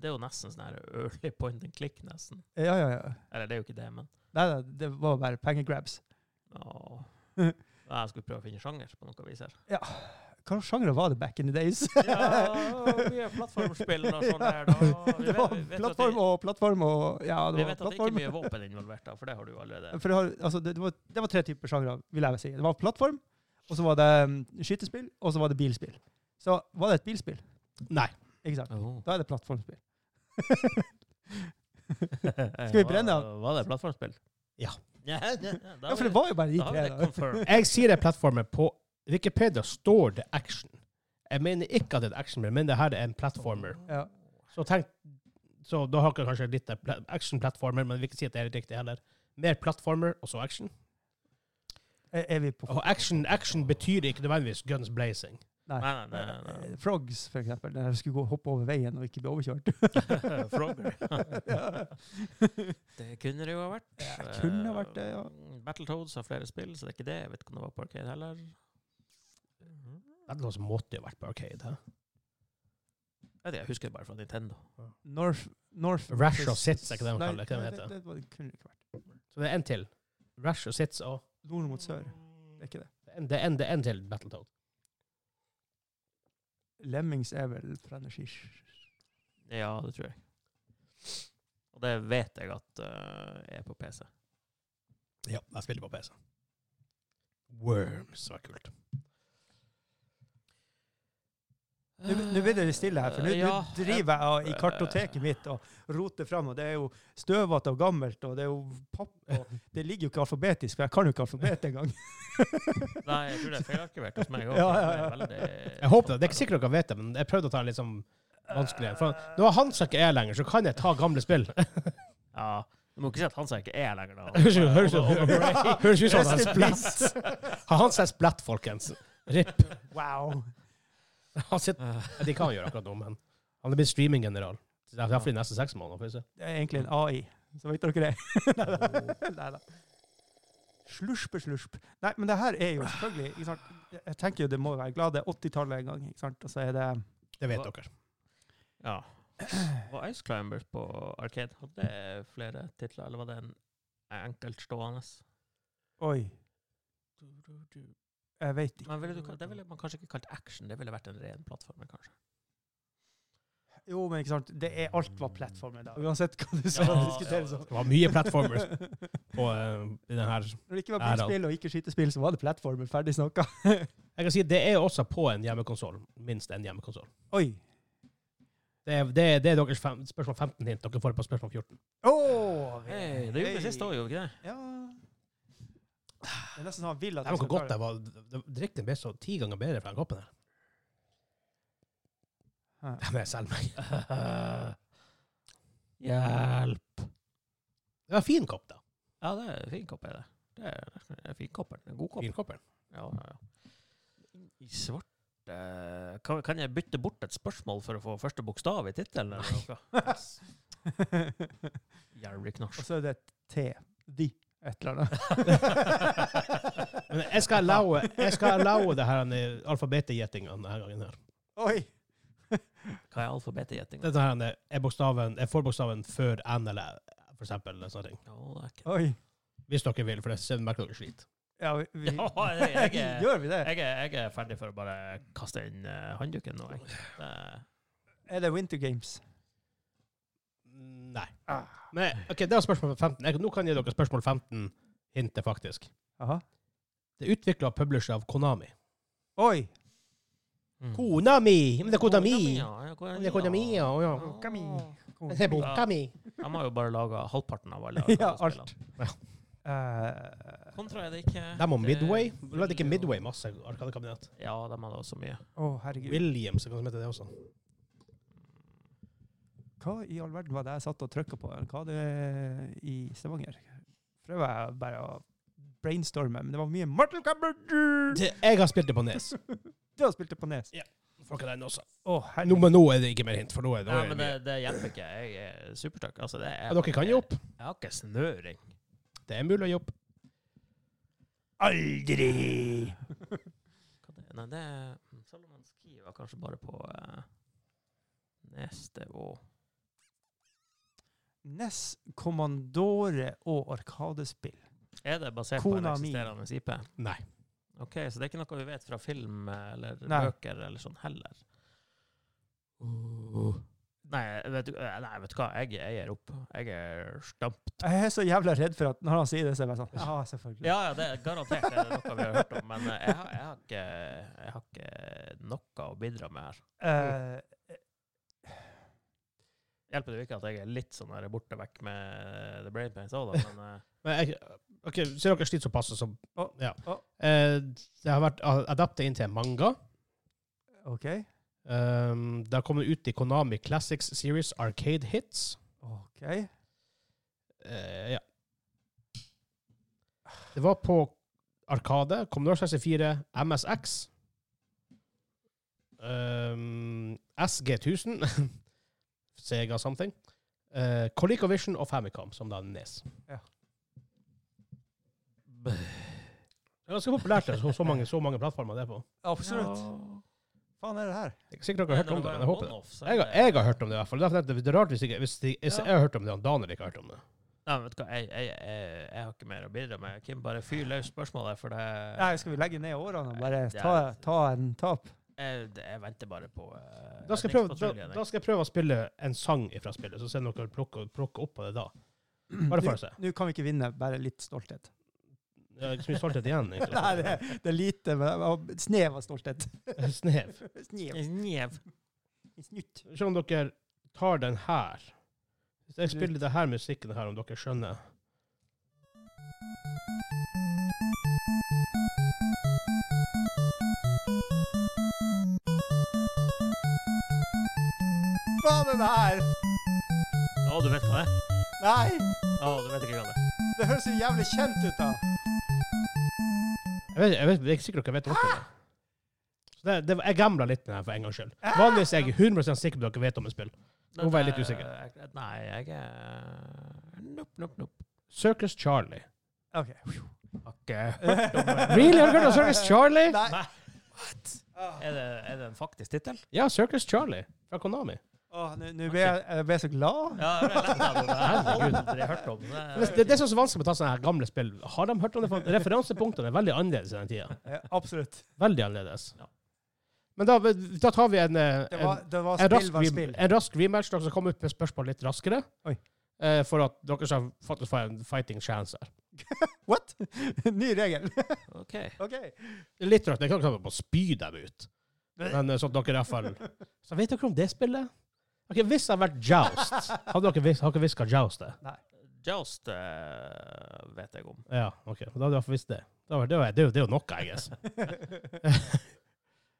Speaker 3: Det er jo nesten sånn her early point and click, nesten.
Speaker 2: Ja, ja, ja.
Speaker 3: Eller det er jo ikke det, men
Speaker 2: Nei, nei, det var bare pengegrabs. [laughs]
Speaker 3: Åh. Ja, Jeg skulle prøve å finne sjanger på noe vis her.
Speaker 2: Hva sjanger var det back in the days?
Speaker 3: Ja, mye plattformspill og
Speaker 2: [laughs]
Speaker 3: sånn der. Da. Vi
Speaker 2: Det var
Speaker 3: vet, vi vet at
Speaker 2: plattform
Speaker 3: det,
Speaker 2: og plattform og Ja, det
Speaker 3: vi
Speaker 2: var
Speaker 3: vet at det ikke er
Speaker 2: plattform.
Speaker 3: mye våpen involvert, da, for det har du jo
Speaker 2: [laughs]
Speaker 3: allerede.
Speaker 2: For det, har, altså, det, det, var, det var tre typer sjangre, vil jeg vel si. Det var plattform, og så var det um, skytespill, og så var det bilspill. Så var det et bilspill,
Speaker 1: Nei.
Speaker 2: ikke sant?
Speaker 3: [laughs] Oh.
Speaker 2: Da er det plattformspill.
Speaker 3: Skal
Speaker 2: vi brenne
Speaker 3: den? Var det plattformspill?
Speaker 1: Ja.
Speaker 3: [laughs] Ja, ja, ja, da
Speaker 2: [laughs] Ja, for det
Speaker 3: var
Speaker 2: var jo bare de
Speaker 3: da har vi
Speaker 2: tre.
Speaker 3: det
Speaker 2: Da.
Speaker 3: confirmed.
Speaker 2: [laughs]
Speaker 1: Jeg sier det er plattformer. På Wikipedia står det action. Jeg mener ikke at det er et actionspill, men det her er en plattformer.
Speaker 2: Ja.
Speaker 1: Så tenk, så da har dere kanskje litt av pla- action-plattformer, men vi vil ikke si at det er riktig heller. Mer plattformer, og så action.
Speaker 2: Er, er vi på
Speaker 1: Og action, action betyr ikke nødvendigvis guns blazing.
Speaker 2: Nei.
Speaker 3: Nei, nei, nei. nei.
Speaker 2: Frogs, for eksempel. Den her skulle gå hoppe over veien og ikke bli overkjørt.
Speaker 3: [laughs]
Speaker 2: [laughs]
Speaker 3: Frogger.
Speaker 2: Ja.
Speaker 3: [laughs] det kunne det jo ha vært.
Speaker 2: Det kunne vært det, ja.
Speaker 3: Eh, Battletoads har flere spill, så det er ikke det. Jeg vet ikke om det var på Arcade heller. Mm-hmm.
Speaker 1: Det lås måtte jo vært på Arcade. hæ?
Speaker 3: Jeg vet ikke, jeg husker det bare fra Nintendo.
Speaker 2: North, North
Speaker 1: Rash of Sits, er ikke det de
Speaker 2: Nei,
Speaker 1: kaller det, hva
Speaker 2: nei,
Speaker 1: det heter?
Speaker 2: Det, det, var- det kunne det ikke vært.
Speaker 1: Så det er en til. Rush og Sits og
Speaker 2: Nord mot sør. Det er ikke det.
Speaker 1: Det er en- Det er en, det er en til Battletoad.
Speaker 2: Lemmings er vel fra Energish.
Speaker 3: Ja, det tror jeg. Og det vet jeg at eh, er på PC.
Speaker 1: Ja, jeg spiller på PC. Worms var kult.
Speaker 2: Nå nå blir det litt stille her, for nå nå
Speaker 3: Ja,
Speaker 2: driver jeg og- i kartoteket mitt og roter fram, og det er jo støvete og gammelt, og det er jo papp, og det ligger jo ikke alfabetisk, for jeg kan jo ikke alfabet engang.
Speaker 3: Nei, jeg tror det er feilarkivert hos meg òg.
Speaker 2: Ja, ja, ja.
Speaker 1: Jeg håper det. Det er ikke sikkert dere vet det, men jeg prøvde å ta en litt sånn vanskelig en. For når Hansa ikke er lenger, så kan jeg ta gamle [laughs] spill.
Speaker 3: Ja. Du må ikke si at Hansa ikke er
Speaker 2: [laughs]
Speaker 3: lenger, da.
Speaker 1: Høres ut- høres ut-
Speaker 3: Og- og-
Speaker 1: [laughs]
Speaker 3: og-
Speaker 1: høres ut som
Speaker 2: Rest
Speaker 1: han er
Speaker 2: in
Speaker 1: splatt. [laughs]
Speaker 2: peace.
Speaker 1: Han er splatt, folkens. Ripp.
Speaker 2: Wow.
Speaker 1: Han sitter,
Speaker 2: [laughs]
Speaker 1: Nei, de kan gjøre akkurat noe, men han er blitt streaminggeneral. Så Det er derfor de neste seks månedene. får vi se.
Speaker 2: Det er egentlig en AI. Så vet dere det. [laughs] Nei da. Slurpe, slurp. Nei, men det her er jo selvfølgelig ikke sant? Jeg tenker jo det må være glad det er 80-tallet en gang, ikke sant? Og så er det [clears throat]
Speaker 1: Det vet dere.
Speaker 3: Ja. Var Ice Climbers på Arcade hadde det flere titler, eller var det en enkeltstående?
Speaker 2: Oi, jeg vet ikke.
Speaker 3: Men ville du, ka- det ville man kanskje ikke kalt action, det ville vært en ren plattformer, kanskje.
Speaker 2: Jo, men ikke sant, det er alt var plattformen da. Uansett hva du
Speaker 3: Ja,
Speaker 2: skal diskutere
Speaker 3: ja, ja.
Speaker 2: sånn.
Speaker 1: Det var mye platformers på eh, i den her.
Speaker 2: [laughs] Når det ikke var
Speaker 1: Nei da.
Speaker 2: bilspill og ikke skytespill, så var det plattformen. Ferdig snakka.
Speaker 1: Jeg kan si det er også på en hjemmekonsoll. Minst en hjemmekonsoll.
Speaker 2: Oi.
Speaker 1: Det er, det er, det er deres fem, spørsmål 15 hint. Dere får det på spørsmål 14.
Speaker 2: Åh, vi-
Speaker 3: Hey, det gjorde vi sist òg, gjorde vi ikke det?
Speaker 2: Ja. Det er nesten sånn han vil at
Speaker 1: Det
Speaker 2: vi
Speaker 1: var
Speaker 2: skal
Speaker 1: ikke godt.
Speaker 2: klare
Speaker 1: Det var, det, drikken ble så ti ganger bedre fra den koppen her.
Speaker 2: Ja.
Speaker 1: Ja, men jeg selger meg.
Speaker 3: [laughs] Hjelp.
Speaker 1: Det var en fin kopp, da.
Speaker 3: Ja, det er en fin kopp, er det. Det er en fin kopp. En god kopp.
Speaker 1: Fin kopper.
Speaker 3: Ja, ja, ja. I svarte kan, kan jeg bytte bort et spørsmål for å få første bokstav i tittelen? eller noe? [laughs] Jævlig
Speaker 2: Og
Speaker 3: knasj.
Speaker 2: så er det et T. De. Et eller annet.
Speaker 1: [laughs] Men jeg skal allowe, jeg skal allowe det her eh, alfabetet gjettinga denne gangen her.
Speaker 2: Oi!
Speaker 3: Hva er alfabetet i gjetting?
Speaker 1: Dette her eh, er bokstaven, er forbokstaven før N eller for eksempel, eller sånne ting.
Speaker 3: Ja, det er ikke-
Speaker 2: Oi.
Speaker 1: Hvis dere vil, for det ser- merker dere slit.
Speaker 2: Ja, vi, vi,
Speaker 3: Ja, jeg- jeg-
Speaker 2: [laughs] Gjør vi det?
Speaker 3: Jeg er, jeg er ferdig for å bare kaste inn eh, håndduken nå. Jeg. Det,
Speaker 2: Er det Winter Games?
Speaker 1: Nei. Men ok, det var spørsmål 15. Jeg, nå kan jeg gi dere spørsmål 15 hintet, faktisk.
Speaker 2: Aha.
Speaker 1: Det er utvikla og publisher av Konami.
Speaker 2: Oi!
Speaker 3: Mm.
Speaker 1: Konami! Men det er Konami!
Speaker 3: Ja, ja,
Speaker 1: Men det er Konami, ja. å ja.
Speaker 2: Konami.
Speaker 1: Men Det er boka mi.
Speaker 3: De har jo bare laga halvparten av alle
Speaker 2: [laughs] Ja, alt.
Speaker 1: [laughs] Ja.
Speaker 2: Eh,
Speaker 3: Kontra er det ikke
Speaker 1: De og Midway.
Speaker 3: Det
Speaker 1: Lagde ikke
Speaker 3: vil jo-
Speaker 1: Midway masse arkadekabinett?
Speaker 3: Ja, de hadde også mye.
Speaker 2: Å, herregud.
Speaker 1: Williams, hva heter det også?
Speaker 2: Hva i all verden var det jeg satt og trykka på? Hva det i Stavanger? Prøver jeg bare å brainstorme, men det var mye Mortal Kombat! Du
Speaker 1: Det, jeg har spilt det på Nes.
Speaker 2: har spilt det på nes.
Speaker 1: Får ikke den også.
Speaker 2: Å,
Speaker 1: Nå,
Speaker 2: herregud.
Speaker 1: men nå er det ikke mer hint, for nå er det, nå
Speaker 3: Nei,
Speaker 1: er det
Speaker 3: men
Speaker 1: mye.
Speaker 3: det, det hjelper ikke. Jeg er supertøkk. Altså, det er
Speaker 1: Ja, dere kan gi opp.
Speaker 3: Jeg har ikke snøring.
Speaker 1: Det er mulig å gi opp.
Speaker 2: Aldri!
Speaker 3: Hva det? Nei, det er Salomon Ski var kanskje bare på eh, neste år.
Speaker 2: Nes, Kommandore og Arkadespill.
Speaker 3: Er det basert på en
Speaker 2: Konami.
Speaker 3: eksisterende IP?
Speaker 1: Nei.
Speaker 3: Ok, Så det er ikke noe vi vet fra film eller
Speaker 2: Nei.
Speaker 3: bøker eller sånn heller? Uh. Nei, vet du, eh, nei, vet du hva? Jeg, jeg er opp. Jeg er stamp.
Speaker 2: Jeg er så jævla redd for at når han sier det, så er jeg bare sånn Ja, selvfølgelig.
Speaker 3: Ja, ja, det er garantert det er noe vi har hørt om, men eh, jeg har, jeg har, ikke, jeg har ikke noe å bidra med her.
Speaker 2: Eh,
Speaker 3: Hjelper det jo ikke at jeg er litt sånn her borte vekk med The Brain Pains òg,
Speaker 1: [laughs]
Speaker 3: da, men eh,
Speaker 1: Men jeg, ok, Sier dere sliter såpass, så
Speaker 2: Å,
Speaker 1: ja.
Speaker 2: å.
Speaker 1: Eh, det har vært adaptet inn til en manga.
Speaker 2: OK.
Speaker 1: Um, det har kommet ut i Konami Classics Series Arcade Hits.
Speaker 2: OK.
Speaker 1: Eh, ja. Det var på Arkade, Commodore 64, MSX, um, SG1000, [laughs] Sega something, uh, ColecoVision og Famicom, som da er NES.
Speaker 2: Ja.
Speaker 1: Det er ganske populært, det, så, så, mange, så mange plattformer det er på.
Speaker 2: Absolutt. Faen er det her?
Speaker 1: Det er ikke sikkert dere har hørt om det, men jeg håper det. Jeg, har-
Speaker 3: Nei,
Speaker 1: jeg har hørt om det, i hvert fall. Derfor er Det det er rart hvis, ikke, hvis, de, hvis
Speaker 3: Ja.
Speaker 1: jeg har hørt om det, og Daniel ikke har hørt om det.
Speaker 3: men vet du hva, jeg, jeg, jeg, jeg har ikke mer å bidra med. Kim, bare fyr løs spørsmålet, for det
Speaker 2: Nei, skal vi legge ned årene og bare
Speaker 3: Det er-
Speaker 2: ta, ta en tap?
Speaker 3: jeg, jeg venter bare på eh,
Speaker 1: Da skal, jeg prøve, da,
Speaker 3: redningspatruljen, jeg.
Speaker 1: da skal jeg prøve å spille en sang fra spillet, så ser dere plukke, plukke opp på det da. Bare for å se.
Speaker 2: Nå kan vi ikke vinne, bare litt stolthet.
Speaker 1: Jeg har ikke så mye stolthet
Speaker 2: [laughs]
Speaker 1: igjen,
Speaker 2: Nei, det,
Speaker 1: egentlig.
Speaker 2: det er lite, men og snev av stolthet.
Speaker 1: [laughs]
Speaker 2: [laughs]
Speaker 1: Snev.
Speaker 2: Snev.
Speaker 3: Njev.
Speaker 2: Snytt.
Speaker 1: Se om dere tar den her. Hvis jeg spiller det her musikken her, om dere skjønner.
Speaker 2: Faen er det her?
Speaker 3: Å, du vet hva det er?
Speaker 2: Nei!
Speaker 3: Å, du vet ikke hva det er?
Speaker 2: Det høres så jævlig kjent ut, da.
Speaker 1: Jeg, vet, jeg, vet, jeg er ikke sikker dere vet om det. Så det, det jeg gambla litt med den her for en gangs skyld.
Speaker 2: Ah!
Speaker 1: Vanligvis er jeg 100 sikker på at dere vet om et spill. Nå var jeg litt usikker.
Speaker 3: Eh, jeg- Nei, jeg er Nopp, nopp, nopp.
Speaker 1: Circus Charlie.
Speaker 2: OK.
Speaker 1: [laughs]
Speaker 2: [laughs]
Speaker 1: Really? Har dere hørt om Circus Charlie?
Speaker 2: Nei.
Speaker 3: Nei.
Speaker 2: Åh,
Speaker 3: Er det, er det en faktisk tittel?
Speaker 1: Ja, Circus Charlie fra Konami.
Speaker 2: åh, Nå nå ble jeg, jeg ble eh, så glad.
Speaker 3: Ja, jeg ble lett av det. Jeg har
Speaker 1: Herregud.
Speaker 3: aldri hørt om det.
Speaker 1: Men Det, det er så vanskelig med å ta sånne her gamle spill. Har de hørt om det? For Referansepunktene er veldig annerledes i den tida.
Speaker 2: Ja, absolutt.
Speaker 1: Veldig annerledes.
Speaker 3: Ja.
Speaker 1: Men da, da tar vi en, eh,
Speaker 2: Det
Speaker 1: en,
Speaker 2: var, det var
Speaker 1: en,
Speaker 2: spill
Speaker 1: rask,
Speaker 2: var
Speaker 1: rem-
Speaker 2: spill.
Speaker 1: en rask rematch. Dere skal komme ut med spørsmål litt raskere.
Speaker 2: Oi.
Speaker 1: Eh, for at dere skal faktisk få en fighting chance her.
Speaker 2: What? [laughs] Ny
Speaker 1: [laughs]
Speaker 2: regel.
Speaker 3: Ok.
Speaker 2: OK.
Speaker 1: Litt raskt. Jeg kan ikke ta på å spy dem ut. Men eh, sånn at dere i hvert fall
Speaker 2: [laughs]
Speaker 1: Så vet dere om det spillet? Ok, Hvis det hadde vært
Speaker 2: [laughs]
Speaker 1: Joust Hadde dere visst, har dere visst hva Joust er?
Speaker 3: Joust eh, vet jeg
Speaker 2: [laughs]
Speaker 3: om.
Speaker 1: Ja, ok. Da hadde dere iallfall visst det. Da var- Det var- det er jo- det er jo noe, jeg
Speaker 2: [laughs]
Speaker 1: guess.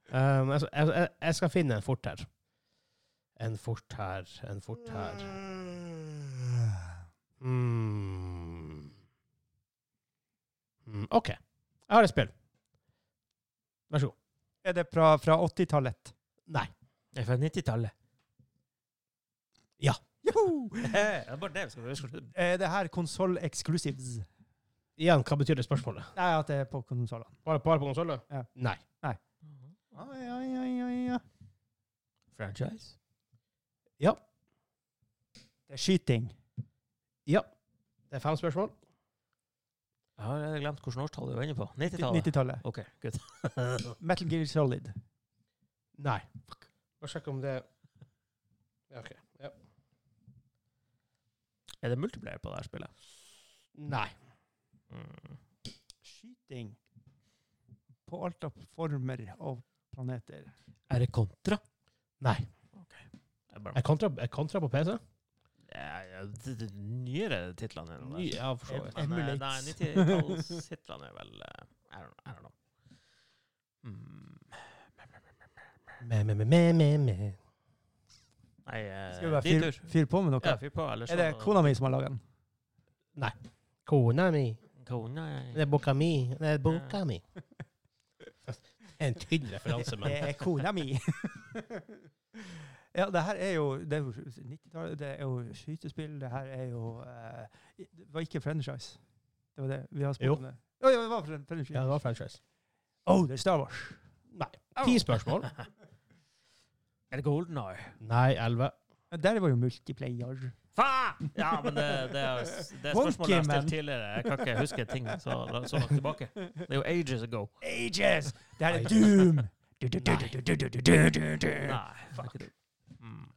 Speaker 1: Um, jeg, jeg, jeg- jeg skal finne en fort her. En fort her, en fort her. Mm. Mm, OK. Jeg har et spill. Vær så god.
Speaker 2: Er det fra, fra 80-tallet?
Speaker 1: Nei.
Speaker 3: Det er fra 90-tallet.
Speaker 2: Joho!
Speaker 3: det er bare det vi skal huske.
Speaker 2: Er det her konsoll exclusives?
Speaker 1: Igjen, hva betyr det spørsmålet?
Speaker 2: Nei, at det er på konsollene.
Speaker 1: Bare, bare på konsollen?
Speaker 2: Ja.
Speaker 1: Nei.
Speaker 2: Oi, oi, oi, oi, oi.
Speaker 3: Franchise?
Speaker 2: Det er skyting.
Speaker 1: Det er fem spørsmål.
Speaker 3: Jeg har allerede glemt hvilket årstall du var inne på. 90-tallet.
Speaker 2: 90-tallet.
Speaker 3: OK, good.
Speaker 2: Metal Gear Solid.
Speaker 1: Nei. Bare sjekk om det Ja, OK. Ja.
Speaker 3: Er det multiplayer på det her spillet?
Speaker 1: Nei.
Speaker 3: Mm.
Speaker 2: Skyting på alt av former og planeter.
Speaker 3: Er det kontra?
Speaker 1: Nei.
Speaker 3: Jeg bare,
Speaker 1: Er kontra, er kontra på PC?
Speaker 3: Ja, ja, de, de nyere titlene er noe
Speaker 1: Ny, ja, for så vidt.
Speaker 3: Men, eh,
Speaker 2: Emulates.
Speaker 3: Nei, 90-tallstitlene er vel eh, I don't, I don't know.
Speaker 2: Hmm.
Speaker 3: Mm.
Speaker 1: [laughs] Me, me, me, me, me, me.
Speaker 3: Nei, eh,
Speaker 2: Skal vi bare
Speaker 3: din
Speaker 2: fyre
Speaker 3: tur.
Speaker 2: fyr på med noe?
Speaker 3: Ja, fyr på. Eller så
Speaker 2: Er det Konami som har laga den?
Speaker 1: Kona mi.
Speaker 3: Kona
Speaker 1: Det er boka mi. Det er boka mi. [laughs] En tynn referanse, men
Speaker 2: Det er kona
Speaker 3: [laughs]
Speaker 2: mi. ja, det her er jo Det er jo 90-tallet, det er jo skytespill, det her er jo eh, Det var ikke franchise. Det var det vi har
Speaker 1: Jo.
Speaker 2: spurt om. det. Jo, jo, det var fran- franchise.
Speaker 1: ja, det var franchise.
Speaker 2: Oh, det er Star Wars.
Speaker 1: Nei. Ti spørsmål.
Speaker 3: Er det Golden Eye?
Speaker 1: Nei, elleve.
Speaker 2: Men Der var jo multiplayer.
Speaker 3: Faen! Ja, men det, det, er, det er spørsmålet jeg har stilt tidligere. Jeg kan ikke huske ting så, så langt tilbake. Det er jo ages ago.
Speaker 2: Ages! Det her er Doom! Du, du, du, du, du, du, du, du, du, du.
Speaker 3: Nei, fuck. Mm.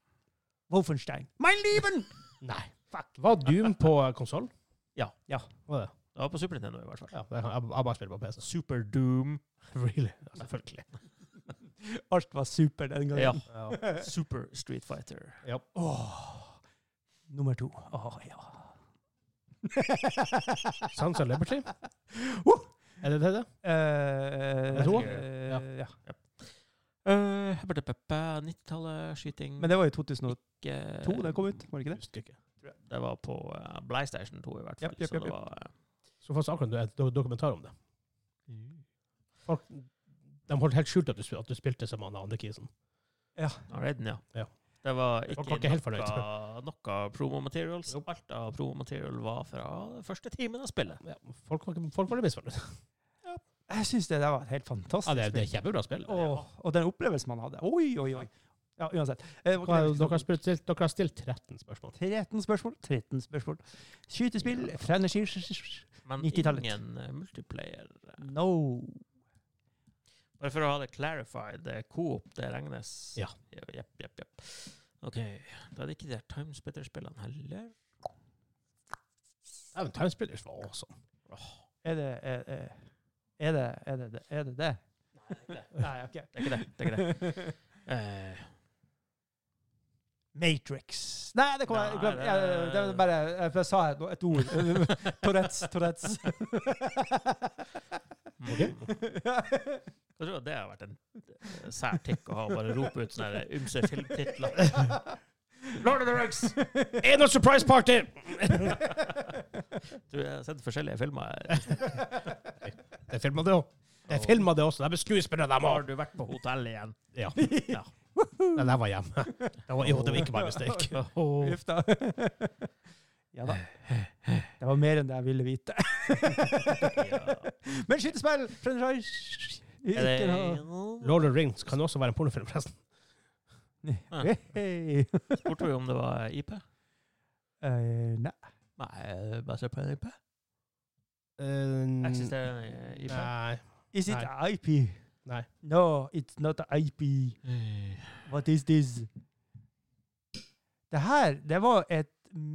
Speaker 2: Wolfenstein. Mein Lieben!
Speaker 1: Nei.
Speaker 2: Fuck.
Speaker 1: Var Doom på konsoll?
Speaker 3: Ja.
Speaker 2: Ja.
Speaker 1: Var det?
Speaker 3: Det var på Super Nintendo i
Speaker 2: [laughs]
Speaker 3: hvert fall.
Speaker 1: Ja, det- jeg, jeg bare spiller på PC.
Speaker 3: Super Doom.
Speaker 1: Really? Ja, selvfølgelig.
Speaker 2: [laughs] Alt var super den gangen.
Speaker 3: Ja.
Speaker 1: Ja.
Speaker 3: Super Street Fighter.
Speaker 2: Åh. Nummer to. Åh, ja.
Speaker 1: Sons of [laughs] Liberty?
Speaker 2: Uh,
Speaker 1: Er det det? det?
Speaker 2: eh,
Speaker 1: To?
Speaker 2: eh,
Speaker 1: Ja.
Speaker 2: ja. Eh,
Speaker 3: Uh, 90-tallet, skyting
Speaker 2: Men det var i 2002
Speaker 3: ikke-
Speaker 2: den kom ut, var det ikke det?
Speaker 1: Husker ikke.
Speaker 3: Det var på uh, Blaystation 2 i hvert fall.
Speaker 2: Japp, japp,
Speaker 3: så det
Speaker 2: japp,
Speaker 3: var, eh,
Speaker 1: Så faktisk akkurat en do- dokumentar om det. Mm. Folk, de holdt helt skjult at du, spil- at du spilte som han andre kisen.
Speaker 3: ja, Redden, eh, ja.
Speaker 1: Ja.
Speaker 3: Det var
Speaker 1: var ikke helt
Speaker 3: ikke
Speaker 1: fornøyd.
Speaker 3: noe, noe promo-materials.
Speaker 1: Nope.
Speaker 3: Alt av promo-material var fra første timen av spillet.
Speaker 1: Ja, folk, var ikke- folk var litt misfornøyd.
Speaker 2: Jeg syns det der var et helt
Speaker 1: Ja,
Speaker 2: fantastisk
Speaker 1: det, er- det er
Speaker 2: spill.
Speaker 1: kjempebra spill.
Speaker 2: Åh, og den opplevelsen man hadde. Oi, oi, oi. Ja, uansett. Eh, hva-
Speaker 1: Hva er det Dere har, spilt, stilt- dere har stilt 13 spørsmål.
Speaker 2: 13 spørsmål. 13 spørsmål. Skytespill fra energi
Speaker 3: Men
Speaker 2: 90-tallet.
Speaker 3: ingen eh, multiplayer.
Speaker 2: No.
Speaker 3: Bare for å ha det clarified, eh, Coop, det regnes?
Speaker 1: Ja.
Speaker 3: Jepp, jepp, jepp. OK. Da er det ikke de der Timesplitter-spillene heller.
Speaker 1: Ja, men Timespillers var awesome.
Speaker 2: Er det er, er- er det er det det? Er det, det? Nei, OK.
Speaker 3: Det er ikke det. det,
Speaker 2: [laughs]
Speaker 3: er ikke det. Eh,
Speaker 2: Matrix. Nei, det kommer jeg
Speaker 3: Nei,
Speaker 2: glem.
Speaker 3: det-
Speaker 2: Ja, det var bare Jeg for jeg sa et, et
Speaker 3: [laughs]
Speaker 2: ord. Tourettes, Tourettes.
Speaker 3: mm. Jeg tror det har vært en eh, sær tikk å ha, bare rope ut sånne der ymse filmtitler.
Speaker 2: [laughs]
Speaker 3: Lord of the Rings!
Speaker 1: Er det surprise party?!
Speaker 3: Du jeg har sett forskjellige filmer.
Speaker 2: [laughs]
Speaker 3: her.
Speaker 1: Det filma det òg. Det filma det også. De er skuespillere, de
Speaker 3: Har
Speaker 1: òg.
Speaker 3: du vært på hotell igjen?
Speaker 1: [laughs] Ja. Men jeg var hjemme. Det var, jo, det var ikke bare mistake.
Speaker 2: Uff da. Ja da. Det var mer enn det jeg ville
Speaker 3: [laughs]
Speaker 2: vite. Men skytespill! Franchise!
Speaker 3: Er det
Speaker 2: Ikke noe-
Speaker 3: Lord-
Speaker 1: Lord of the Rings kan også være en pornofilm, forresten.
Speaker 3: Ah.
Speaker 2: Hei.
Speaker 3: Spurte vi om det var IP?
Speaker 2: Eh, Nei.
Speaker 3: Nei, basert på en IP.
Speaker 1: Uh,
Speaker 3: Eksisterende IP?
Speaker 1: nei.
Speaker 2: Is it
Speaker 1: Nei.
Speaker 2: a IP?
Speaker 1: Nei.
Speaker 2: No, it's not a IP. What is this? Det her, det var et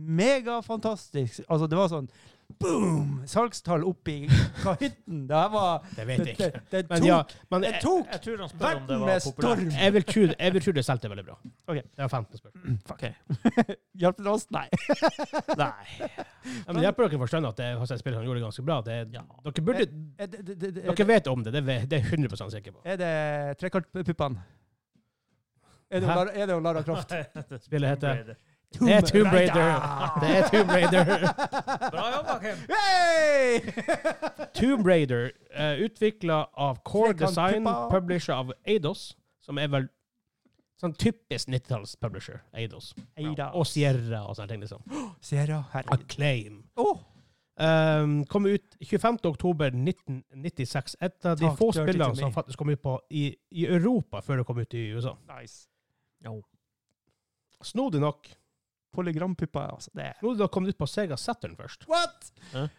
Speaker 2: megafantastisk Altså, det var sånn boom! Salgstall opp i kahytten. Det her var
Speaker 1: [laughs] Det vet
Speaker 2: Det,
Speaker 1: jeg
Speaker 2: det,
Speaker 1: ikke.
Speaker 2: det
Speaker 1: Men
Speaker 2: tok
Speaker 1: ja, men eh,
Speaker 2: Det
Speaker 1: jeg,
Speaker 2: tok
Speaker 3: Jeg tror han spør om det
Speaker 2: verden med
Speaker 3: var populært.
Speaker 2: storm!
Speaker 1: jeg vil tro jeg vil tro det solgte veldig bra.
Speaker 2: Ok.
Speaker 1: Det var 15 spørsmål.
Speaker 3: Fuck. Ok.
Speaker 2: [laughs] Hjalp det oss? Nei.
Speaker 3: Nei.
Speaker 1: Ja, men hjelper dere å forstå at det er et spill som gjorde det ganske bra? Det,
Speaker 3: [laughs] Ja.
Speaker 1: Dere burde
Speaker 2: Er det, det, det, det,
Speaker 1: Dere vet om det, det vet- det er jeg 100 sikker på.
Speaker 2: er det trekantpuppene? Er det,
Speaker 1: Hæ?
Speaker 2: Lara- er det Lara
Speaker 3: [laughs]
Speaker 2: Croft?
Speaker 1: Spillet heter
Speaker 2: Tomb
Speaker 1: [laughs] Det er Tomb
Speaker 2: Raider.
Speaker 1: Raider! Det er Tomb Raider.
Speaker 3: Bra jobba, Kim.
Speaker 2: [laughs] Hey! [laughs]
Speaker 1: Tomb Raider, uh, utvikla av Core
Speaker 2: Trekant
Speaker 1: Design,
Speaker 2: puppa.
Speaker 1: publisher av Eidos, som er vel sånn typisk 90-talls-publisher, Eidos.
Speaker 2: Eida.
Speaker 1: Og Sierra og sånne ting, liksom.
Speaker 2: Sierra, herregud.
Speaker 1: Acclaim.
Speaker 2: Åh,
Speaker 1: Um, kom ut 25. oktober 1996, et av de
Speaker 2: Talk
Speaker 1: få
Speaker 2: dirty to
Speaker 1: spillene
Speaker 2: me.
Speaker 1: som faktisk kom ut på i, i Europa før det kom ut i USA.
Speaker 2: nice.
Speaker 3: Jo.
Speaker 1: Snodig nok,
Speaker 2: Polygrampupper, altså. Det er
Speaker 1: snodig nok kom det ut på Sega Saturn først,
Speaker 2: What?!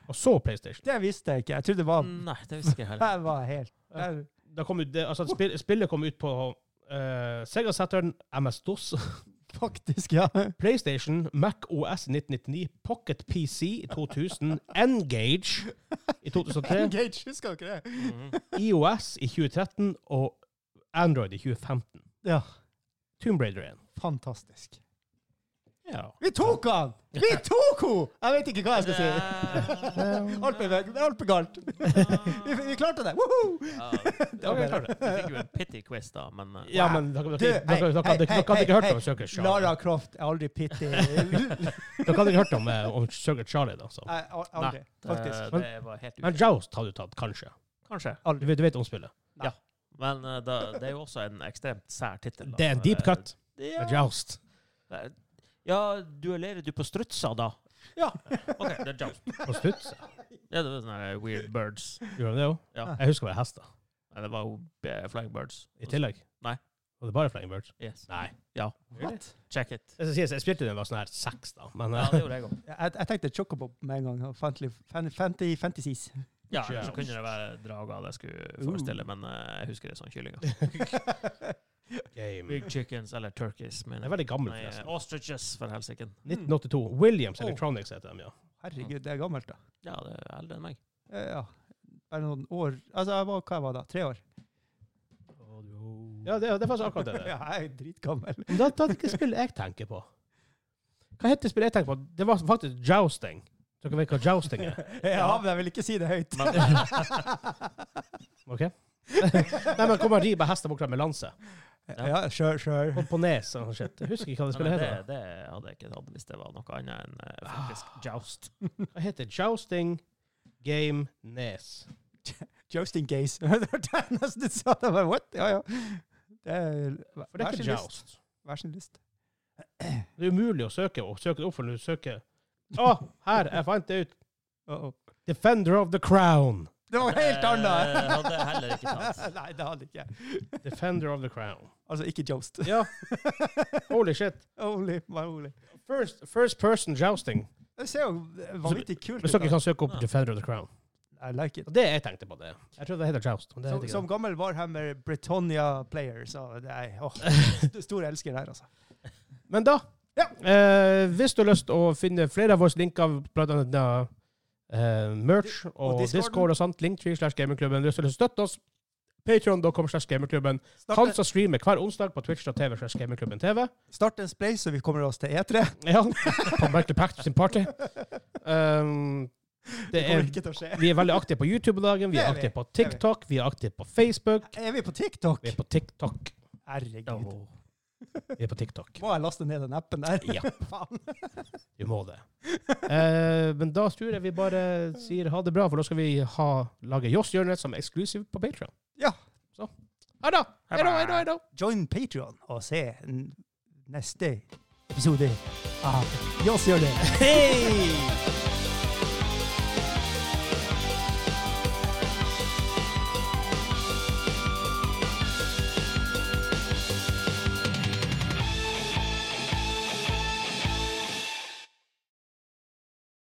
Speaker 1: og så PlayStation.
Speaker 2: Det visste jeg ikke. Jeg trodde det var
Speaker 3: Nei, det visste ikke jeg heller.
Speaker 2: Det var helt
Speaker 1: Ja.
Speaker 2: det-
Speaker 1: Da kom ut, det, altså, spill, spillet kom ut på eh, Sega Saturn, MS-DOS,
Speaker 2: [laughs] Faktisk, ja.
Speaker 1: [laughs] PlayStation, Mac OS i 1999, Pocket PC i 2000, Engage i 2003,
Speaker 2: Engage, husker dere det?
Speaker 3: Mhm.
Speaker 1: IOS i 2013 og Android i 2015.
Speaker 2: Ja.
Speaker 1: Tomb Raider 1.
Speaker 2: Fantastisk.
Speaker 3: Ja.
Speaker 2: Vi tok han! [laughs] Vi tok henne! Jeg vet ikke hva jeg skal si. [laughs]
Speaker 3: Eh,
Speaker 2: Alt ble, alt ble galt. Vi, vi klarte det. Woho!
Speaker 3: Ja,
Speaker 2: Det var
Speaker 1: Ok,
Speaker 2: bedre.
Speaker 1: klart
Speaker 3: Vi fikk jo en pity quiz, da, men eh,
Speaker 1: Ja, men dere, dere,
Speaker 2: Du,
Speaker 1: dere, dere, dere, hadde- dere hadde ikke hørt om Sugar Charlie.
Speaker 2: Lara Croft er aldri [laughs] pitty.
Speaker 1: Dere hadde ikke hørt om, eh, om Sugar Charlie, da. Så.
Speaker 2: Nei, Eh, al- aldri. Faktisk.
Speaker 3: det, det var helt
Speaker 1: Men
Speaker 3: utrolig.
Speaker 1: Joust hadde du tatt, kanskje.
Speaker 3: Kanskje.
Speaker 1: Du, vet- du vet om spillet.
Speaker 3: Men eh, da, det er jo også en ekstremt sær tittel. da. Eh,
Speaker 1: Det er en deep cut.
Speaker 3: Ja.
Speaker 1: med Joust.
Speaker 3: ja, duellerer du på strutser, da? Ja. OK, det er Joust.
Speaker 1: Og Stutz.
Speaker 3: Ja, det var sånne her weird birds.
Speaker 1: Gjorde han det òg?
Speaker 3: Ja.
Speaker 1: Jeg husker det var hester.
Speaker 3: Nei, det var jo eh, flying birds.
Speaker 1: I tillegg.
Speaker 3: Nei.
Speaker 1: Var det bare Flying Birds?
Speaker 3: Yes.
Speaker 1: Nei.
Speaker 3: Ja.
Speaker 2: What?
Speaker 3: Check it.
Speaker 1: Jeg, skal si, jeg spilte den var sånn her seks, da. Men
Speaker 3: Ja,
Speaker 1: eh,
Speaker 3: det gjorde jeg òg.
Speaker 2: Jeg, jeg tenkte Chocobo med en gang. Fantasy, fan, fanti- fantasies.
Speaker 3: Ja, så kunne det være drager det skulle forestille,
Speaker 1: Uh.
Speaker 3: men eh, jeg husker det som kyllinger.
Speaker 1: game.
Speaker 3: Big chickens eller turkeys,
Speaker 1: Den
Speaker 3: mener
Speaker 1: er veldig gammel,
Speaker 3: Nei, eh,
Speaker 1: forresten.
Speaker 3: ostriches, for helsike.
Speaker 1: 1982. Williams
Speaker 2: Oh.
Speaker 1: Electronics heter de, ja.
Speaker 2: Herregud, det er gammelt, da.
Speaker 3: Ja, det er eldre enn meg.
Speaker 2: Eh, Ja. Bare noen år Altså, jeg var, hva jeg var da? Tre år?
Speaker 1: Ja, det, det er faktisk akkurat det. det.
Speaker 2: [laughs] ja, jeg er dritgammel.
Speaker 1: Men da, da er det ikke spill jeg tenker på. Hva heter spillet jeg tenker på? Det var faktisk jousting. Dere vet hva jousting er?
Speaker 2: [laughs] Ja, men jeg vil ikke si det høyt.
Speaker 1: [laughs] OK? Nei, men kommer og rir med hester bortover med lanse.
Speaker 2: Ja, sure, sure. [laughs]
Speaker 1: På, på nes og sånn shit. Jeg husker ikke hva det
Speaker 3: Nei,
Speaker 1: spillet
Speaker 3: det,
Speaker 1: heter.
Speaker 3: det hadde jeg ikke tatt hvis det var noe annet enn eh, faktisk
Speaker 1: Ah.
Speaker 3: joust.
Speaker 1: Hva heter jousting game nes?
Speaker 2: Jousting gaze. [laughs] det var nesten du sa det. Bare, what? Ja, ja. Det er,
Speaker 1: For det
Speaker 2: vær
Speaker 1: er
Speaker 2: sin
Speaker 1: ikke
Speaker 2: lyst.
Speaker 1: joust.
Speaker 2: Vær sin lyst.
Speaker 1: Det er umulig å søke og søke det opp for når du søker Å, her! Jeg fant det ut.
Speaker 2: Uh -oh.
Speaker 1: Defender of the Crown.
Speaker 2: Det var
Speaker 3: Det
Speaker 2: helt annet!
Speaker 3: hadde jeg heller ikke tatt.
Speaker 2: [laughs] Nei, det hadde ikke jeg.
Speaker 1: Defender of the Crown.
Speaker 2: Altså, ikke
Speaker 1: [laughs]
Speaker 2: Joust.
Speaker 1: Ja. Holy shit.
Speaker 2: Only, my only.
Speaker 1: First, first person jousting.
Speaker 2: Det ser jo vanvittig kult
Speaker 1: Hvis
Speaker 2: ut.
Speaker 1: dere
Speaker 2: da.
Speaker 1: kan søke opp
Speaker 3: Ja.
Speaker 1: Defender of the Crown.
Speaker 2: I like it.
Speaker 1: Og det jeg tenkte på det. Jeg trodde det heter joust. Men sånn- det
Speaker 2: Som,
Speaker 1: heter
Speaker 2: som
Speaker 1: ikke det.
Speaker 2: gammel Warhammer Britannia-player, så det er
Speaker 1: [laughs]
Speaker 2: åh, st- Stor elsker der, altså.
Speaker 1: Men da, eh, hvis du har lyst å finne flere av våre linker, blant annet eh, merch og,
Speaker 2: og Discorden.
Speaker 1: Discord og sånt, linktree slash gamingklubben, hvis du har lyst til å støtte oss, patreon.com slash gamingklubben,
Speaker 2: Start,
Speaker 1: Hansa streamer hver onsdag på twitch.tv slash gamingklubben TV.
Speaker 2: start en spleis, så vi kommer oss til E E3.
Speaker 1: Ja, [laughs] på Michael Pact sin party. Um,
Speaker 2: [laughs] Det
Speaker 1: det
Speaker 2: kommer
Speaker 1: er
Speaker 2: ikke til å skje.
Speaker 1: Vi er veldig aktive på YouTube om dagen. Vi er
Speaker 2: Det er vi.
Speaker 1: aktive på
Speaker 2: Det er vi.
Speaker 1: TikTok. Vi er aktive på Facebook.
Speaker 2: Er vi på TikTok?
Speaker 1: Vi er på TikTok.
Speaker 2: Herregud.
Speaker 1: Vi er på
Speaker 2: [laughs]
Speaker 1: TikTok.
Speaker 2: Må jeg laste ned den appen der? [laughs]
Speaker 1: Ja.
Speaker 2: Faen.
Speaker 1: Vi må det. [laughs] Eh, men da tror jeg vi bare sier ha det bra, for da skal vi ha, lage Joss-hjørnet som er eksklusiv på Patreon.
Speaker 2: Ja.
Speaker 1: Så ha det! Ha det, ha det, ha det!
Speaker 2: Join Patreon og se n- neste episode av Joss gjør det.
Speaker 1: Hei!